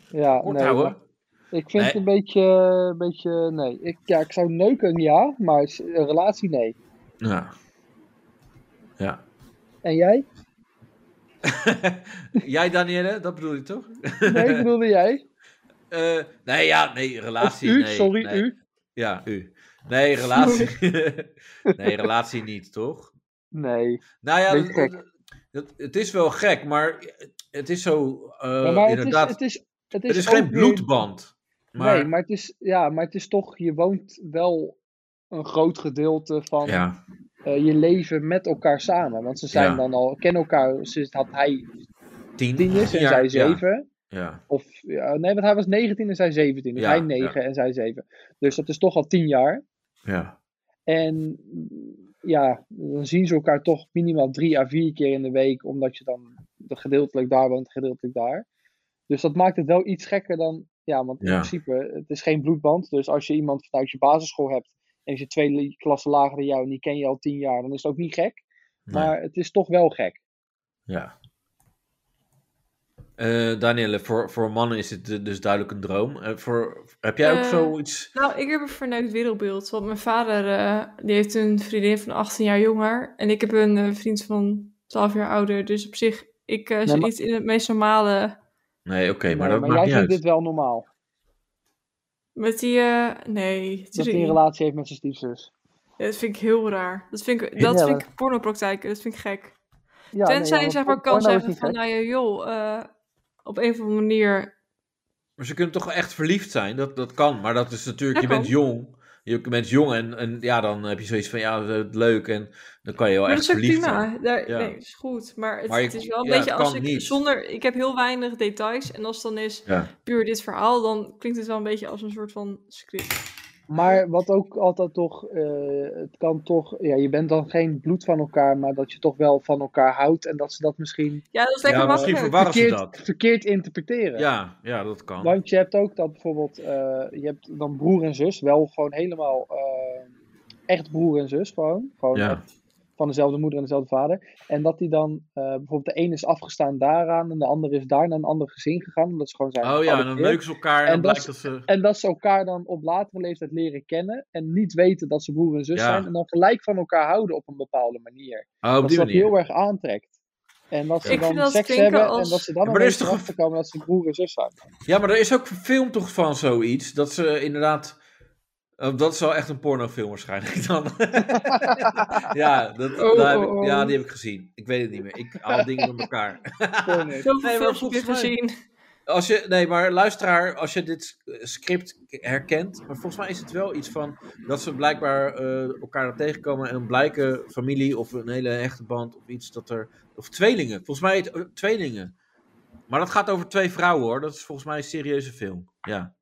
Speaker 4: Ja,
Speaker 2: Kort
Speaker 4: nee, maar-
Speaker 2: houden.
Speaker 4: Ik vind
Speaker 2: Nee.
Speaker 4: het een beetje, een beetje nee. Ik, ja, ik zou neuken, ja, maar s- een relatie, nee.
Speaker 2: Ja. Ja.
Speaker 4: En jij?
Speaker 2: Jij, Danielle, dat bedoel je toch?
Speaker 4: Nee, bedoelde jij?
Speaker 2: Eh, nee, ja, nee,
Speaker 4: Of
Speaker 2: relatie.
Speaker 4: u,
Speaker 2: nee,
Speaker 4: sorry,
Speaker 2: nee.
Speaker 4: u.
Speaker 2: Ja, u. Nee, relatie. nee, relatie niet, toch?
Speaker 4: Nee.
Speaker 2: Nou ja,
Speaker 4: Beetje
Speaker 2: dat-
Speaker 4: gek.
Speaker 2: dat- het, is wel gek, maar het is zo. eh,
Speaker 4: Ja, maar het is,
Speaker 2: inderdaad,
Speaker 4: het is, het is,
Speaker 2: het is
Speaker 4: ook
Speaker 2: geen
Speaker 4: weer-
Speaker 2: bloedband. Maar,
Speaker 4: Nee, maar het, is, ja, maar het is toch, je woont wel een groot gedeelte van
Speaker 2: Ja,
Speaker 4: eh, je leven met elkaar samen. Want ze zijn
Speaker 2: Ja.
Speaker 4: dan al, kennen elkaar sinds dat hij
Speaker 2: tien,
Speaker 4: tien is en
Speaker 2: jaar,
Speaker 4: zij
Speaker 2: ja.
Speaker 4: zeven.
Speaker 2: Ja.
Speaker 4: Of, ja, nee, want hij was 19 en zij 17. Dus
Speaker 2: Ja,
Speaker 4: hij 9 en zij 7. Dus dat is toch al 10 jaar.
Speaker 2: Ja.
Speaker 4: En mm, ja, dan zien ze elkaar toch minimaal drie à vier keer in de week, omdat je dan gedeeltelijk daar woont, gedeeltelijk daar. Dus dat maakt het wel iets gekker dan, ja, want in
Speaker 2: Ja.
Speaker 4: principe, het is geen bloedband. Dus als je iemand vanuit je basisschool hebt en je twee li- klassen lager dan jou en die ken je al tien jaar, dan is het ook niet gek.
Speaker 2: Nee.
Speaker 4: Maar het is toch wel gek.
Speaker 2: Ja. Eh, Danielle, voor, voor mannen is het eh, dus duidelijk een droom. Eh, voor, heb jij ook
Speaker 3: Eh,
Speaker 2: zoiets?
Speaker 3: Nou, ik heb een verneukt wereldbeeld. Want mijn vader eh, die heeft een vriendin van 18 jaar jonger. En ik heb een eh, vriend van 12 jaar ouder. Dus op zich, ik eh, zit
Speaker 4: maar-
Speaker 3: niet in het meest normale.
Speaker 2: Nee, oké, maar
Speaker 4: Nee,
Speaker 2: dat maakt
Speaker 4: jij
Speaker 2: niet
Speaker 4: vindt
Speaker 2: uit.
Speaker 4: dit wel normaal.
Speaker 3: Met die. eh, nee,
Speaker 4: Dat
Speaker 3: natuurlijk
Speaker 4: hij een
Speaker 3: niet.
Speaker 4: relatie heeft met zijn stiefzus.
Speaker 3: Ja, Dat vind ik heel raar. Dat vind ik, dat
Speaker 4: Ja.
Speaker 3: vind ik pornopraktijken. Dat vind ik gek.
Speaker 4: Ja,
Speaker 3: Tenzij
Speaker 4: nee, ja,
Speaker 3: je
Speaker 4: want
Speaker 3: zeg maar
Speaker 4: por-
Speaker 3: kan
Speaker 4: porno is
Speaker 3: zeggen
Speaker 4: niet
Speaker 3: van,
Speaker 4: gek.
Speaker 3: nou ja, joh, eh, op een of andere manier.
Speaker 2: Maar ze kunnen toch echt verliefd zijn? Dat, dat kan. Maar dat is natuurlijk,
Speaker 3: Dat
Speaker 2: je
Speaker 3: kan.
Speaker 2: bent jong. Je bent jong en, en ja, dan heb je zoiets van, ja, eh, leuk. En dan kan je wel
Speaker 3: Maar dat
Speaker 2: echt
Speaker 3: is ook
Speaker 2: verliefd
Speaker 3: prima.
Speaker 2: zijn.
Speaker 3: Daar,
Speaker 2: Ja.
Speaker 3: Nee, is goed. Maar het,
Speaker 2: Maar je-
Speaker 3: het is wel een
Speaker 2: ja,
Speaker 3: beetje
Speaker 2: het
Speaker 3: als
Speaker 2: kan
Speaker 3: ik
Speaker 2: niet.
Speaker 3: zonder, ik heb heel weinig details. En als het dan is
Speaker 2: Ja.
Speaker 3: puur dit verhaal, dan klinkt het wel een beetje als een soort van script. nou
Speaker 4: Maar wat ook altijd toch, eh, het kan toch, ja, je bent dan geen bloed van elkaar, maar dat je toch wel van elkaar houdt en dat ze dat misschien
Speaker 3: Ja, dat is
Speaker 2: Ja, misschien
Speaker 3: lekker makkelijk.
Speaker 2: verwarren ze
Speaker 4: verkeerd,
Speaker 2: dat.
Speaker 4: verkeerd interpreteren.
Speaker 2: Ja, ja, dat kan.
Speaker 4: Want je hebt ook dat bijvoorbeeld, eh, je hebt dan broer en zus, wel gewoon helemaal eh, echt broer en zus gewoon. gewoon
Speaker 2: ja.
Speaker 4: echt van dezelfde moeder en dezelfde vader. En dat die dan, eh, bijvoorbeeld de ene is afgestaan daaraan en de andere is daar naar een ander gezin gegaan, omdat ze gewoon zijn
Speaker 2: Oh ja, en dan
Speaker 4: geadopteerd.
Speaker 2: leuken ze elkaar en,
Speaker 4: En
Speaker 2: dan
Speaker 4: dat
Speaker 2: blijkt dat ze...
Speaker 4: En dat ze elkaar dan op latere leeftijd leren kennen. En niet weten dat ze broer en zus
Speaker 2: Ja.
Speaker 4: zijn. En dan gelijk van elkaar houden op een bepaalde manier.
Speaker 2: Oh, op
Speaker 4: dat
Speaker 2: die
Speaker 4: ze dat
Speaker 2: manier.
Speaker 4: heel erg aantrekt. En dat ze
Speaker 3: Ik vind
Speaker 4: dan
Speaker 3: dat
Speaker 4: seks
Speaker 3: klinken
Speaker 4: hebben. En
Speaker 3: als-
Speaker 4: dat ze dan
Speaker 2: Ja, maar er is toch
Speaker 4: ineens
Speaker 2: een-
Speaker 4: erachter komen dat ze broer en zus zijn.
Speaker 2: Ja, maar er is ook een film toch van zoiets. Dat ze inderdaad. eh, dat is wel echt een pornofilm waarschijnlijk dan. ja, dat,
Speaker 3: Oh,
Speaker 2: daar heb
Speaker 3: oh,
Speaker 2: ik-
Speaker 3: oh.
Speaker 2: ja, die heb ik gezien. Ik weet het niet meer. Ik haal dingen door elkaar.
Speaker 4: Porno.
Speaker 3: Zoveel
Speaker 2: Nee, maar
Speaker 3: films heb je
Speaker 2: volgens mij-
Speaker 3: gezien.
Speaker 2: Als je, nee, maar luisteraar, als je dit eh, script herkent. Maar volgens mij is het wel iets van. dat ze blijkbaar eh, elkaar dan tegenkomen. en dan blijken familie of een hele hechte band of iets dat er. of tweelingen. Volgens mij heet het, eh, tweelingen. Maar dat gaat over twee vrouwen hoor. Dat is volgens mij een serieuze film. Ja.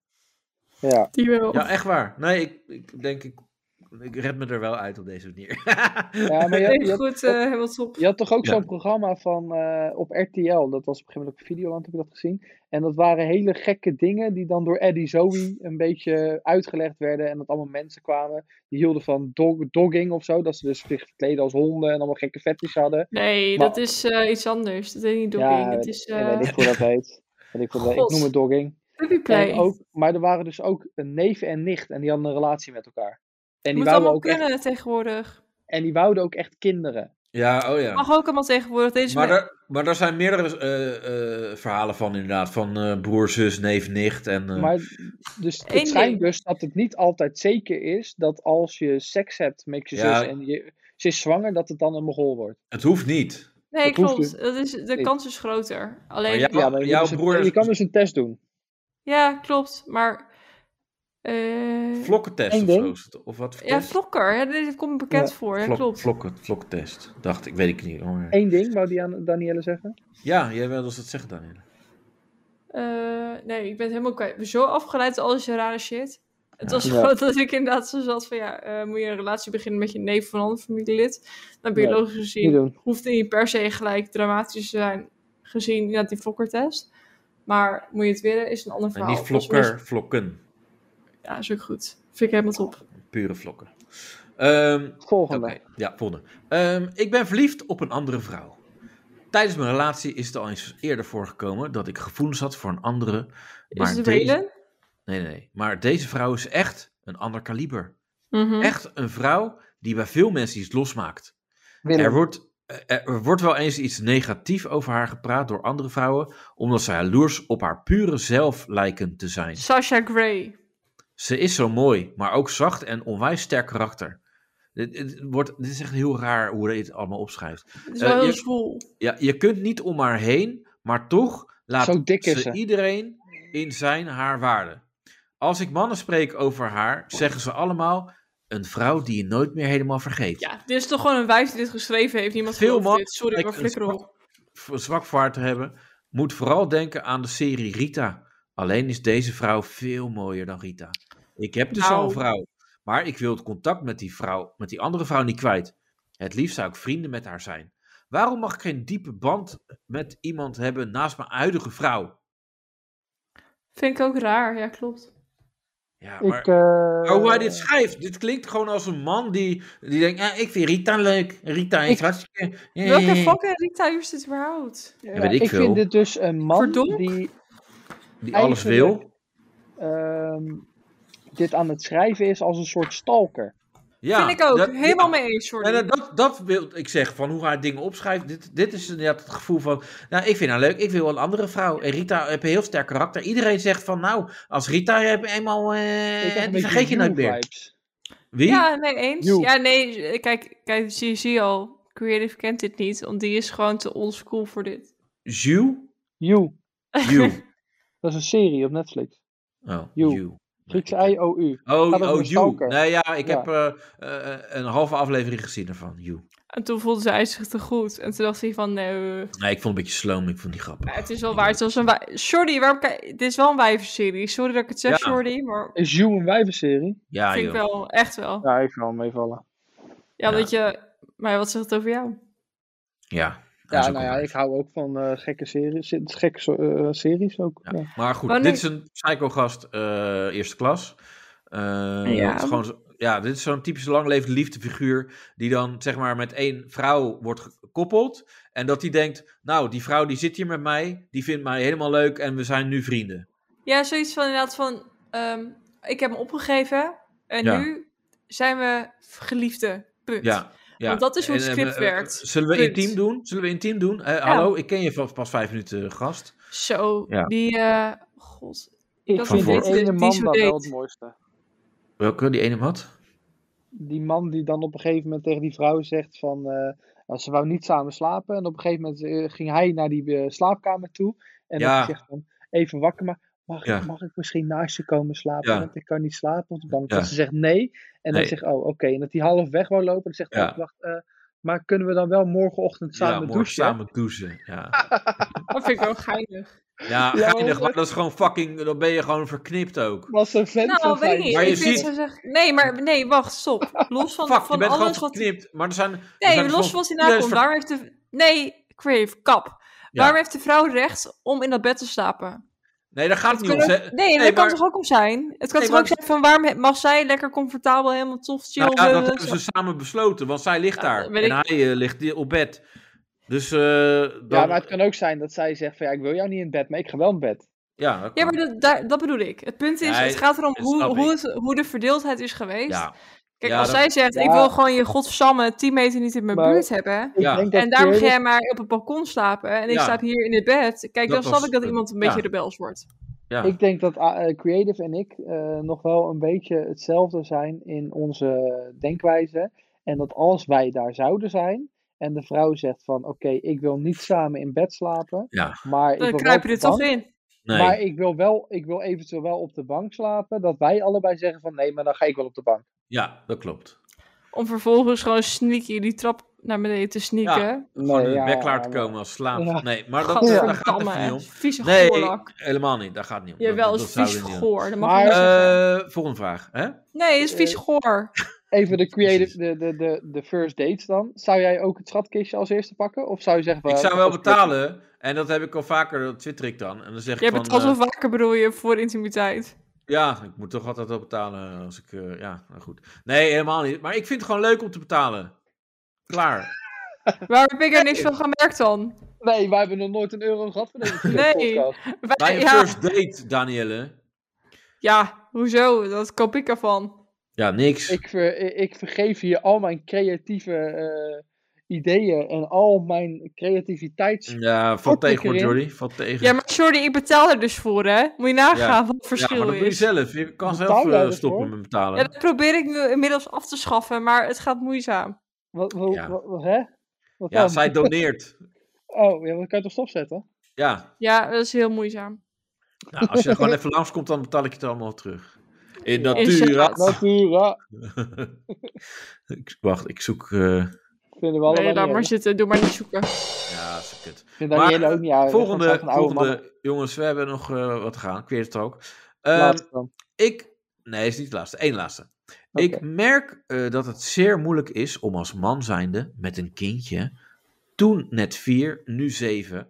Speaker 4: Ja.
Speaker 3: Die wel.
Speaker 2: Ja, echt waar. Nee, ik, ik denk, ik, ik red me er wel uit op deze manier.
Speaker 4: ja, maar je,
Speaker 3: Nee,
Speaker 4: je, had,
Speaker 3: goed, eh, helemaal top.
Speaker 4: je had toch ook
Speaker 2: Ja.
Speaker 4: zo'n programma van, eh, op RTL. Dat was op een gegeven moment ook Videoland heb ik dat gezien. En dat waren hele gekke dingen die dan door Eddie Zoe een beetje uitgelegd werden. En dat allemaal mensen kwamen. Die hielden van dog, dogging of zo. Dat ze dus zich verkleden als honden en allemaal gekke fetish hadden.
Speaker 3: Nee,
Speaker 4: Maar-
Speaker 3: dat is eh, iets anders. Dat heet niet dogging.
Speaker 4: Ja,
Speaker 3: het is
Speaker 4: Ik weet
Speaker 3: eh
Speaker 4: niet hoe dat heet. Weet ik, hoe dat heet. ik
Speaker 3: God.
Speaker 4: noem het dogging.
Speaker 3: puppy play.
Speaker 4: En ook, maar er waren dus ook een neef en nicht en die hadden een relatie met elkaar. En die,
Speaker 3: Moet
Speaker 4: wouden
Speaker 3: allemaal
Speaker 4: ook echt,
Speaker 3: kunnen tegenwoordig.
Speaker 4: en die wouden ook echt kinderen.
Speaker 2: ja, oh ja.
Speaker 3: Mag ook allemaal tegenwoordig. Deze
Speaker 2: Maar
Speaker 3: me-
Speaker 2: er, maar daar zijn meerdere eh, eh, verhalen van inderdaad. Van eh, broer, zus, neef, nicht. En, eh,
Speaker 4: Maar dus
Speaker 3: Eén
Speaker 4: het schijnt
Speaker 3: ding.
Speaker 4: dus dat het niet altijd zeker is dat als je seks hebt met je
Speaker 2: Ja.
Speaker 4: zus en je, ze is zwanger, dat het dan een mogol wordt.
Speaker 2: Het hoeft niet.
Speaker 3: Nee,
Speaker 4: dat hoeft
Speaker 3: klopt. Dat is, de
Speaker 4: niet.
Speaker 3: kans is groter. Alleen,
Speaker 2: ja,
Speaker 3: ja,
Speaker 2: Maar
Speaker 4: maar je,
Speaker 2: jouw
Speaker 4: moet dus een-
Speaker 2: broer-
Speaker 4: je kan dus een test doen.
Speaker 3: klopt. Maar.
Speaker 2: Mm.
Speaker 3: eh,
Speaker 2: Vlokkentest
Speaker 4: Eén
Speaker 2: of
Speaker 4: ding.
Speaker 2: zo. is het- Of wat voor
Speaker 3: ja,
Speaker 2: test?
Speaker 3: vlokker. Ja, dit komt me bekend voor. Ja,
Speaker 2: Vlok-
Speaker 3: klopt.
Speaker 2: Vlokken, vlokkentest. Dacht ik, weet ik niet. hoor.
Speaker 4: Eén ding, wou die aan Danielle zeggen.
Speaker 2: Ja, jij wilde dat zeggen, Daniel.
Speaker 3: Eh, nee, ik ben het helemaal kwijt. Ik ben zo afgeleid door al deze rare shit. Het
Speaker 2: Ja.
Speaker 3: was
Speaker 4: Ja.
Speaker 3: gewoon dat ik inderdaad zo zat van ja, eh, moet je een relatie beginnen met je neef van een ander familielid? Nou,
Speaker 4: Nee,
Speaker 3: biologisch
Speaker 4: Niet
Speaker 3: gezien
Speaker 4: doen.
Speaker 3: hoeft het niet per se gelijk dramatisch te zijn, gezien inderdaad die flokkertest. Maar moet je het willen, is een ander
Speaker 2: En
Speaker 3: verhaal.
Speaker 2: niet vlokker, vlokken.
Speaker 3: Ja, is ook goed. Vind ik helemaal top.
Speaker 2: Pure vlokken. Ehm
Speaker 4: Volgende.
Speaker 2: Oké, ja, volgende. Ehm, ik ben verliefd op een andere vrouw. Tijdens mijn relatie is het al eens eerder voorgekomen dat ik gevoelens had voor een andere.
Speaker 3: Is het de
Speaker 2: deze-
Speaker 3: reden?
Speaker 2: Nee, nee, nee. Maar deze vrouw is echt een ander kaliber.
Speaker 3: Mhm.
Speaker 2: Echt een vrouw die bij veel mensen iets losmaakt.
Speaker 4: Willem.
Speaker 2: Er wordt, eh, er wordt wel eens iets negatief over haar gepraat door andere vrouwen, omdat zij jaloers op haar pure zelf lijken te zijn.
Speaker 3: Sasha Gray.
Speaker 2: Ze is zo mooi, maar ook zacht en onwijs sterk karakter. Dit, dit wordt, dit is echt heel raar hoe hij het allemaal opschrijft.
Speaker 3: Het is
Speaker 2: Eh,
Speaker 3: wel heel
Speaker 2: je-
Speaker 3: zwoel.
Speaker 2: Ja, je kunt niet om haar heen, maar toch laat
Speaker 4: Zo dik is
Speaker 2: ze,
Speaker 4: ze.
Speaker 2: iedereen in zijn haar waarde. Als ik mannen spreek over haar, zeggen ze allemaal een vrouw die je nooit meer helemaal vergeet.
Speaker 3: Ja, dit is toch gewoon een wijs die dit geschreven heeft. Niemand
Speaker 2: Veel
Speaker 3: gelooft
Speaker 2: man-
Speaker 3: dit. Sorry,
Speaker 2: lijkt
Speaker 3: maar
Speaker 2: een
Speaker 3: flikker op.
Speaker 2: v- Zwak voor haar te hebben, moet vooral denken aan de serie Rita. Alleen is deze vrouw veel mooier dan Rita. Ik heb dus al
Speaker 3: Nou.
Speaker 2: een vrouw, maar ik wil het contact met die vrouw, met die andere vrouw niet kwijt. Het liefst zou ik vrienden met haar zijn. Waarom mag ik geen diepe band met iemand hebben naast mijn huidige vrouw?
Speaker 3: Vind ik ook raar, ja klopt.
Speaker 2: Ja, maar
Speaker 4: Ik, eh,
Speaker 2: Oh, hoe hij dit schrijft. Dit klinkt gewoon als een man die, die denkt, "Ah, ik vind Rita leuk. Rita is
Speaker 4: Ik-
Speaker 2: hartstikke... Ja, ja,
Speaker 3: Welke
Speaker 2: ja."
Speaker 3: fucking Rita heeft het überhaupt?
Speaker 4: ja,
Speaker 2: weet ik
Speaker 4: ik,
Speaker 2: veel.
Speaker 4: vind dit dus een man
Speaker 3: Verdonk?
Speaker 4: die
Speaker 2: Die alles wil.
Speaker 4: ehm, dit aan het schrijven is als een soort stalker.
Speaker 2: Ja,
Speaker 3: Vind ik ook.
Speaker 2: dat-
Speaker 3: Helemaal
Speaker 2: ja.
Speaker 3: mee eens, Jordi.
Speaker 2: En eh, dat, dat wil ik zeggen, van hoe haar dingen opschrijft. Dit, dit is inderdaad het gevoel van, nou, ik vind haar leuk, ik wil een andere vrouw. En Rita heeft een heel sterk karakter. Iedereen zegt van, nou, als Rita heb eenmaal, eh,
Speaker 4: Ik heb een
Speaker 2: die
Speaker 4: beetje
Speaker 2: vergeet je nooit
Speaker 4: Hugh
Speaker 2: meer.
Speaker 4: vibes.
Speaker 2: Wie?
Speaker 3: Ja, nee, eens.
Speaker 4: Joep.
Speaker 3: Ja, nee, kijk, kijk zie, zie al. Creative kent dit niet, want die is gewoon te oldschool voor dit.
Speaker 2: Jules?
Speaker 4: You,
Speaker 2: Jules.
Speaker 4: dat is een serie op Netflix.
Speaker 2: Oh,
Speaker 4: Joe.
Speaker 2: Jules.
Speaker 4: Grieks I-O-U.
Speaker 2: Oh,
Speaker 4: Gaat over
Speaker 2: oh
Speaker 4: een
Speaker 2: You.
Speaker 4: stalker.
Speaker 2: Nee, ja, ik
Speaker 4: Ja.
Speaker 2: heb eh, eh, een halve aflevering gezien ervan. You.
Speaker 3: En toen voelde zij zich te goed. En toen dacht hij van, nee, eh,
Speaker 2: Nee, ik vond het een beetje sloom. Ik vond die grappig.
Speaker 3: maar het is wel waar. Het was een wij- Jordi, waarom kijk- dit is wel een wijvenserie. Sorry dat ik het zeg,
Speaker 2: Ja.
Speaker 3: Jordi, maar
Speaker 4: Is You een wijvenserie?
Speaker 2: Ja,
Speaker 3: vind
Speaker 2: joh.
Speaker 3: ik wel, echt wel. Ja,
Speaker 4: Ja, ik kan wel meevallen.
Speaker 3: dat je... Maar wat zegt het over jou?
Speaker 2: Ja, dat is
Speaker 4: Ja,
Speaker 2: ook
Speaker 4: nou
Speaker 2: wel
Speaker 4: ja,
Speaker 2: waar.
Speaker 4: ik hou ook van eh, gekke series, gekke so- eh, series ook.
Speaker 2: Ja.
Speaker 4: ja.
Speaker 2: Maar goed,
Speaker 3: Maar
Speaker 2: dit
Speaker 3: nee.
Speaker 2: is een psychogast eh eerste klas. Eh,
Speaker 3: Ja.
Speaker 2: het is gewoon zo- ja, dit is zo'n typische langlevende liefdefiguur die dan zeg maar met één vrouw wordt gekoppeld. En dat die denkt, nou, die vrouw die zit hier met mij, die vindt mij helemaal leuk en we zijn nu vrienden.
Speaker 3: Ja, zoiets van inderdaad van, ehm, ik heb me opgegeven en
Speaker 2: Ja.
Speaker 3: nu zijn we geliefden. Punt.
Speaker 2: Ja, ja.
Speaker 3: Want dat is hoe het
Speaker 2: En,
Speaker 3: script
Speaker 2: eh, eh,
Speaker 3: werkt.
Speaker 2: Zullen we
Speaker 3: Punt.
Speaker 2: intiem doen? Zullen we intiem doen? Eh, Hallo, ik ken je van pas vijf minuten, eh, gast.
Speaker 3: Zo,
Speaker 2: Ja.
Speaker 3: die... eh, God,
Speaker 4: Ik
Speaker 3: Dat
Speaker 4: vind
Speaker 2: van
Speaker 4: die
Speaker 3: voor-
Speaker 4: ene
Speaker 3: die
Speaker 4: man
Speaker 3: zo
Speaker 4: dan wel
Speaker 3: deed.
Speaker 4: het mooiste.
Speaker 2: Welke? Die ene wat?
Speaker 4: Die man die dan op een gegeven moment tegen die vrouw zegt van... eh, nou, ze wou niet samen slapen. En op een gegeven moment eh, ging hij naar die eh, slaapkamer toe. En
Speaker 2: Ja.
Speaker 4: dan zegt van, even wakker maar... Mag,
Speaker 2: Ja.
Speaker 4: ik, mag ik misschien naast je komen slapen?
Speaker 2: Ja.
Speaker 4: Want ik kan niet slapen op de bank.
Speaker 2: Ja.
Speaker 4: Dat ze zegt nee. En
Speaker 2: Nee.
Speaker 4: dan zegt, oh oké. En dat hij half weg wou lopen. En zegt,
Speaker 2: Ja.
Speaker 4: oh, wacht, eh, maar kunnen we dan wel morgenochtend
Speaker 2: ja,
Speaker 4: samen
Speaker 2: morgen
Speaker 4: douchen?
Speaker 2: samen douchen. Ja,
Speaker 3: dat vind ik wel geinig.
Speaker 2: ja,
Speaker 4: Ja,
Speaker 2: geinig,
Speaker 4: want-
Speaker 2: maar dat is gewoon fucking, dan ben je gewoon verknipt ook.
Speaker 4: Was een vent
Speaker 3: Nou,
Speaker 4: van
Speaker 3: weet ik
Speaker 4: vijf-
Speaker 3: niet.
Speaker 2: Maar je
Speaker 3: ik vind
Speaker 2: ziet-
Speaker 3: zo zeg... Nee, maar nee, wacht, stop. Los van,
Speaker 2: Fuck, je
Speaker 3: van
Speaker 2: bent gewoon
Speaker 3: alles wat...
Speaker 2: verknipt, maar er zijn... er zijn
Speaker 3: Nee,
Speaker 2: dus
Speaker 3: los
Speaker 2: gewoon-
Speaker 3: van wat
Speaker 2: iedereen
Speaker 3: hierna
Speaker 2: is ver-
Speaker 3: komt. Waarom heeft de... Nee, Crave, kap. Waarom heeft de vrouw recht om in dat bed te slapen?
Speaker 2: Nee, daar gaat het niet om.
Speaker 3: Kunnen-
Speaker 2: ze-
Speaker 3: Nee, en
Speaker 2: nee,
Speaker 3: dat kan
Speaker 2: maar-
Speaker 3: toch ook om zijn? Het kan
Speaker 2: Nee,
Speaker 3: toch
Speaker 2: maar-
Speaker 3: ook zijn van waarom he- mag zij lekker comfortabel, helemaal tof, chill...
Speaker 2: Nou ja,
Speaker 3: eh,
Speaker 2: dat
Speaker 3: zo-
Speaker 2: hebben ze samen besloten, want zij ligt
Speaker 3: Ja,
Speaker 2: daar.
Speaker 3: dat weet
Speaker 2: En hij
Speaker 3: ik.
Speaker 2: eh, ligt die- op bed. Dus, eh
Speaker 4: Ja,
Speaker 2: dan-
Speaker 4: maar het kan ook zijn dat zij zegt van, ja, ik wil jou niet in bed, maar ik ga wel in bed.
Speaker 2: Ja, dat
Speaker 3: Ja,
Speaker 2: kan.
Speaker 3: maar dat, daar- dat bedoel ik. Het punt is,
Speaker 2: Nee,
Speaker 3: het gaat erom
Speaker 2: dat
Speaker 3: hoe,
Speaker 2: snap
Speaker 3: hoe, het, hoe de verdeeldheid is geweest.
Speaker 2: Ja.
Speaker 3: Kijk,
Speaker 2: Ja,
Speaker 3: als
Speaker 2: dat-
Speaker 3: zij zegt, ik
Speaker 4: Ja.
Speaker 3: wil gewoon je godsamme 10 meter niet in mijn
Speaker 4: Maar-
Speaker 3: buurt hebben...
Speaker 4: Ik
Speaker 2: Ja.
Speaker 4: denk dat
Speaker 3: En daarom
Speaker 4: Curtis-
Speaker 3: ga jij maar op het balkon slapen en ik
Speaker 2: Ja.
Speaker 3: slaap hier in het bed.
Speaker 2: Dat
Speaker 3: Kijk, dan
Speaker 2: was
Speaker 3: snap ik dat
Speaker 2: het.
Speaker 3: iemand een beetje
Speaker 2: Ja.
Speaker 3: rebels wordt.
Speaker 2: ja.
Speaker 4: Ik denk dat ah, eh, Creative en ik eh, nog wel een beetje hetzelfde zijn in onze denkwijze. En dat als wij daar zouden zijn en de vrouw zegt van oké, ik wil niet samen in bed slapen.
Speaker 2: Ja.
Speaker 4: Maar ik wil
Speaker 3: Dan
Speaker 4: wel
Speaker 3: kruip
Speaker 4: op
Speaker 3: je
Speaker 4: de
Speaker 3: er toch
Speaker 4: bank,
Speaker 3: in.
Speaker 2: nee.
Speaker 4: Maar ik wil, wel, ik wil eventueel wel op de bank slapen. Dat wij allebei zeggen van nee, maar dan ga ik wel op de bank.
Speaker 2: ja, dat klopt.
Speaker 3: Om vervolgens gewoon sneaky die trap naar beneden te sneaken.
Speaker 2: Gewoon
Speaker 4: Nee,
Speaker 2: in
Speaker 4: ja,
Speaker 2: het bed klaar te
Speaker 4: maar-
Speaker 2: komen als slaap.
Speaker 4: Ja.
Speaker 2: Nee, maar dat, daar gaat het
Speaker 3: Gadverdamme,
Speaker 2: echt niet om.
Speaker 3: vieze
Speaker 2: Nee,
Speaker 3: goorlak.
Speaker 2: helemaal niet. Daar gaat het niet om. Dat-
Speaker 3: Jawel,
Speaker 2: dat
Speaker 3: het is
Speaker 2: zouden
Speaker 3: vies
Speaker 2: we niet
Speaker 3: goor. Dat mag
Speaker 4: Maar-
Speaker 3: ik niet
Speaker 2: doen.
Speaker 3: zeggen.
Speaker 2: Eh, volgende vraag. Hè?
Speaker 3: Nee, het is vies
Speaker 4: eh,
Speaker 3: goor.
Speaker 4: Even de creative, de, de, de, de first dates dan. Zou jij ook het schatkistje als eerste pakken? Of zou je zeggen van... eh,
Speaker 2: Ik zou
Speaker 4: dat
Speaker 2: wel
Speaker 4: is kut?
Speaker 2: betalen. En dat heb ik al vaker, dat twitter ik dan. En dan zeg
Speaker 3: Jij
Speaker 2: ik van...
Speaker 3: betaalt
Speaker 2: eh,
Speaker 3: wel vaker, bedoel je, voor intimiteit.
Speaker 2: Ja, ik moet toch altijd wel betalen als ik... eh, ja, nou goed. Nee, helemaal niet. Maar ik vind het gewoon leuk om te betalen. Klaar.
Speaker 3: Waarom heb ik er niks van gemerkt dan?
Speaker 4: Nee, wij hebben nog nooit een euro gehad van deze
Speaker 3: Nee.
Speaker 4: podcast.
Speaker 3: Wij-
Speaker 2: Bij een
Speaker 3: ja,
Speaker 2: first date, Danielle.
Speaker 3: ja, hoezo? Dat koop ik ervan.
Speaker 2: Ja, niks.
Speaker 4: Ik, ver- ik vergeef hier al mijn creatieve eh, ideeën en al mijn creativiteits...
Speaker 2: Ja, valt
Speaker 4: Ook niet
Speaker 2: tegen hoor,
Speaker 4: erin.
Speaker 2: Jordy. Valt tegen.
Speaker 3: Ja, maar sorry, ik betaal er dus voor, hè? Moet je nagaan wat het
Speaker 2: Ja, maar
Speaker 3: verschil
Speaker 2: dat doe je
Speaker 3: is.
Speaker 2: zelf. Je kan
Speaker 4: Betaal
Speaker 2: zelf
Speaker 4: jij
Speaker 2: eh,
Speaker 4: ervoor?
Speaker 2: stoppen met betalen.
Speaker 3: Ja, dat probeer ik nu inmiddels af te schaffen, maar het gaat moeizaam.
Speaker 4: Wat, wat,
Speaker 2: Ja.
Speaker 4: wat- wat- hè? Wat
Speaker 2: Ja,
Speaker 4: dan?
Speaker 2: zij doneert.
Speaker 4: Oh, ja, dat kan je toch stopzetten?
Speaker 2: Ja,
Speaker 3: Ja, dat is heel moeizaam.
Speaker 2: nou, als je er gewoon even langskomt, dan betaal ik het allemaal terug. In natura.
Speaker 3: Inderdaad.
Speaker 4: Natura.
Speaker 2: Ik- Wacht, ik zoek. eh,
Speaker 4: Vinden we
Speaker 3: Nee,
Speaker 4: allemaal
Speaker 3: laat
Speaker 4: niet
Speaker 3: maar
Speaker 4: erg.
Speaker 3: zitten. Doe maar niet zoeken.
Speaker 2: Ja, is kut.
Speaker 4: Vind Daniëlle
Speaker 2: Maar,
Speaker 4: ook niet uit.
Speaker 2: volgende,
Speaker 4: van oude mannen.
Speaker 2: volgende jongens, we hebben nog eh, wat te gaan. Ik weet het ook. Ehm,
Speaker 4: Laatste dan.
Speaker 2: ik, nee, is niet de laatste. Eén laatste.
Speaker 4: Oké.
Speaker 2: Ik merk eh, dat het zeer moeilijk is om als man zijnde met een kindje, toen net vier, nu zeven,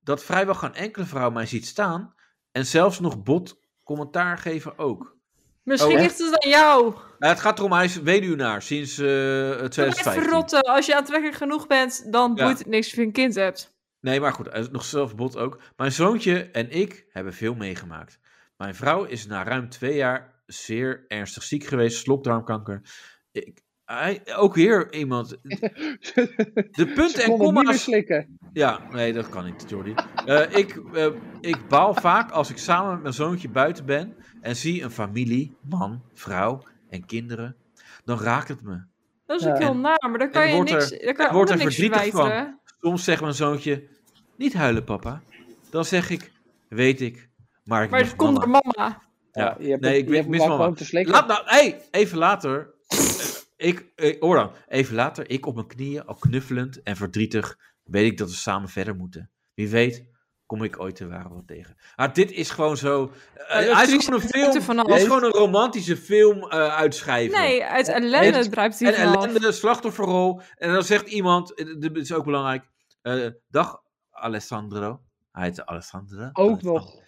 Speaker 2: dat vrijwel geen enkele vrouw mij ziet staan en zelfs nog bot commentaar geven ook.
Speaker 3: Misschien
Speaker 2: Oh,
Speaker 3: ligt het aan jou.
Speaker 2: Nou, het gaat erom, hij is weduwnaar sinds eh
Speaker 3: Blijf
Speaker 2: 2015.
Speaker 3: verrotten. Als je aantrekkelijk genoeg bent, dan
Speaker 2: Ja.
Speaker 3: boeit het niks of je een kind hebt.
Speaker 2: Nee, maar goed, hij is nog zelf bot ook. Mijn zoontje en ik hebben veel meegemaakt. Mijn vrouw is na ruim twee jaar zeer ernstig ziek geweest, slokdarmkanker. Ik, hij- ook hier iemand. De punten
Speaker 4: Ze
Speaker 2: en
Speaker 4: konden niet meer
Speaker 2: komma's.
Speaker 4: slikken.
Speaker 2: Ja, nee, dat kan niet, Jordi. Eh, ik, eh, ik baal vaak als ik samen met mijn zoontje buiten ben en zie een familie, man, vrouw en kinderen. Dan raakt het me.
Speaker 3: Dat is
Speaker 4: Ja.
Speaker 3: ook heel naar, maar daar kan
Speaker 2: En
Speaker 3: je
Speaker 2: wordt er-
Speaker 3: niks, daar kan je
Speaker 2: wordt er
Speaker 3: ander niks
Speaker 2: verdrietig van.
Speaker 3: verwijten. hè?
Speaker 2: Soms zegt mijn zoontje: Niet huilen, papa. Dan zeg ik: Weet ik. Maar, ik
Speaker 3: Maar
Speaker 2: mis
Speaker 3: het komt
Speaker 2: mama."
Speaker 3: door mama.
Speaker 2: Ja,
Speaker 4: je hebt
Speaker 2: nee,
Speaker 4: het-
Speaker 2: ik
Speaker 4: je hebt
Speaker 2: mis
Speaker 4: hem maar
Speaker 2: mama.
Speaker 4: gewoon te slikken.
Speaker 2: Laat nou, hey, even later. ik, eh, hoor dan. Even later, ik op mijn knieën, al knuffelend en verdrietig, weet ik dat we samen verder moeten. Wie weet, kom ik ooit de ware wel tegen. Maar dit is gewoon zo. eh,
Speaker 3: dat
Speaker 2: hij is
Speaker 3: trieste
Speaker 2: gewoon een
Speaker 3: punt
Speaker 2: film.
Speaker 3: ervan
Speaker 2: Het is
Speaker 3: af.
Speaker 2: gewoon een romantische film eh uitschrijven.
Speaker 3: Nee, uit ellende
Speaker 2: het-
Speaker 3: druipt hij
Speaker 2: En
Speaker 3: vanaf.
Speaker 2: ellende, slachtofferrol. En dan zegt iemand, eh, dit is ook belangrijk. eh, dag Alessandro. Hij heet Alessandro.
Speaker 4: Ook nog.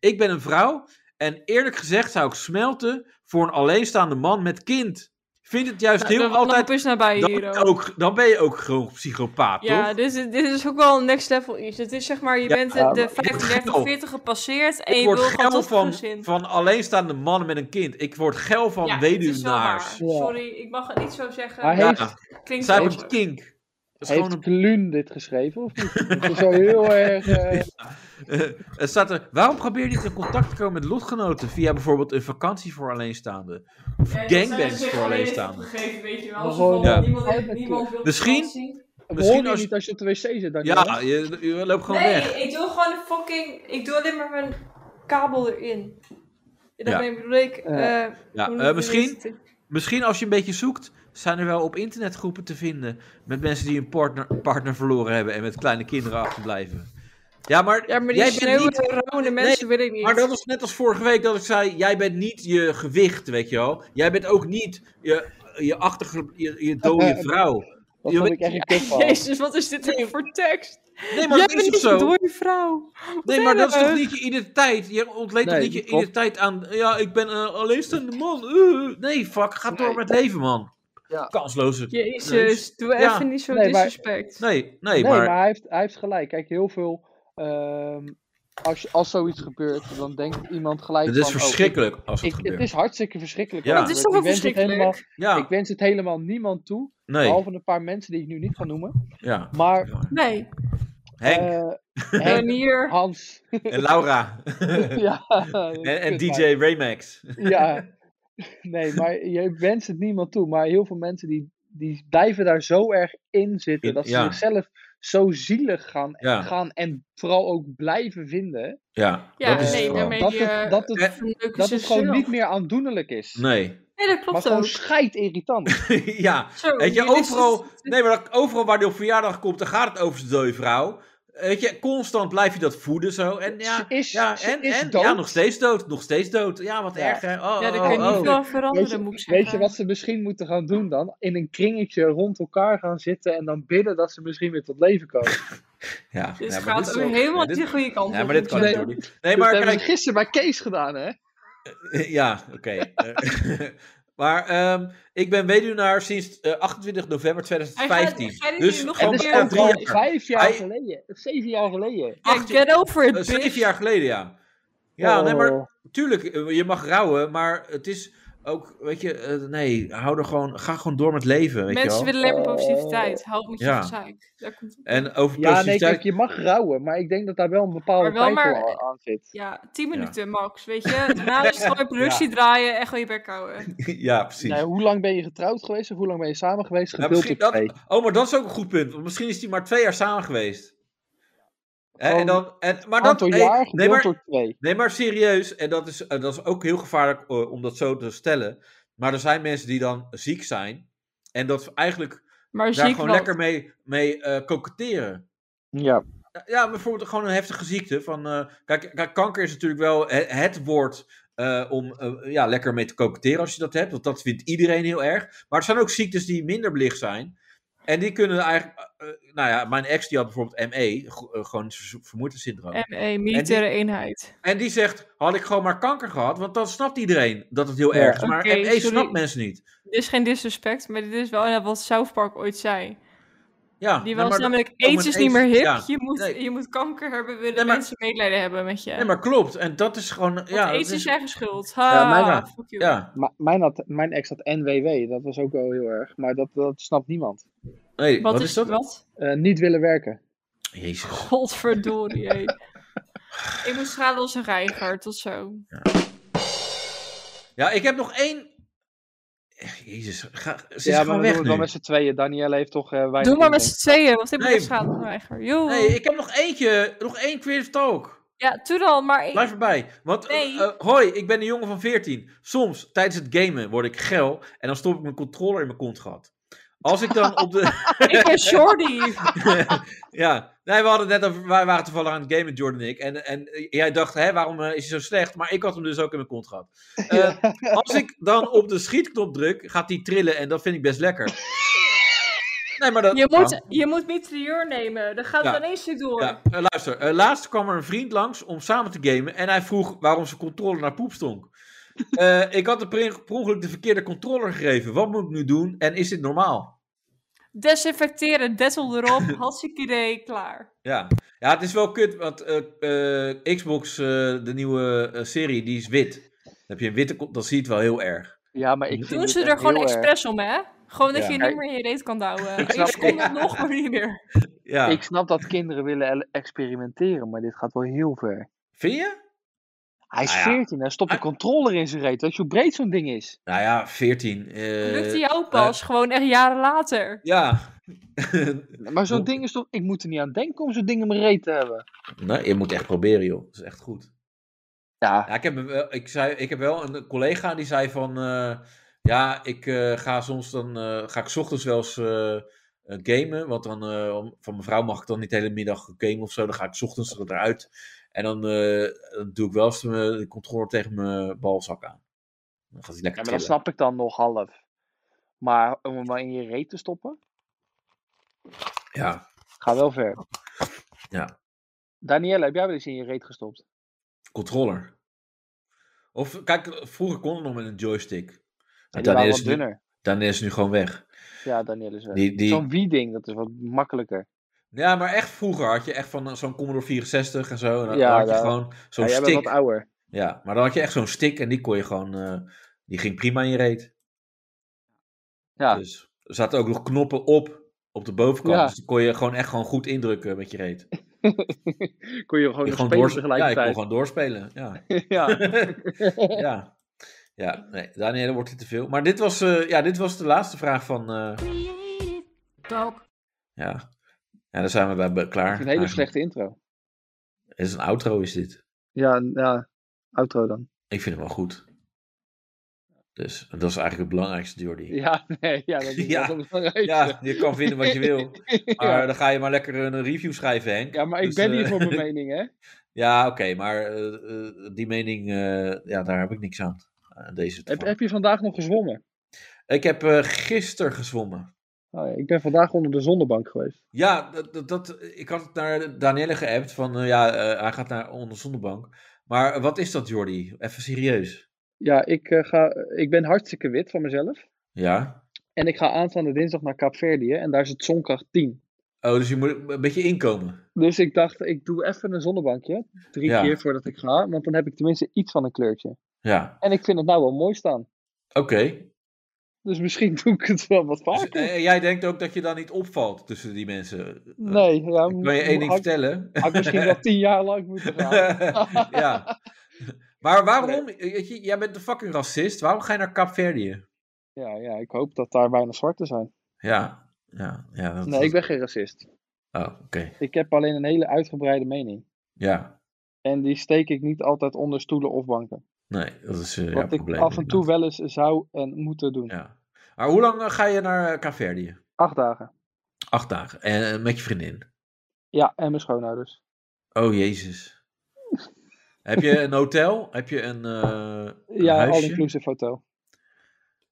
Speaker 2: Ik ben een vrouw en eerlijk gezegd zou ik smelten voor een alleenstaande man met kind. Vind het juist
Speaker 3: Nou,
Speaker 2: heel
Speaker 3: de wanhoop
Speaker 2: altijd.
Speaker 3: is nabij
Speaker 2: Dan,
Speaker 3: hier ook.
Speaker 2: ook, dan ben je ook gewoon psychopaat,
Speaker 3: Ja,
Speaker 2: toch?
Speaker 3: dit is, dit is ook wel een next level iets. Het is zeg maar, je
Speaker 2: Ja,
Speaker 3: bent
Speaker 4: maar
Speaker 3: de, de
Speaker 4: ik
Speaker 3: 15,
Speaker 2: word
Speaker 3: 30,
Speaker 2: geil.
Speaker 3: 40 gepasseerd en
Speaker 2: Ik
Speaker 3: je
Speaker 2: word
Speaker 3: wil gewoon
Speaker 2: geil
Speaker 3: tot
Speaker 2: van,
Speaker 3: gezin.
Speaker 2: van alleenstaande mannen met een kind. Ik word geil van
Speaker 3: ja, het is wel
Speaker 2: weduwnaars.
Speaker 3: waar.
Speaker 4: Ja.
Speaker 3: Sorry, ik mag het niet zo zeggen.
Speaker 4: Maar
Speaker 3: maar
Speaker 2: Ja,
Speaker 4: heeft-
Speaker 2: zij
Speaker 3: het klinkt zo.
Speaker 2: hebben het kink. Dat is gewoon
Speaker 4: Heeft
Speaker 2: een
Speaker 4: Kluun dit geschreven of niet? Het is zo heel erg... eh,
Speaker 2: Eh, er staat er, waarom probeer je niet in contact te komen met lotgenoten via bijvoorbeeld een vakantie voor alleenstaanden? Of gangbangs voor alleenstaanden?
Speaker 3: weet je
Speaker 4: wel. Zo van, Ja. niemand-
Speaker 3: Niemand,
Speaker 4: niemand
Speaker 3: wil
Speaker 2: Misschien-
Speaker 4: We
Speaker 2: Misschien
Speaker 4: horen je
Speaker 2: als-
Speaker 4: niet als je op de wc zit, dan
Speaker 2: Ja, je, je loopt gewoon
Speaker 3: Nee,
Speaker 2: weg.
Speaker 3: ik doe gewoon een fucking... Ik doe alleen maar mijn kabel erin. Ja,
Speaker 2: Ja.
Speaker 3: Dat bedoel ik...
Speaker 4: Ja.
Speaker 3: eh,
Speaker 2: Ja,
Speaker 3: hoe
Speaker 2: eh,
Speaker 3: noem je
Speaker 2: misschien,
Speaker 3: dit?
Speaker 2: misschien als je een beetje zoekt, zijn er wel op internetgroepen te vinden met mensen die een partner, partner verloren hebben en met kleine kinderen achterblijven. Ja, maar,
Speaker 3: Ja, maar die
Speaker 2: jij bent niet...
Speaker 3: sneeuwende, rode mensen wil ik niet.
Speaker 2: Maar dat was net als vorige week dat ik zei, jij bent niet je gewicht, weet je wel. Jij bent ook niet je, je, achterge, je, je dode vrouw.
Speaker 4: Dat
Speaker 2: Je
Speaker 4: vond
Speaker 2: weet-
Speaker 4: ik echt een kut van.
Speaker 3: Jezus, wat is dit nou voor tekst?
Speaker 2: Nee, maar
Speaker 3: Jij
Speaker 2: dat
Speaker 3: bent
Speaker 2: is
Speaker 3: niet
Speaker 2: toch
Speaker 3: een
Speaker 2: zo?
Speaker 3: dode vrouw.
Speaker 2: Nee, maar dat is toch
Speaker 3: erg.
Speaker 2: niet je identiteit? Je ontleent
Speaker 4: Nee,
Speaker 2: toch niet je
Speaker 4: dat klopt.
Speaker 2: identiteit aan... Ja, ik ben eh, alleenstaande man. eh. nee, fuck. Ga door met leven, man.
Speaker 4: Ja.
Speaker 2: Kansloze.
Speaker 3: Jezus, doe
Speaker 2: Ja.
Speaker 3: even niet zo
Speaker 4: Nee, maar-
Speaker 3: disrespect.
Speaker 2: Nee, nee,
Speaker 4: Nee, maar,
Speaker 2: maar...
Speaker 4: hij, heeft, hij heeft gelijk. Kijk, heel veel... ehm, als, je- als zoiets gebeurt, dan denkt iemand gelijk
Speaker 2: Het is
Speaker 4: van, oh, ik-
Speaker 2: verschrikkelijk als het
Speaker 4: Ik, het
Speaker 2: gebeurt.
Speaker 4: is hartstikke verschrikkelijk.
Speaker 2: Ja.
Speaker 4: wat er
Speaker 3: Het is toch
Speaker 4: gebeurt.
Speaker 3: wel
Speaker 4: Ik wens het
Speaker 3: verschrikkelijk?
Speaker 2: ja,
Speaker 4: helemaal- Ik wens het helemaal niemand toe.
Speaker 2: nee.
Speaker 4: Behalve Eh, een paar mensen die ik nu niet ga noemen.
Speaker 2: Ja.
Speaker 4: Maar
Speaker 3: Nee,
Speaker 2: Henk
Speaker 4: eh,
Speaker 3: en
Speaker 4: Henk,
Speaker 3: hier...
Speaker 4: Hans.
Speaker 2: en Laura.
Speaker 4: ja,
Speaker 2: en, en
Speaker 4: kut,
Speaker 2: DJ
Speaker 4: maar-
Speaker 2: Raymax.
Speaker 4: Ja. Nee, maar je wenst het niemand toe. Maar heel veel mensen die, die blijven daar zo erg in zitten.
Speaker 2: In-
Speaker 4: dat ze
Speaker 2: ja.
Speaker 4: zichzelf zo zielig gaan,
Speaker 2: Ja.
Speaker 4: gaan. En vooral ook blijven vinden.
Speaker 2: Ja,
Speaker 3: Ja,
Speaker 2: dat is
Speaker 3: nee,
Speaker 2: het gewoon.
Speaker 3: daarmee
Speaker 4: Dat
Speaker 3: eh,
Speaker 4: het, dat het,
Speaker 2: eh,
Speaker 3: verneuken
Speaker 4: dat
Speaker 3: ze
Speaker 4: het gewoon
Speaker 3: zichzelf.
Speaker 4: niet meer aandoenlijk is.
Speaker 2: Nee.
Speaker 3: Nee, dat
Speaker 4: maar
Speaker 3: klopt
Speaker 4: gewoon
Speaker 3: ook.
Speaker 4: scheid irritant.
Speaker 2: ja,
Speaker 3: Zo,
Speaker 2: Weet je,
Speaker 3: hier is
Speaker 2: overal,
Speaker 3: het-
Speaker 2: nee, maar dat- overal waar die op verjaardag komt, dan gaat het over zijn dode vrouw. Weet je, constant blijf je dat voeden zo. En
Speaker 4: Ze
Speaker 2: ja,
Speaker 4: is,
Speaker 2: ja,
Speaker 4: ze
Speaker 2: en,
Speaker 4: is
Speaker 2: en
Speaker 4: dood.
Speaker 2: ja, nog steeds dood, nog steeds dood. Ja, wat
Speaker 4: Ja.
Speaker 2: erg hè. Oh,
Speaker 3: Ja, daar
Speaker 2: oh,
Speaker 3: kun je
Speaker 2: oh.
Speaker 3: niet dus veel aan
Speaker 4: Weet je,
Speaker 3: veranderen, moet ik zeggen.
Speaker 4: weet je wat ze misschien moeten gaan doen dan? In een kringetje rond elkaar gaan zitten en dan bidden dat ze misschien weer tot leven komen.
Speaker 2: Ja,
Speaker 3: Dit
Speaker 2: ja, maar
Speaker 3: gaat
Speaker 2: dit
Speaker 3: ook
Speaker 2: is wel-
Speaker 3: helemaal
Speaker 2: dit-
Speaker 3: de goede kant
Speaker 2: Ja,
Speaker 3: op,
Speaker 2: maar dit kan
Speaker 3: moet
Speaker 2: niet,
Speaker 3: ik
Speaker 2: Jordi.
Speaker 3: zeggen.
Speaker 2: Nee,
Speaker 4: dat
Speaker 2: maar
Speaker 4: Dus hebben
Speaker 2: kijk,
Speaker 4: we gisteren bij Kees gedaan, hè?
Speaker 2: Ja, oké. Eh, maar ehm, ik ben weduwnaar sinds eh, 28 november
Speaker 3: Hij
Speaker 2: 2015.
Speaker 3: gaat- hij gaat
Speaker 2: dus
Speaker 3: hier nog
Speaker 2: al
Speaker 3: een
Speaker 4: Het
Speaker 3: keer
Speaker 4: is
Speaker 2: bijna
Speaker 4: ook
Speaker 2: drie
Speaker 4: al
Speaker 2: jaar.
Speaker 4: vijf jaar
Speaker 2: Hij-
Speaker 4: geleden, of zeven jaar geleden.
Speaker 3: Ja, get over
Speaker 2: Eh,
Speaker 3: it, bitch.
Speaker 2: zeven jaar geleden, ja. Ja, nee, maar
Speaker 4: Oh,
Speaker 2: Tuurlijk, eh, je mag rouwen, maar het is ook, weet je, eh, nee, hou er gewoon, ga gewoon door met leven, weet
Speaker 3: Mensen
Speaker 2: je wel.
Speaker 3: willen alleen maar
Speaker 4: Oh.
Speaker 3: positiviteit. Hou op met
Speaker 2: Ja.
Speaker 3: je gezeik. Daar komt het op.
Speaker 2: En over
Speaker 4: Ja, nee,
Speaker 2: positiviteit,
Speaker 4: kijk, je mag rouwen, maar ik denk dat daar wel een bepaalde
Speaker 3: Maar wel
Speaker 4: tijd
Speaker 3: maar-
Speaker 4: voor aan zit.
Speaker 3: Ja, 10 minuten max, weet je. Daarna is het gewoon productie draaien en gewoon je bek houden.
Speaker 2: ja, precies.
Speaker 4: Nee, hoe lang ben je getrouwd geweest of hoe lang ben je samen geweest?
Speaker 2: Nou,
Speaker 4: Gedeeld
Speaker 2: misschien
Speaker 4: door
Speaker 2: dat,
Speaker 4: twee.
Speaker 2: oh, maar dat is ook een goed punt, want misschien is hij maar twee jaar samen geweest. Hè, en
Speaker 4: Gewoon
Speaker 2: dan, en, maar dat,
Speaker 4: Aantal
Speaker 2: nee,
Speaker 4: jaar
Speaker 2: nee,
Speaker 4: gedeeld
Speaker 2: maar,
Speaker 4: door twee.
Speaker 2: nee, maar serieus, en dat is, eh, dat is ook heel gevaarlijk eh, om dat zo te stellen, maar er zijn mensen die dan ziek zijn en dat eigenlijk
Speaker 3: Maar
Speaker 2: Daar
Speaker 3: ziek
Speaker 2: gewoon
Speaker 3: wat.
Speaker 2: lekker mee, mee eh koketteren.
Speaker 4: Ja,
Speaker 2: Ja, bijvoorbeeld gewoon een heftige ziekte. Van, eh, kijk, kijk, kanker is natuurlijk wel he- het woord eh, om eh, ja, lekker mee te koketteren als je dat hebt. Want dat vindt iedereen heel erg. Maar er zijn ook ziektes die minder belicht zijn. En die kunnen eigenlijk... eh, eh, nou ja, mijn ex die had bijvoorbeeld ME. go- eh, gewoon ver- vermoeidheidssyndroom.
Speaker 3: ME, E, militaire eenheid.
Speaker 2: En die zegt, had ik gewoon maar kanker gehad. Want dan snapt iedereen dat het heel
Speaker 4: Ja.
Speaker 2: erg is. Maar
Speaker 3: Oké,
Speaker 2: ME
Speaker 3: sorry.
Speaker 2: snapt mensen niet.
Speaker 3: Dit is geen disrespect, maar dit is wel inderdaad wat South Park ooit zei.
Speaker 2: Ja,
Speaker 3: Die
Speaker 2: nee,
Speaker 3: was
Speaker 2: maar dat-
Speaker 3: namelijk,
Speaker 2: een
Speaker 3: aids is niet meer
Speaker 2: AIDS-
Speaker 3: hip,
Speaker 2: ja,
Speaker 3: je, moet,
Speaker 2: nee.
Speaker 3: je moet kanker hebben, willen
Speaker 2: maar-
Speaker 3: mensen medelijden hebben met je.
Speaker 2: Nee, maar klopt. En dat is gewoon...
Speaker 3: Want
Speaker 2: ja, dat
Speaker 3: aids is,
Speaker 2: is-
Speaker 3: eigen schuld.
Speaker 2: Ja,
Speaker 3: Ha,
Speaker 2: mijn raad.
Speaker 3: fuck you.
Speaker 2: ja,
Speaker 4: maar mijn, had, mijn ex had NWW, dat was ook wel heel erg. Maar dat, dat snapt niemand.
Speaker 2: nee,
Speaker 3: Wat,
Speaker 2: wat, is dat?
Speaker 3: Wat?
Speaker 4: Eh, niet willen werken.
Speaker 2: Jezus.
Speaker 3: Godverdorie. hé. ik moet stralen als een reiger, tot zo.
Speaker 2: Ja, ik heb nog één. Jezus, ga, ze is
Speaker 4: ja, maar
Speaker 2: gewoon
Speaker 4: we doen
Speaker 2: weg
Speaker 4: het
Speaker 2: nu.
Speaker 4: wel met z'n tweeën. Danielle heeft toch eh, wij. weinig
Speaker 3: Doe maar met
Speaker 4: inbreng.
Speaker 3: z'n tweeën, want ik ben
Speaker 2: Nee.
Speaker 3: een stralen als een reiger. Yo.
Speaker 2: Nee, ik heb nog eentje, nog één creative talk.
Speaker 3: Ja, doe dan, maar ik-
Speaker 2: Blijf erbij. Want, eh,
Speaker 3: Nee.
Speaker 2: eh, hoi, ik ben een jongen van 14. Soms, tijdens het gamen, word ik geil en dan stop ik mijn controller in mijn kont gehad. Als ik dan op de...
Speaker 3: ik ben shorty.
Speaker 2: ja, nee, we hadden het net over, wij waren toevallig aan het gamen, Jordan en ik. En, en jij dacht, hè, waarom eh, is hij zo slecht? Maar ik had hem dus ook in mijn kont gehad. Eh, Als ik dan op de schietknop druk, gaat die trillen en dat vind ik best lekker. Nee, maar dat...
Speaker 3: Je moet, je moet mitrailleur nemen, dan gaat
Speaker 2: Ja.
Speaker 3: het ineens stuk door.
Speaker 2: Ja, eh, luister. eh, laatst kwam er een vriend langs om samen te gamen en hij vroeg waarom zijn controller naar poep stonk. Eh, ik had de per per ongeluk de verkeerde controller gegeven. Wat moet ik nu doen en is dit normaal?
Speaker 3: Desinfecteren, dettel erop, hartstikke idee, klaar.
Speaker 2: Ja, ja het is wel kut, want eh, eh, Xbox, eh, de nieuwe eh, serie, die is wit. Dan heb je een witte, con- dat zie je het wel heel erg.
Speaker 4: Ja, maar ik vind
Speaker 3: Doen
Speaker 4: dit
Speaker 3: ze er
Speaker 4: echt
Speaker 3: gewoon
Speaker 4: heel erg.
Speaker 3: expres om, hè? Gewoon dat
Speaker 2: Ja.
Speaker 3: je je niet meer in je reet kan douwen.
Speaker 4: Ik
Speaker 3: Eén
Speaker 4: snap-
Speaker 3: seconde nog, maar niet meer.
Speaker 2: Ja,
Speaker 4: Ik snap dat kinderen willen el- experimenteren, maar dit gaat wel heel ver.
Speaker 2: vind je?
Speaker 4: Hij is
Speaker 2: Nou ja.
Speaker 4: 14, hij stopt een
Speaker 2: Hij-
Speaker 4: controller in zijn reet. Weet je hoe breed zo'n ding is?
Speaker 2: Nou ja, 14. eh,
Speaker 3: Lukt die jou pas, gewoon echt jaren later.
Speaker 2: Ja.
Speaker 4: Maar zo'n
Speaker 2: Hoe-
Speaker 4: ding is toch... Ik moet er niet aan denken om zo'n ding in mijn reet te hebben.
Speaker 2: nou, je moet echt proberen, joh. Dat is echt goed.
Speaker 4: Ja,
Speaker 2: Ja, ik, heb hem wel, ik, zei, ik heb wel een collega die zei van... eh, ja, ik eh, ga soms dan... eh, ga ik 's ochtends wel eens eh, eh, gamen. Want dan eh, om- van mijn vrouw mag ik dan niet de hele middag gamen of zo. Dan ga ik 's ochtends er- eruit. En dan, eh, dan doe ik wel eens mijn- de controller tegen mijn balzak aan. Dan gaat hij lekker
Speaker 4: maar dat
Speaker 2: trillen.
Speaker 4: snap ik dan nog half. Maar om hem maar in je reet te stoppen,
Speaker 2: Ja,
Speaker 4: gaat wel ver.
Speaker 2: Ja.
Speaker 4: Danielle, heb jij wel eens in je reet gestopt?
Speaker 2: controller. Of kijk, vroeger kon het nog met een joystick.
Speaker 4: En
Speaker 2: En
Speaker 4: die
Speaker 2: dan
Speaker 4: waren
Speaker 2: is,
Speaker 4: wat
Speaker 2: het nu,
Speaker 4: dunner.
Speaker 2: dan is het nu gewoon weg.
Speaker 4: Ja, Danielle is wel.
Speaker 2: Die, die,
Speaker 4: Zo'n Wii-ding, dat is wat makkelijker.
Speaker 2: Ja, maar echt vroeger had je echt van eh, zo'n Commodore 64 en zo. En dan
Speaker 4: Ja,
Speaker 2: had je
Speaker 4: ja.
Speaker 2: gewoon zo'n
Speaker 4: Ja, jij bent
Speaker 2: stick.
Speaker 4: wat ouder.
Speaker 2: Ja, maar dan had je echt zo'n stick en die kon je gewoon. eh, die ging prima in je reet.
Speaker 4: Ja.
Speaker 2: Dus er zaten ook nog knoppen op. Op de bovenkant.
Speaker 4: Ja.
Speaker 2: Dus die kon je gewoon echt gewoon goed indrukken met je reet. Je
Speaker 4: Kon je gewoon
Speaker 2: kon
Speaker 4: nog
Speaker 2: gewoon
Speaker 4: spelen
Speaker 2: doors- ja, je kon
Speaker 4: tegelijkertijd.
Speaker 2: gewoon doorspelen. Ja.
Speaker 4: ja.
Speaker 2: ja. Ja, nee, Daniel, dan wordt het te veel. Maar dit was, eh, ja, dit was de laatste vraag van. eh, ja. ja, daar zijn we bij be- klaar.
Speaker 4: Een hele
Speaker 2: eigenlijk.
Speaker 4: slechte intro.
Speaker 2: Het is een outro, is dit.
Speaker 4: Ja, ja, outro dan.
Speaker 2: Ik vind hem wel goed. Dus dat is eigenlijk het belangrijkste, Jordi.
Speaker 4: Ja, nee, ja, dat is
Speaker 2: Ja.
Speaker 4: wel belangrijk.
Speaker 2: Ja, je kan vinden wat je wil. Maar
Speaker 4: ja.
Speaker 2: dan ga je maar lekker een review schrijven, Henk.
Speaker 4: Ja, maar ik
Speaker 2: Dus,
Speaker 4: ben
Speaker 2: eh,
Speaker 4: hier voor mijn mening, hè?
Speaker 2: Ja, oké, maar eh, eh, die mening, eh, ja, daar heb ik niks aan. aan deze
Speaker 4: Heb,
Speaker 2: heb,
Speaker 4: heb je vandaag nog gezwommen?
Speaker 2: Ik heb eh gisteren gezwommen.
Speaker 4: Oh, ja, ik ben vandaag onder de zonnebank geweest.
Speaker 2: Ja, dat, dat, dat- ik had het naar Danielle geappt van, eh, ja, eh, hij gaat naar onder zonnebank. Maar eh, wat is dat, Jordi? Even serieus.
Speaker 4: Ja, ik, eh, ga, ik ben hartstikke wit van mezelf.
Speaker 2: Ja?
Speaker 4: En ik ga aanstaande dinsdag naar Kaapverdië en daar is het zonkracht 10.
Speaker 2: Oh, dus je moet een beetje inkomen.
Speaker 4: Dus ik dacht, ik doe even een zonnebankje. Drie
Speaker 2: Ja.
Speaker 4: keer voordat ik ga, want dan heb ik tenminste iets van een kleurtje.
Speaker 2: Ja,
Speaker 4: En ik vind het nou wel mooi staan.
Speaker 2: oké.
Speaker 4: Dus misschien doe ik het wel wat
Speaker 2: Dus,
Speaker 4: vaker.
Speaker 2: eh, jij denkt ook dat je dan niet opvalt tussen die mensen.
Speaker 4: Nee, ja,
Speaker 2: Ik wil je één ding
Speaker 4: had,
Speaker 2: vertellen.
Speaker 4: had ik misschien wel tien jaar lang moeten gaan.
Speaker 2: ja. Maar waarom? weet je, Jij bent een fucking racist. Waarom ga je naar Kaapverdië?
Speaker 4: Ja, ja, ik hoop dat daar weinig zwarte zijn.
Speaker 2: Ja. Ja. ja dat-
Speaker 4: Nee, ik ben geen racist.
Speaker 2: Oh, oké.
Speaker 4: Ik heb alleen een hele uitgebreide mening.
Speaker 2: Ja.
Speaker 4: En die steek ik niet altijd onder stoelen of banken.
Speaker 2: Nee, dat is eh, jouw
Speaker 4: Wat ik
Speaker 2: probleem.
Speaker 4: af en toe
Speaker 2: inderdaad.
Speaker 4: wel eens zou en moeten doen.
Speaker 2: Ja. Maar hoe lang eh, ga je naar eh, Kaapverdië?
Speaker 4: Acht dagen.
Speaker 2: Acht dagen. En eh, met je vriendin.
Speaker 4: Ja, en mijn schoonouders.
Speaker 2: Oh, jezus. Heb je een hotel? Heb je een, eh, een
Speaker 4: Ja,
Speaker 2: huisje?
Speaker 4: all-inclusive hotel.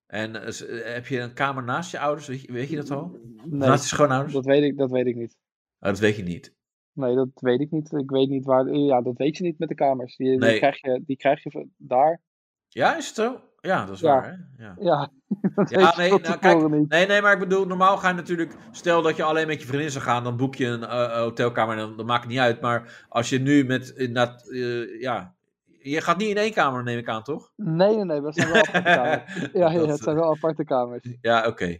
Speaker 2: En eh, s- eh, heb je een kamer naast je ouders? Weet je, weet je dat al?
Speaker 4: Nee,
Speaker 2: Naast je schoonouders?
Speaker 4: dat weet, ik, dat weet ik niet.
Speaker 2: Oh, dat weet je niet.
Speaker 4: Nee, dat weet ik niet. Ik weet niet waar. Ja, dat weet je niet met de kamers. Die, die,
Speaker 2: Nee.
Speaker 4: krijg, je, die krijg je van- daar.
Speaker 2: Ja, is het zo? Ja, dat is
Speaker 4: Ja.
Speaker 2: waar, hè? Ja.
Speaker 4: Ja, dat
Speaker 2: Ja,
Speaker 4: weet je
Speaker 2: nee,
Speaker 4: van
Speaker 2: nou, kijk,
Speaker 4: tevoren niet.
Speaker 2: Nee, nee, maar ik bedoel, normaal ga je natuurlijk... Stel dat je alleen met je vriendin zou gaan, dan boek je een eh, hotelkamer en dan, dan maakt het niet uit. Maar als je nu met, inderdaad, eh, ja... Je gaat niet in één kamer, neem ik aan, toch?
Speaker 4: Nee, nee, nee, dat zijn wel aparte kamers. Ja, ja,
Speaker 2: Dat, eh,
Speaker 4: het zijn wel aparte kamers.
Speaker 2: Ja, oké.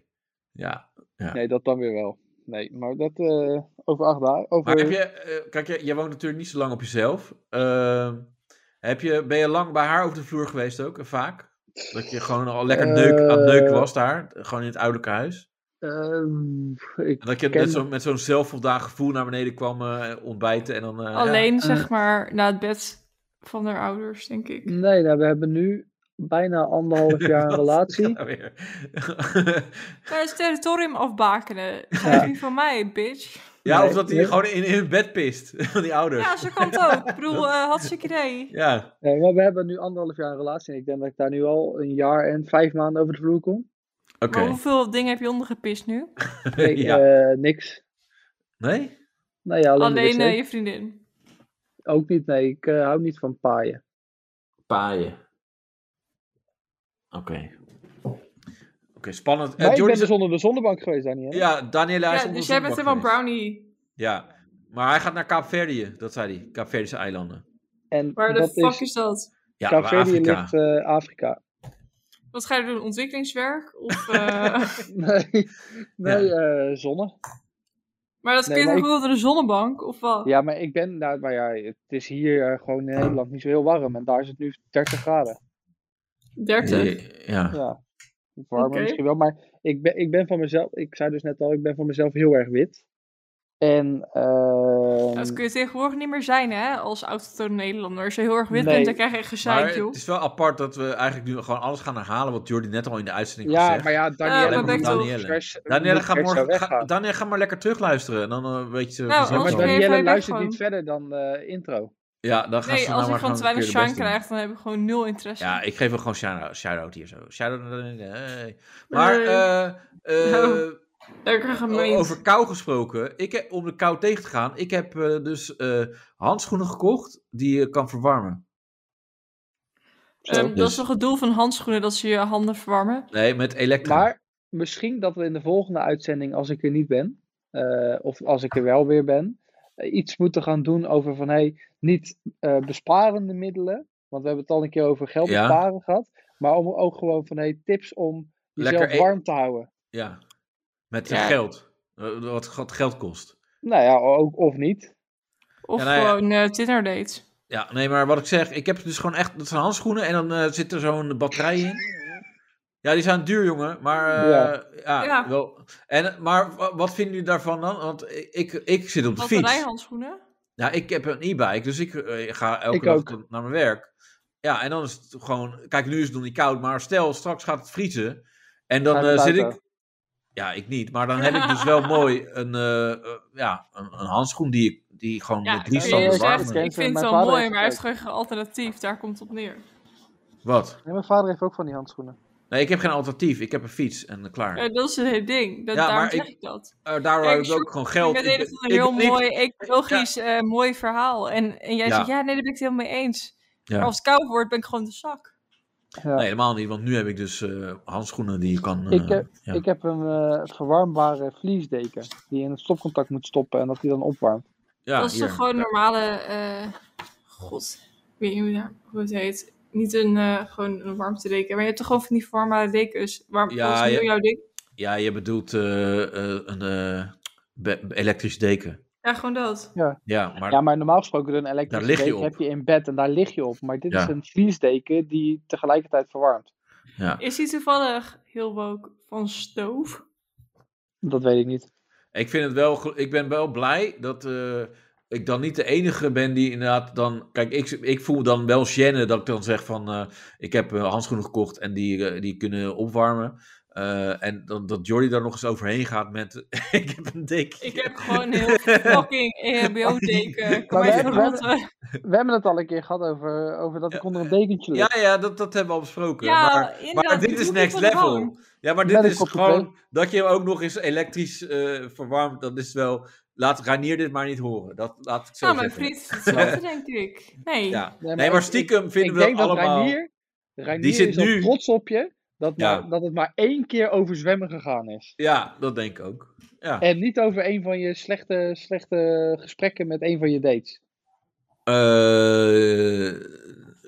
Speaker 2: Ja.
Speaker 4: Nee, dat dan weer wel. Nee, maar dat eh, over acht dagen. Over...
Speaker 2: Maar heb je... eh, kijk, je, je woont natuurlijk niet zo lang op jezelf. Ehm, heb je, ben je lang bij haar over de vloer geweest ook, en vaak? Dat je gewoon al lekker neuk, aan het neuken was daar, gewoon in het ouderlijk huis?
Speaker 4: Ehm, ik
Speaker 2: En dat je
Speaker 4: Ken-
Speaker 2: met zo'n met zo'n zelfvoldaan gevoel naar beneden kwam eh, ontbijten en dan... eh,
Speaker 3: Alleen, zeg maar, na het bed van haar ouders, denk ik.
Speaker 4: Nee, nou, we hebben nu bijna anderhalf jaar een
Speaker 2: Wat?
Speaker 4: relatie.
Speaker 2: Ja, weer.
Speaker 3: Maar het territorium afbakenen. Ga
Speaker 4: Ja.
Speaker 3: je nu van mij, bitch?
Speaker 2: ja,
Speaker 4: Nee,
Speaker 2: of dat hij
Speaker 4: nee.
Speaker 2: gewoon in, in hun bed pist, van die ouders.
Speaker 3: Ja,
Speaker 2: Ja.
Speaker 3: zo kan het ook. Ik bedoel, eh hartstikke idee.
Speaker 4: Nee, maar we hebben nu anderhalf jaar een relatie. En ik denk dat ik daar nu al een jaar en vijf maanden over de vloer kom.
Speaker 2: oké.
Speaker 3: Maar hoeveel dingen heb je ondergepist nu?
Speaker 4: Oh. Nee,
Speaker 2: Ja.
Speaker 4: eh, niks.
Speaker 2: Nee?
Speaker 4: Nou ja, alleen, de
Speaker 3: Alleen
Speaker 4: wc.
Speaker 3: eh, je vriendin.
Speaker 4: Ook niet, nee. Ik eh, hou niet van paaien.
Speaker 2: Paaien. Oké. Oké, spannend. Eh,
Speaker 4: Maar ik
Speaker 2: Jordi
Speaker 4: ben
Speaker 2: is-
Speaker 4: dus onder de zonnebank geweest, Daniel.
Speaker 2: Ja, Daniela is
Speaker 3: Ja,
Speaker 2: onder
Speaker 3: dus
Speaker 2: de
Speaker 3: jij bent
Speaker 2: zonnebank
Speaker 3: helemaal brownie.
Speaker 2: geweest. Ja, maar hij gaat naar Kaapverdië, dat zei hij. Kaapverdische eilanden.
Speaker 4: En
Speaker 3: Waar de
Speaker 4: dat
Speaker 3: fuck
Speaker 4: is...
Speaker 3: is dat?
Speaker 2: Ja, maar
Speaker 4: Kaapverdië
Speaker 2: Afrika.
Speaker 4: ligt eh, Afrika.
Speaker 3: Wat ga je doen? Ontwikkelingswerk? Of, eh,
Speaker 4: Nee, nee eh, zonne.
Speaker 3: maar dat
Speaker 4: Nee,
Speaker 3: kun je
Speaker 4: maar
Speaker 3: toch
Speaker 4: ik-
Speaker 3: gewoon door de zonnebank? Of wat?
Speaker 4: Ja, maar ik ben, nou, maar ja, het is hier eh, gewoon in Nederland niet zo heel warm. En daar is het nu 30 graden.
Speaker 3: 30.
Speaker 2: Ja.
Speaker 4: Ja, het warmer
Speaker 3: Oké.
Speaker 4: misschien wel. Maar ik ben, ik ben van mezelf, ik zei dus net al, ik ben van mezelf heel erg wit. En, ehm,
Speaker 3: Dat kun je tegenwoordig niet meer zijn, hè? Als autochtone Nederlander. Als je heel erg wit
Speaker 4: Nee.
Speaker 3: bent, dan krijg je echt gezeik,
Speaker 2: Maar
Speaker 3: joh.
Speaker 2: het is wel apart dat we eigenlijk nu gewoon alles gaan herhalen wat Jordi net al in de uitzending
Speaker 4: ja,
Speaker 2: gezegd.
Speaker 4: maar ja,
Speaker 3: maar
Speaker 4: Danielle
Speaker 3: dat
Speaker 4: moet
Speaker 3: ik toch-
Speaker 4: moet vers-
Speaker 2: Danielle,
Speaker 4: moet
Speaker 2: ga
Speaker 4: vers zo
Speaker 2: morgen,
Speaker 4: weggaan.
Speaker 2: ga, Danielle, ga maar lekker terugluisteren. En dan eh, weet je...
Speaker 3: Nou,
Speaker 2: vanzelf
Speaker 4: Ja, maar
Speaker 3: Als
Speaker 2: wel.
Speaker 3: we even
Speaker 4: Danielle
Speaker 3: weg
Speaker 4: luistert
Speaker 3: gewoon.
Speaker 4: niet verder dan eh, intro.
Speaker 2: ja, dan gaan ze
Speaker 3: Nee,
Speaker 2: nou
Speaker 3: als
Speaker 2: maar
Speaker 3: ik gewoon
Speaker 2: gewoon
Speaker 3: te weinig
Speaker 2: een keer de
Speaker 3: shine
Speaker 2: best doen.
Speaker 3: krijg, dan heb ik gewoon nul interesse.
Speaker 2: Ja, ik geef hem gewoon shout-out shout-out hier zo. Shout-out naar Danielle. Hey. Maar
Speaker 3: Nee.
Speaker 2: eh, eh,
Speaker 3: Nou, Lekker gemeend.
Speaker 2: over kou gesproken. Ik heb, om de kou tegen te gaan, ik heb eh, dus eh, handschoenen gekocht die je kan verwarmen.
Speaker 3: Ehm,
Speaker 2: dus.
Speaker 3: Dat is toch het doel van handschoenen, dat ze je handen verwarmen?
Speaker 2: Nee, met elektra.
Speaker 4: Maar misschien dat we in de volgende uitzending, als ik er niet ben, eh, of als ik er wel weer ben, eh, iets moeten gaan doen over van hey, niet eh, besparende middelen, want we hebben het al een keer over geld
Speaker 2: Ja.
Speaker 4: besparen gehad, maar om ook gewoon van hey, tips om jezelf
Speaker 2: Lekker e-
Speaker 4: warm te houden.
Speaker 2: Ja, met eh,
Speaker 3: Ja.
Speaker 2: geld. Eh, wat, wat geld kost.
Speaker 4: Nou ja, ook of niet.
Speaker 3: Of
Speaker 2: Ja, nou ja.
Speaker 3: gewoon eh Tinder dates?
Speaker 2: Ja, nee, maar wat ik zeg, ik heb dus gewoon echt, dat zijn handschoenen en dan eh, zit er zo'n batterij in. Ja, die zijn duur, jongen, maar eh,
Speaker 4: Ja.
Speaker 2: ja,
Speaker 3: Ja.
Speaker 2: wel. En, maar wa- wat vinden jullie daarvan dan? Want ik, ik, ik zit op de fiets.
Speaker 3: Batterijhandschoenen?
Speaker 2: Ja, Nou, ik heb een e-bike, dus ik eh, ga elke
Speaker 4: Ik
Speaker 2: dag
Speaker 4: ook.
Speaker 2: naar mijn werk. Ja, en dan is het gewoon, kijk, nu is het nog niet koud, maar stel, straks gaat het vriezen. En dan
Speaker 4: Ga je met
Speaker 2: eh,
Speaker 4: de
Speaker 2: zit
Speaker 4: auto?
Speaker 2: ik, ja, ik niet, maar dan heb ik dus wel mooi een, eh, eh, ja, een, een handschoen die, ik- die gewoon
Speaker 3: Ja,
Speaker 2: met drie
Speaker 4: ik
Speaker 3: kun je
Speaker 2: standen
Speaker 4: standaard
Speaker 3: zegt,
Speaker 2: warm
Speaker 4: warmen.
Speaker 3: ik vind
Speaker 4: Mijn
Speaker 3: het wel
Speaker 4: vader
Speaker 3: mooi,
Speaker 4: heeft
Speaker 3: maar
Speaker 4: het
Speaker 3: hij heeft geen alternatief. Daar komt het op neer.
Speaker 2: Wat?
Speaker 4: En mijn vader heeft ook van die handschoenen.
Speaker 2: Nee, ik heb geen alternatief. Ik heb een fiets en eh, klaar.
Speaker 3: Ja, dat is het hele ding. Dat,
Speaker 2: Ja,
Speaker 3: daarom
Speaker 2: maar
Speaker 3: zeg
Speaker 2: ik-
Speaker 3: ik dat.
Speaker 2: Eh, daardoor heb
Speaker 3: Kijk,
Speaker 2: ik ook
Speaker 3: Sjoerd,
Speaker 2: gewoon
Speaker 3: Ik
Speaker 2: geld.
Speaker 3: vind het
Speaker 2: ben-
Speaker 3: een heel
Speaker 2: ben niet-
Speaker 3: mooi, ecologisch eh, mooi verhaal. En, en jij
Speaker 2: Ja.
Speaker 3: zegt, ja, nee, daar ben ik het helemaal mee eens.
Speaker 2: Ja.
Speaker 3: Maar als het koud wordt, ben ik gewoon de zak.
Speaker 4: Ja.
Speaker 2: Nee, helemaal niet. Want nu heb ik dus eh, handschoenen die je kan... eh,
Speaker 4: Ik heb,
Speaker 2: ja.
Speaker 4: ik heb een eh, verwarmbare vliesdeken die je in het stopcontact moet stoppen en dat die dan opwarmt.
Speaker 2: ja,
Speaker 3: dat is
Speaker 2: hier.
Speaker 3: toch gewoon normale... eh, God, ik weet niet hoe, dat- hoe het heet. Niet een, eh, gewoon een warmtedeken. Maar je hebt toch gewoon van die formale dekens. Waar,
Speaker 2: Ja,
Speaker 3: ja,
Speaker 2: ja.
Speaker 3: jouw deken?
Speaker 2: Ja, je bedoelt eh, eh, een eh, be- elektrisch deken.
Speaker 3: Ja, gewoon dat.
Speaker 2: Ja, maar...
Speaker 4: Ja, maar normaal gesproken een elektrische
Speaker 2: lig je
Speaker 4: deken
Speaker 2: op.
Speaker 4: heb je in bed en daar lig je op. Maar dit
Speaker 2: Ja.
Speaker 4: is een vliesdeken die tegelijkertijd verwarmt.
Speaker 2: ja.
Speaker 3: Is die toevallig heel woke van stoof?
Speaker 4: Dat weet ik niet.
Speaker 2: Ik vind het wel... gel- Ik ben wel blij dat... eh, ik dan niet de enige ben die inderdaad dan... Kijk, ik, ik voel dan wel gêne dat ik dan zeg van... eh, ik heb eh, handschoenen gekocht en die, eh, die kunnen opwarmen. Eh, Eh, en dan, dat Jordi daar nog eens overheen gaat met... ik heb een dik.
Speaker 3: Ik heb gewoon een heel fucking EHBO-deken. Kom
Speaker 4: Maar
Speaker 3: maar
Speaker 4: we-
Speaker 3: even rotten.
Speaker 4: We hebben het al een keer gehad over, over dat ik onder een dekentje lig.
Speaker 2: Ja, ja, dat, dat hebben we al besproken.
Speaker 3: Ja,
Speaker 2: maar,
Speaker 3: inderdaad,
Speaker 2: maar dit
Speaker 3: die
Speaker 2: is
Speaker 3: doe ik
Speaker 2: next
Speaker 3: van de
Speaker 2: level.
Speaker 3: boom.
Speaker 2: Ja, maar dit
Speaker 4: Met een
Speaker 2: is
Speaker 4: kopje
Speaker 2: gewoon dat je hem ook nog eens elektrisch eh, verwarmt. Dat is wel. Laat Ranier dit maar niet horen. Dat laat ik zo
Speaker 3: Nou, mijn
Speaker 2: zeggen.
Speaker 3: vriend is hetzelfde, denk ik. Nee.
Speaker 2: Ja. Nee,
Speaker 4: maar
Speaker 2: maar,
Speaker 4: ik-
Speaker 2: stiekem vinden
Speaker 4: ik
Speaker 2: we dat
Speaker 4: denk dat
Speaker 2: allemaal.
Speaker 4: Reinier, Reinier
Speaker 2: Die zit
Speaker 4: is al
Speaker 2: nu-
Speaker 4: trots op je dat,
Speaker 2: Ja.
Speaker 4: maar, dat het maar één keer over zwemmen gegaan is.
Speaker 2: Ja, dat denk ik ook. Ja.
Speaker 4: En niet over een van je slechte, slechte gesprekken met een van je dates.
Speaker 2: Eh,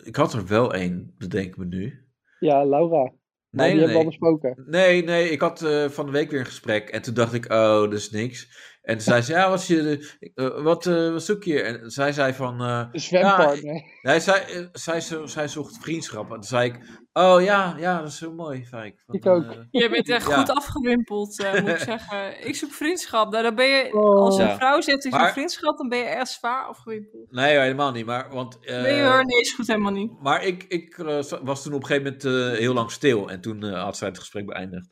Speaker 2: ik had er wel één, bedenk ik me nu.
Speaker 4: Ja, Laura. Maar
Speaker 2: Nee,
Speaker 4: die hebben we
Speaker 2: nee.
Speaker 4: al besproken.
Speaker 2: Nee, nee, ik had eh, van de week weer een gesprek en toen dacht ik, oh, dat is niks. En toen zei ze, ja, wat, is je, eh, wat, eh, wat zoek je? En zij zei van, eh,
Speaker 4: Een zwempartner.
Speaker 2: Nee, zij, eh, zij, zo- zij zocht vriendschap. En toen zei ik, oh ja, ja dat is heel mooi. Zei ik, Van,
Speaker 4: Ik ook.
Speaker 2: eh,
Speaker 3: Je bent echt
Speaker 2: Ja.
Speaker 3: goed afgewimpeld, eh, moet ik zeggen. Ik zoek vriendschap. Nou, dan ben je,
Speaker 4: Oh.
Speaker 3: als een
Speaker 2: Ja.
Speaker 3: vrouw zegt ik zoek
Speaker 2: Maar-
Speaker 3: vriendschap, dan ben je echt zwaar afgewimpeld.
Speaker 2: nee, helemaal niet. Maar, want, eh,
Speaker 3: nee hoor, nee, is goed helemaal niet.
Speaker 2: maar ik, ik eh, za- was toen op een gegeven moment eh, heel lang stil. En toen eh, had zij het gesprek beëindigd.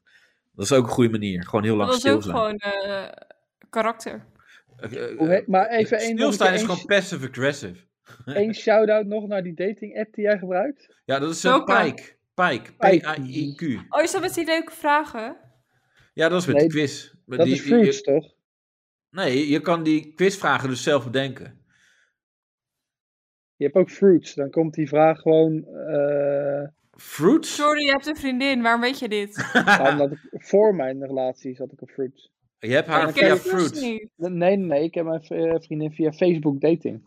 Speaker 2: Dat is ook een goede manier. Gewoon heel
Speaker 3: Dat
Speaker 2: lang
Speaker 3: was
Speaker 2: stil
Speaker 3: ook
Speaker 2: zijn.
Speaker 3: gewoon eh, karakter.
Speaker 2: Eh, eh,
Speaker 4: Hoe heet- maar even één
Speaker 2: Stilstaan is
Speaker 4: dingetje,
Speaker 2: gewoon passive-aggressive.
Speaker 4: Eén shout-out nog naar die dating app die jij gebruikt.
Speaker 2: Ja, dat is een
Speaker 3: Zo kan.
Speaker 2: Pike. Pike.
Speaker 4: Pike.
Speaker 2: P-A-I-Q.
Speaker 3: Oh, is dat met die leuke vragen?
Speaker 2: Ja, dat is met
Speaker 4: Nee,
Speaker 2: de quiz. Met
Speaker 4: Dat
Speaker 2: die-
Speaker 4: is Fruits,
Speaker 2: je-
Speaker 4: toch?
Speaker 2: nee, je kan die quizvragen dus zelf bedenken.
Speaker 4: Je hebt ook Fruits. Dan komt die vraag gewoon... eh
Speaker 2: Fruits?
Speaker 3: Sorry, je hebt een vriendin, waarom weet je dit?
Speaker 4: nou, omdat ik- voor mijn relatie zat ik op Fruits.
Speaker 2: Je hebt haar
Speaker 3: ik
Speaker 2: via
Speaker 3: het dus
Speaker 2: Fruits.
Speaker 3: niet.
Speaker 4: Nee, nee, nee. Ik heb mijn v- eh, vriendin via Facebook dating.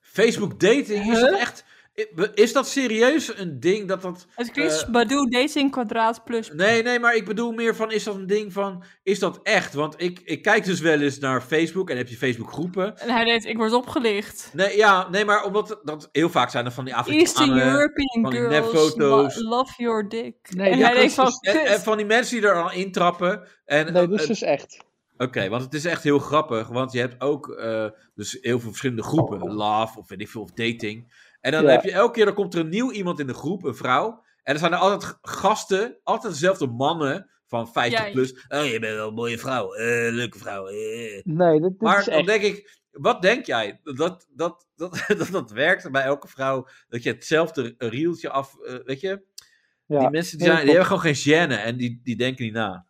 Speaker 2: Facebook dating, is dat echt... Is dat serieus een ding dat dat...
Speaker 3: Het klinkt
Speaker 2: Eh,
Speaker 3: Badoo Dating Kwadraat Plus.
Speaker 2: Nee, nee, maar ik bedoel meer van, is dat een ding van... Is dat echt? Want ik, ik kijk dus wel eens naar Facebook en heb je Facebook groepen.
Speaker 3: En hij deed, ik word opgelicht.
Speaker 2: Nee, ja, nee, maar omdat dat heel vaak zijn er van die
Speaker 3: Eastern
Speaker 2: Afrikanen... eh, van
Speaker 3: European
Speaker 2: die
Speaker 3: girls,
Speaker 2: nepfoto's.
Speaker 3: lo- love your dick.
Speaker 4: Nee,
Speaker 3: en
Speaker 4: dat
Speaker 3: hij denkt
Speaker 4: is
Speaker 3: van,
Speaker 4: dus-
Speaker 2: En, en
Speaker 3: kut. Nou,
Speaker 2: van die mensen die er al intrappen. En,
Speaker 4: Nee, dat is
Speaker 2: eh,
Speaker 4: dus echt.
Speaker 2: Oké, want het is echt heel grappig, want je hebt ook eh, dus heel veel verschillende groepen, love of weet ik veel, of dating. En dan
Speaker 4: Oh. Ja.
Speaker 2: heb je elke keer, dan komt er een nieuw iemand in de groep, een vrouw. En er zijn er altijd g- gasten, altijd dezelfde mannen van 50
Speaker 3: Jij.
Speaker 2: plus. Oh, je bent wel een mooie vrouw, eh, leuke vrouw. eh.
Speaker 4: Nee, dit, dit
Speaker 2: Maar
Speaker 4: is
Speaker 2: dan
Speaker 4: echt.
Speaker 2: denk ik, wat denk jij? Dat dat, dat, dat, dat werkt bij elke vrouw, dat je hetzelfde rieltje af, eh, weet je?
Speaker 4: Ja.
Speaker 2: die mensen die,
Speaker 4: nee,
Speaker 2: zijn, die hebben
Speaker 4: klopt.
Speaker 2: gewoon geen gêne en die, die denken niet na.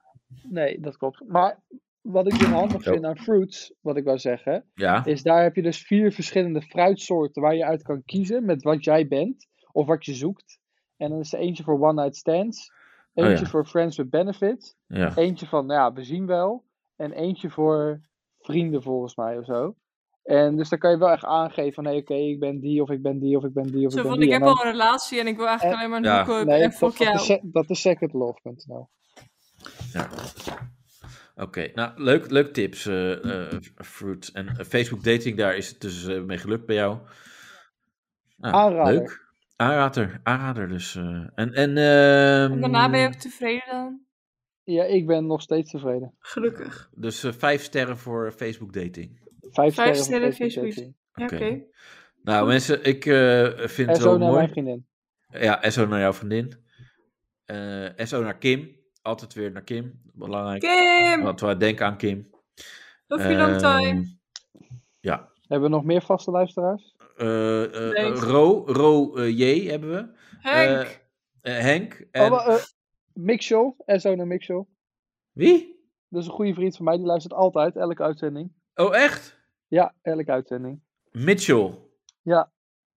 Speaker 4: Nee, dat klopt. Maar wat ik heel handig
Speaker 2: Zo.
Speaker 4: vind aan fruits, wat ik wou zeggen,
Speaker 2: Ja,
Speaker 4: is daar heb je dus vier verschillende fruitsoorten waar je uit kan kiezen met wat jij bent of wat je zoekt. En dan is er eentje voor one night stands,
Speaker 2: Oh ja.
Speaker 4: eentje voor friends with benefits,
Speaker 2: ja.
Speaker 4: eentje van, nou ja, we zien wel, en eentje voor vrienden volgens mij of zo. En dus dan kan je wel echt aangeven van, nee, oké, ik ben die of ik ben die of ik ben die of
Speaker 3: Zo
Speaker 4: ik ben
Speaker 3: van,
Speaker 4: die.
Speaker 3: ik
Speaker 4: En
Speaker 3: heb
Speaker 4: dan-
Speaker 3: al een relatie en ik wil eigenlijk alleen maar een
Speaker 2: Ja.
Speaker 3: hookup
Speaker 4: Eh, nee,
Speaker 3: en
Speaker 4: dat,
Speaker 3: fuck
Speaker 4: dat, is,
Speaker 3: jou.
Speaker 4: sec- dat is secondlove.nl.
Speaker 2: Oké, nou leuk, leuk tips, eh, eh, Fruit. En eh, Facebook dating, daar is het dus eh, mee gelukt bij jou. Nou,
Speaker 4: Aanrader.
Speaker 2: Leuk. Aanrader, aanrader dus. eh, en, en, ehm,
Speaker 3: En daarna ben je ook tevreden dan?
Speaker 4: Ja, ik ben nog steeds tevreden.
Speaker 3: Gelukkig.
Speaker 2: Dus eh, vijf sterren voor Facebook dating.
Speaker 4: Vijf,
Speaker 3: Vijf
Speaker 4: voor
Speaker 3: sterren
Speaker 4: Facebook
Speaker 3: Facebook.
Speaker 4: dating.
Speaker 3: Ja, Oké.
Speaker 2: Oké. Nou mensen, ik eh, vind
Speaker 4: En
Speaker 2: het
Speaker 4: zo
Speaker 2: wel
Speaker 4: naar mijn
Speaker 2: mooi.
Speaker 4: vriendin.
Speaker 2: Ja, SO naar jouw vriendin. Eh, SO naar Kim. Altijd weer naar Kim. Belangrijk.
Speaker 3: Kim,
Speaker 2: Want wij denken aan Kim. Ehm,
Speaker 3: love you
Speaker 2: eh,
Speaker 3: long time.
Speaker 2: Ja,
Speaker 4: Hebben we nog meer vaste luisteraars?
Speaker 2: eh eh,
Speaker 3: Nee.
Speaker 2: Ro, Ro eh, J hebben we.
Speaker 3: Henk.
Speaker 2: Eh, eh, Henk. En
Speaker 4: Oh, eh, Mixel, SO naar Mixel.
Speaker 2: wie?
Speaker 4: Dat is een goede vriend van mij, die luistert altijd, elke uitzending.
Speaker 2: Oh, echt?
Speaker 4: Ja, elke uitzending.
Speaker 2: Mitchell.
Speaker 4: Ja.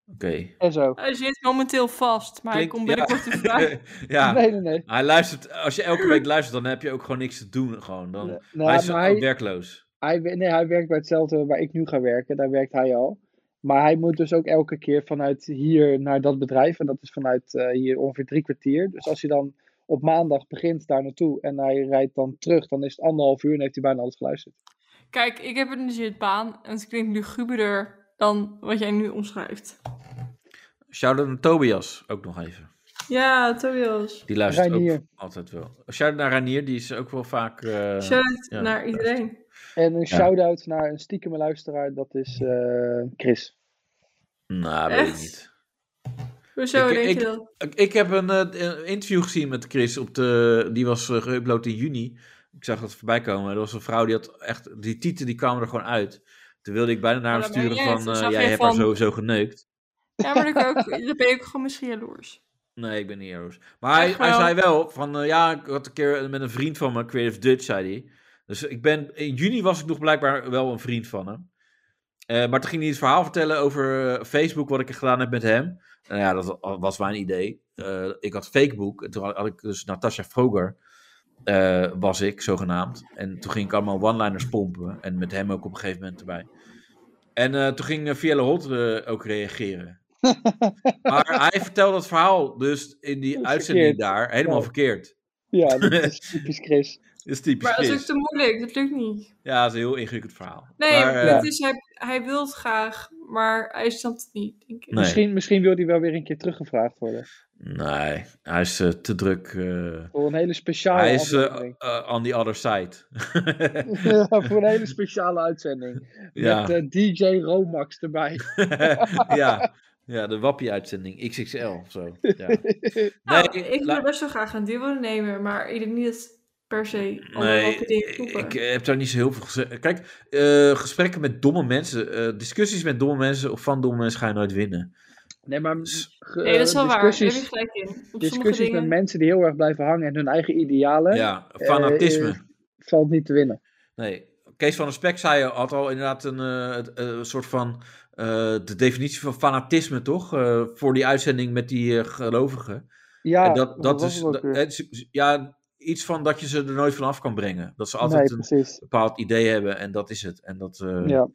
Speaker 2: Oké.
Speaker 4: SO.
Speaker 3: Hij zit momenteel vast, maar
Speaker 2: Klinkt-
Speaker 3: hij komt binnenkort te vragen.
Speaker 2: ja.
Speaker 4: Nee, nee, nee.
Speaker 2: Hij luistert, als je elke week luistert, dan heb je ook gewoon niks te doen. Gewoon. Dan,
Speaker 4: Nee,
Speaker 2: hij
Speaker 4: nou,
Speaker 2: is
Speaker 4: maar
Speaker 2: ook
Speaker 4: hij,
Speaker 2: werkloos.
Speaker 4: hij, we- nee, hij werkt bij hetzelfde waar ik nu ga werken, daar werkt hij al. Maar hij moet dus ook elke keer vanuit hier naar dat bedrijf. En dat is vanuit eh, hier ongeveer drie kwartier. Dus als hij dan op maandag begint daar naartoe en hij rijdt dan terug, dan is het anderhalf uur en heeft hij bijna alles geluisterd.
Speaker 3: Kijk, ik heb een zitbaan en het klinkt luguberder dan wat jij nu omschrijft.
Speaker 2: Shout-out naar Tobias ook nog even.
Speaker 3: Ja, Tobias.
Speaker 2: Die luistert ook
Speaker 4: Reinier.
Speaker 2: altijd wel. Shout-out naar Ranier, die is ook wel vaak... eh,
Speaker 3: Shout
Speaker 2: ja,
Speaker 3: naar iedereen.
Speaker 4: En een shout-out naar een stiekeme luisteraar, dat is eh, Chris.
Speaker 2: Nou, weet ik
Speaker 3: Echt?
Speaker 2: niet.
Speaker 3: Hoezo
Speaker 2: Ik-
Speaker 3: denk
Speaker 2: ik-
Speaker 3: je dat?
Speaker 2: Ik, ik heb een eh, een interview gezien met Chris. Op de, die was eh, geüpload in juni. Ik zag dat voorbij komen. Er was een vrouw die had echt. Die tieten die kwamen er gewoon uit. Toen wilde ik bijna naar hem
Speaker 3: Maar Oh, dan ben
Speaker 2: sturen
Speaker 3: jij
Speaker 2: van.
Speaker 3: het,
Speaker 2: eh,
Speaker 3: zag
Speaker 2: jij
Speaker 3: je
Speaker 2: hebt haar
Speaker 3: van-
Speaker 2: sowieso geneukt.
Speaker 3: Ja, maar ik ook, dan ben ik gewoon misschien jaloers.
Speaker 2: Nee, ik ben niet jaloers. Maar hij,
Speaker 3: Echt
Speaker 2: hij
Speaker 3: wel?
Speaker 2: zei wel van. eh, ja, ik had een keer met een vriend van me, Creative Dutch, zei hij. Dus ik ben. In juni was ik nog blijkbaar wel een vriend van hem. Eh, maar toen ging hij het verhaal vertellen over eh, Facebook, wat ik gedaan heb met hem. Nou ja, dat wa- was mijn idee. Eh, ik had Fakebook. En toen had had ik dus Natasha Vroger. eh, was ik, zogenaamd. En toen ging ik allemaal one-liners pompen. En met hem ook op een gegeven moment erbij. En eh, toen ging eh, Fielle Holt eh, ook reageren. maar hij vertelde het verhaal dus in die
Speaker 4: Verkeerd.
Speaker 2: uitzending daar helemaal
Speaker 4: Ja.
Speaker 2: verkeerd.
Speaker 4: Ja, dat is typisch Chris.
Speaker 2: Dat is typisch
Speaker 3: Maar dat is ook
Speaker 2: Chris.
Speaker 3: te moeilijk, dat lukt niet.
Speaker 2: Ja, dat is een heel ingewikkeld verhaal.
Speaker 3: Nee,
Speaker 2: Maar, eh,
Speaker 3: het is, hij, hij wil het graag, maar hij snapt het niet, denk ik.
Speaker 2: Nee.
Speaker 4: Misschien, misschien wil hij wel weer een keer teruggevraagd worden.
Speaker 2: nee, hij is eh, te druk... eh,
Speaker 4: Voor een hele speciale
Speaker 2: Hij is eh,
Speaker 4: aflevering.
Speaker 2: eh, on the other side.
Speaker 4: Ja, voor een hele speciale uitzending.
Speaker 2: ja.
Speaker 4: Met eh, DJ Romax erbij.
Speaker 2: ja. ja, de wappie-uitzending. XXL of zo. Ja.
Speaker 3: Nou,
Speaker 2: Nee,
Speaker 3: ik
Speaker 2: la-
Speaker 3: wil best wel graag een duo nemen, maar ik denk niet dat het per se alle
Speaker 2: Nee,
Speaker 3: welke dingen kloppen.
Speaker 2: ik eh, heb daar niet zo heel veel gezegd. Kijk, eh, gesprekken met domme mensen, eh, discussies met domme mensen of van domme mensen ga je nooit winnen.
Speaker 4: Nee, maar
Speaker 2: S-
Speaker 4: ge-
Speaker 3: Nee, dat is wel waar. Daar heb
Speaker 4: discussies,
Speaker 3: je gelijk in. Op sommige
Speaker 4: discussies met
Speaker 3: dingen.
Speaker 4: mensen die heel erg blijven hangen en hun eigen idealen
Speaker 2: Ja, fanatisme.
Speaker 4: eh, valt niet te winnen.
Speaker 2: Nee. Kees van der Spek zei al- had al inderdaad een eh, het, eh, een soort van eh, de definitie van fanatisme, toch? Eh, voor die uitzending met die eh, gelovigen.
Speaker 4: Ja,
Speaker 2: En dat, dat
Speaker 4: was
Speaker 2: is eh,
Speaker 4: het ook
Speaker 2: dat-
Speaker 4: weer.
Speaker 2: het is- ja, iets van dat je ze er nooit van af kan brengen. Dat ze
Speaker 4: Nee,
Speaker 2: altijd een
Speaker 4: precies.
Speaker 2: bepaald idee hebben en dat is het. En dat, eh, ja.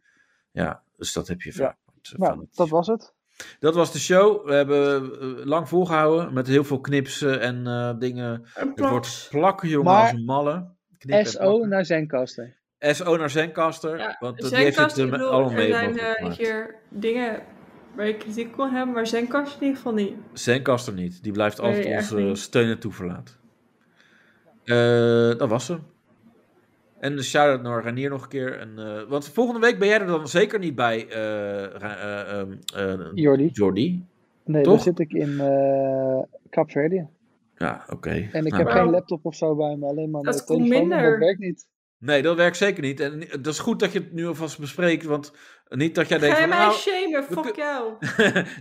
Speaker 4: Ja,
Speaker 2: dus dat heb je vaak. eh, Van
Speaker 4: nou,
Speaker 2: het-
Speaker 4: dat was het.
Speaker 2: Dat was de show. We hebben eh, lang volgehouden met heel veel knipsen en eh, dingen.
Speaker 3: Een
Speaker 2: Het
Speaker 3: plak.
Speaker 2: wordt plakken, jongen,
Speaker 4: Maar-
Speaker 2: als een malle. Knip en
Speaker 4: SO
Speaker 2: plakken.
Speaker 4: naar Zenkasten.
Speaker 2: SO naar Zenkaster.
Speaker 3: Ja,
Speaker 2: want eh, die heeft het
Speaker 3: Zenkast, ik
Speaker 2: er met
Speaker 3: bedoel,
Speaker 2: allemaal
Speaker 3: er
Speaker 2: mee
Speaker 3: zijn
Speaker 2: mogelijk
Speaker 3: eh,
Speaker 2: gemaakt.
Speaker 3: hier dingen waar je kritiek kon hebben, maar Zenkast in ieder geval niet.
Speaker 2: Zenkaster niet. Die blijft altijd
Speaker 3: Nee, echt
Speaker 2: onze
Speaker 3: niet.
Speaker 2: steun en toeverlaat. Eh, dat was ze. En een shout-out naar Ranier nog een keer. En, eh, want volgende week ben jij er dan zeker niet bij, eh, Ra- eh, ehm, eh,
Speaker 4: Jordi.
Speaker 2: Jordi.
Speaker 4: Nee,
Speaker 2: Toch?
Speaker 4: daar zit ik in eh Kaapverdië.
Speaker 2: Ja, oké.
Speaker 4: En ik
Speaker 2: Nou.
Speaker 4: heb
Speaker 3: Nou.
Speaker 4: geen laptop of zo bij me, alleen maar
Speaker 3: Dat
Speaker 4: mijn
Speaker 3: komt
Speaker 4: telefoon. want
Speaker 3: minder.
Speaker 4: Dat werkt niet.
Speaker 2: Nee, dat werkt zeker niet. En dat is goed dat je het nu alvast bespreekt, want niet dat jij denkt
Speaker 3: Ga je
Speaker 2: van,
Speaker 3: mij
Speaker 2: nou...
Speaker 3: shamen?
Speaker 2: we
Speaker 3: Fuck
Speaker 2: kun-
Speaker 3: jou.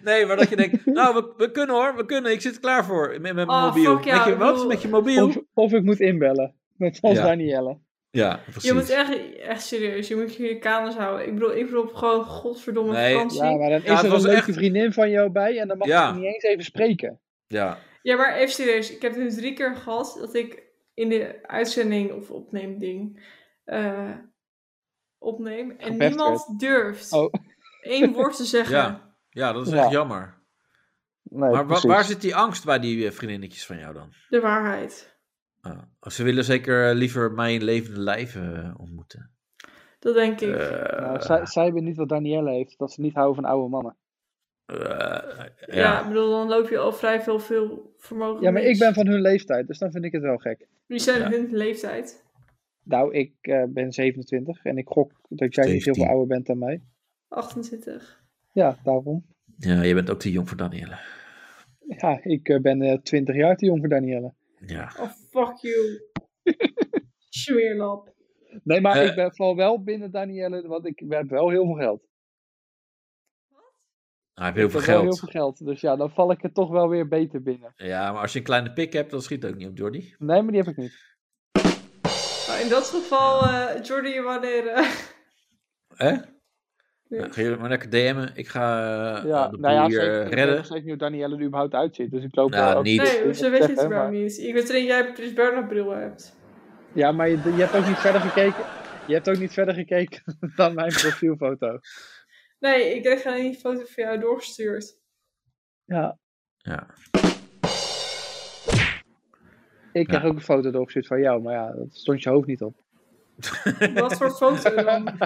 Speaker 2: nee, maar dat je denkt, nou, we, we kunnen hoor, we kunnen. Ik zit er klaar voor met, met mijn
Speaker 3: Oh,
Speaker 2: mobiel.
Speaker 3: fuck ja,
Speaker 2: met je,
Speaker 3: ik
Speaker 2: wat?
Speaker 3: bedoel-
Speaker 2: Met je mobiel?
Speaker 4: Of, of ik moet inbellen met Frans
Speaker 2: Ja.
Speaker 4: Danielle.
Speaker 2: Ja, precies.
Speaker 3: Je moet echt, echt serieus, je moet je kamers houden. Ik bedoel, ik bedoel op gewoon godverdomme
Speaker 2: Nee.
Speaker 3: vakantie.
Speaker 4: Ja, maar dan is
Speaker 2: het
Speaker 4: er een
Speaker 2: was
Speaker 4: leuke
Speaker 2: echt-
Speaker 4: vriendin van jou bij en dan mag
Speaker 2: Ja.
Speaker 4: je niet eens even spreken.
Speaker 2: Ja,
Speaker 3: Ja, maar even serieus. Ik heb het nu drie keer gehad dat ik in de uitzending of opneemding eh, opneem. En
Speaker 4: Gepest
Speaker 3: niemand durft
Speaker 4: Oh.
Speaker 3: één woord te zeggen.
Speaker 2: ja. ja dat is
Speaker 4: Ja.
Speaker 2: echt jammer.
Speaker 4: Nee,
Speaker 2: maar wa-
Speaker 4: precies.
Speaker 2: waar zit die angst bij die eh, vriendinnetjes van jou dan?
Speaker 3: De waarheid.
Speaker 2: Ah, ze willen zeker eh, liever mij in levende lijven eh, ontmoeten.
Speaker 3: Dat denk ik.
Speaker 2: Eh,
Speaker 4: Nou, zij, zij weet niet wat Danielle heeft, dat ze niet houden van oude mannen.
Speaker 2: eh,
Speaker 3: ja. ik
Speaker 2: ja.
Speaker 3: bedoel, dan loop je al vrij veel, veel vermogen.
Speaker 4: Ja, maar
Speaker 3: mis.
Speaker 4: ik ben van hun leeftijd, dus dan vind ik het wel gek.
Speaker 3: Die zijn
Speaker 2: Ja.
Speaker 3: hun leeftijd.
Speaker 4: Nou, ik eh, ben 27 en ik gok dat jij niet
Speaker 2: 17.
Speaker 4: heel veel ouder bent dan mij.
Speaker 3: 28.
Speaker 4: Ja, daarom.
Speaker 2: ja, je bent ook te jong voor Danielle.
Speaker 4: Ja, ik eh, ben eh, 20 jaar te jong voor Danielle.
Speaker 2: Ja.
Speaker 3: Oh, fuck you. Smeerlap.
Speaker 4: Nee, maar
Speaker 2: Eh.
Speaker 4: ik ben vooral wel binnen Danielle, want ik heb wel heel veel geld.
Speaker 2: Hij heeft heel
Speaker 4: Ik
Speaker 2: veel
Speaker 4: heb wel
Speaker 2: geld.
Speaker 4: heel veel geld, dus ja, dan val ik er toch wel weer beter binnen.
Speaker 2: Ja, maar als je een kleine pik hebt, dan schiet het ook niet op Jordi.
Speaker 4: Nee, maar die heb ik niet.
Speaker 3: Nou, in dat geval, eh Jordi, wanneer... eh,
Speaker 2: Hè?
Speaker 3: Nee.
Speaker 2: Nou, ga je maar lekker DM'en. Ik ga eh,
Speaker 4: Ja,
Speaker 2: de boel
Speaker 4: nou ja,
Speaker 2: hier
Speaker 4: zeker,
Speaker 2: eh,
Speaker 4: ik weet nog
Speaker 2: redden.
Speaker 4: steeds niet hoe Danielle er überhaupt uitziet, dus ik loop
Speaker 2: Nou,
Speaker 4: wel ook-
Speaker 2: niet.
Speaker 3: Nee, ze weet het
Speaker 4: Zeggen, maar-
Speaker 3: überhaupt niet. Ik weet alleen dat jij Prins Bernhard bril hebt.
Speaker 4: Ja, maar je, je hebt ook niet verder gekeken. Je hebt ook niet verder gekeken dan mijn profielfoto.
Speaker 3: Nee, ik kreeg alleen die foto van jou doorgestuurd.
Speaker 4: Ja.
Speaker 2: Ja.
Speaker 4: Ik kreeg
Speaker 2: Ja.
Speaker 4: ook een foto doorgestuurd van jou, maar ja, dat stond je hoofd niet op.
Speaker 3: Wat voor foto dan?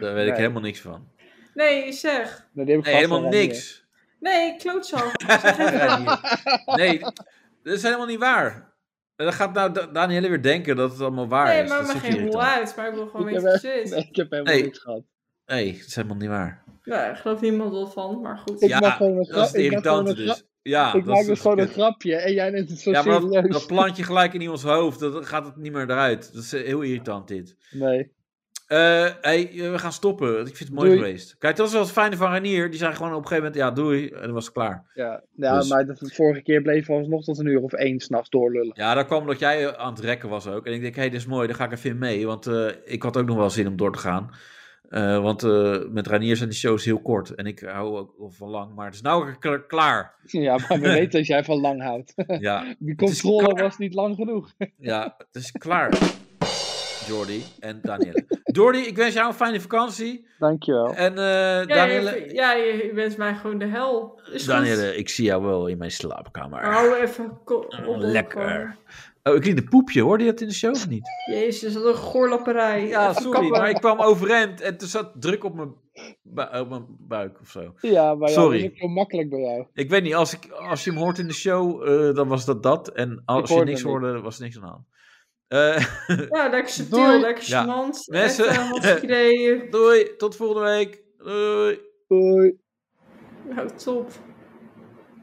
Speaker 2: Daar weet ik
Speaker 4: Nee.
Speaker 2: helemaal niks van.
Speaker 3: Nee, zeg.
Speaker 4: Nee, die heb ik
Speaker 2: Nee,
Speaker 4: vast
Speaker 2: helemaal
Speaker 4: wel aan je.
Speaker 2: niks.
Speaker 3: Nee, klootzak. Zeg even dat.
Speaker 2: Nee, dat is helemaal niet waar. En Dan gaat nou Da- Danielle weer denken dat het allemaal waar
Speaker 3: Nee,
Speaker 2: is.
Speaker 3: maar
Speaker 2: Dat
Speaker 3: maar
Speaker 2: zit
Speaker 3: geen
Speaker 2: hier
Speaker 3: hol
Speaker 2: dan.
Speaker 3: uit. Maar ik wil gewoon
Speaker 4: Ik heb,
Speaker 3: weten wat
Speaker 4: echt-
Speaker 3: je zit.
Speaker 4: nee, ik heb helemaal
Speaker 2: Nee.
Speaker 4: niks gehad.
Speaker 2: Nee, dat is helemaal niet waar.
Speaker 3: Ja, ik geloof niemand wel van, maar goed.
Speaker 4: Ik
Speaker 2: ja,
Speaker 4: maak gewoon een grap-
Speaker 2: dat is het
Speaker 4: ik maak gewoon
Speaker 2: irritante
Speaker 4: een grap-
Speaker 2: dus. Ja,
Speaker 4: ik
Speaker 2: dat
Speaker 4: maak
Speaker 2: is
Speaker 4: dus gewoon een
Speaker 2: kut.
Speaker 4: grapje en jij neemt het zo
Speaker 2: Ja, maar dat,
Speaker 4: serieus.
Speaker 2: dat plant je gelijk in iemands hoofd. Dan gaat het niet meer eruit. Dat is eh, heel irritant dit.
Speaker 4: Nee.
Speaker 2: Eh, hey, eh, we gaan stoppen. want Ik vind het mooi
Speaker 4: Doei.
Speaker 2: geweest. Kijk, dat is wel het fijne van Ranier. Die zei gewoon op een gegeven moment, ja, doei. En dan was het klaar.
Speaker 4: Ja, ja
Speaker 2: Dus-
Speaker 4: maar de vorige keer bleven we alsnog tot een uur of één s'nachts doorlullen.
Speaker 2: Ja, dat kwam dat jij eh, aan het rekken was ook. En ik denk, hé, hey, dit is mooi. Daar ga ik even in mee. Want eh, ik had ook nog wel zin om door te gaan. Eh, want eh, met Ranier zijn die shows heel kort. En ik hou ook wel van lang. Maar het is nou k- klaar.
Speaker 4: Ja, maar we weten dat jij van lang houdt.
Speaker 2: Ja,
Speaker 4: Die
Speaker 2: is
Speaker 4: controle
Speaker 2: klaar.
Speaker 4: was niet lang genoeg.
Speaker 2: ja, het is klaar. Jordi en Danielle. Jordi, ik wens jou een fijne vakantie.
Speaker 4: Dankjewel.
Speaker 2: En eh
Speaker 3: Ja,
Speaker 2: Danielle,
Speaker 3: je, ja, je, je bent mij gewoon de hel. Is goed.
Speaker 2: Danielle, ik zie jou wel in mijn slaapkamer.
Speaker 3: Hou even ko- op.
Speaker 2: Ah, Lekker. Oh, ik liet een poepje, hoorde je dat in de show of niet?
Speaker 3: Jezus, wat een goorlapperij.
Speaker 2: Ja, sorry,
Speaker 3: kappen.
Speaker 2: maar ik kwam overeind en toen zat druk op mijn, bu- op mijn buik of zo.
Speaker 4: Ja, maar ja,
Speaker 2: Sorry.
Speaker 4: dat is ook heel makkelijk bij jou.
Speaker 2: Ik weet niet, als, ik, als je hem hoort in de show, eh, dan was dat dat. En als je
Speaker 4: hoorde
Speaker 2: niks
Speaker 4: hem niet.
Speaker 2: hoorde, was er niks aan de hand. Eh,
Speaker 3: Ja, lekker
Speaker 4: Doei.
Speaker 3: subtiel, lekker
Speaker 2: Ja.
Speaker 3: snant.
Speaker 2: Mensen-
Speaker 3: Mensen. Echt, eh, hartstikke idee.
Speaker 2: doei, tot volgende week. Doei.
Speaker 4: Doei.
Speaker 3: Nou, top.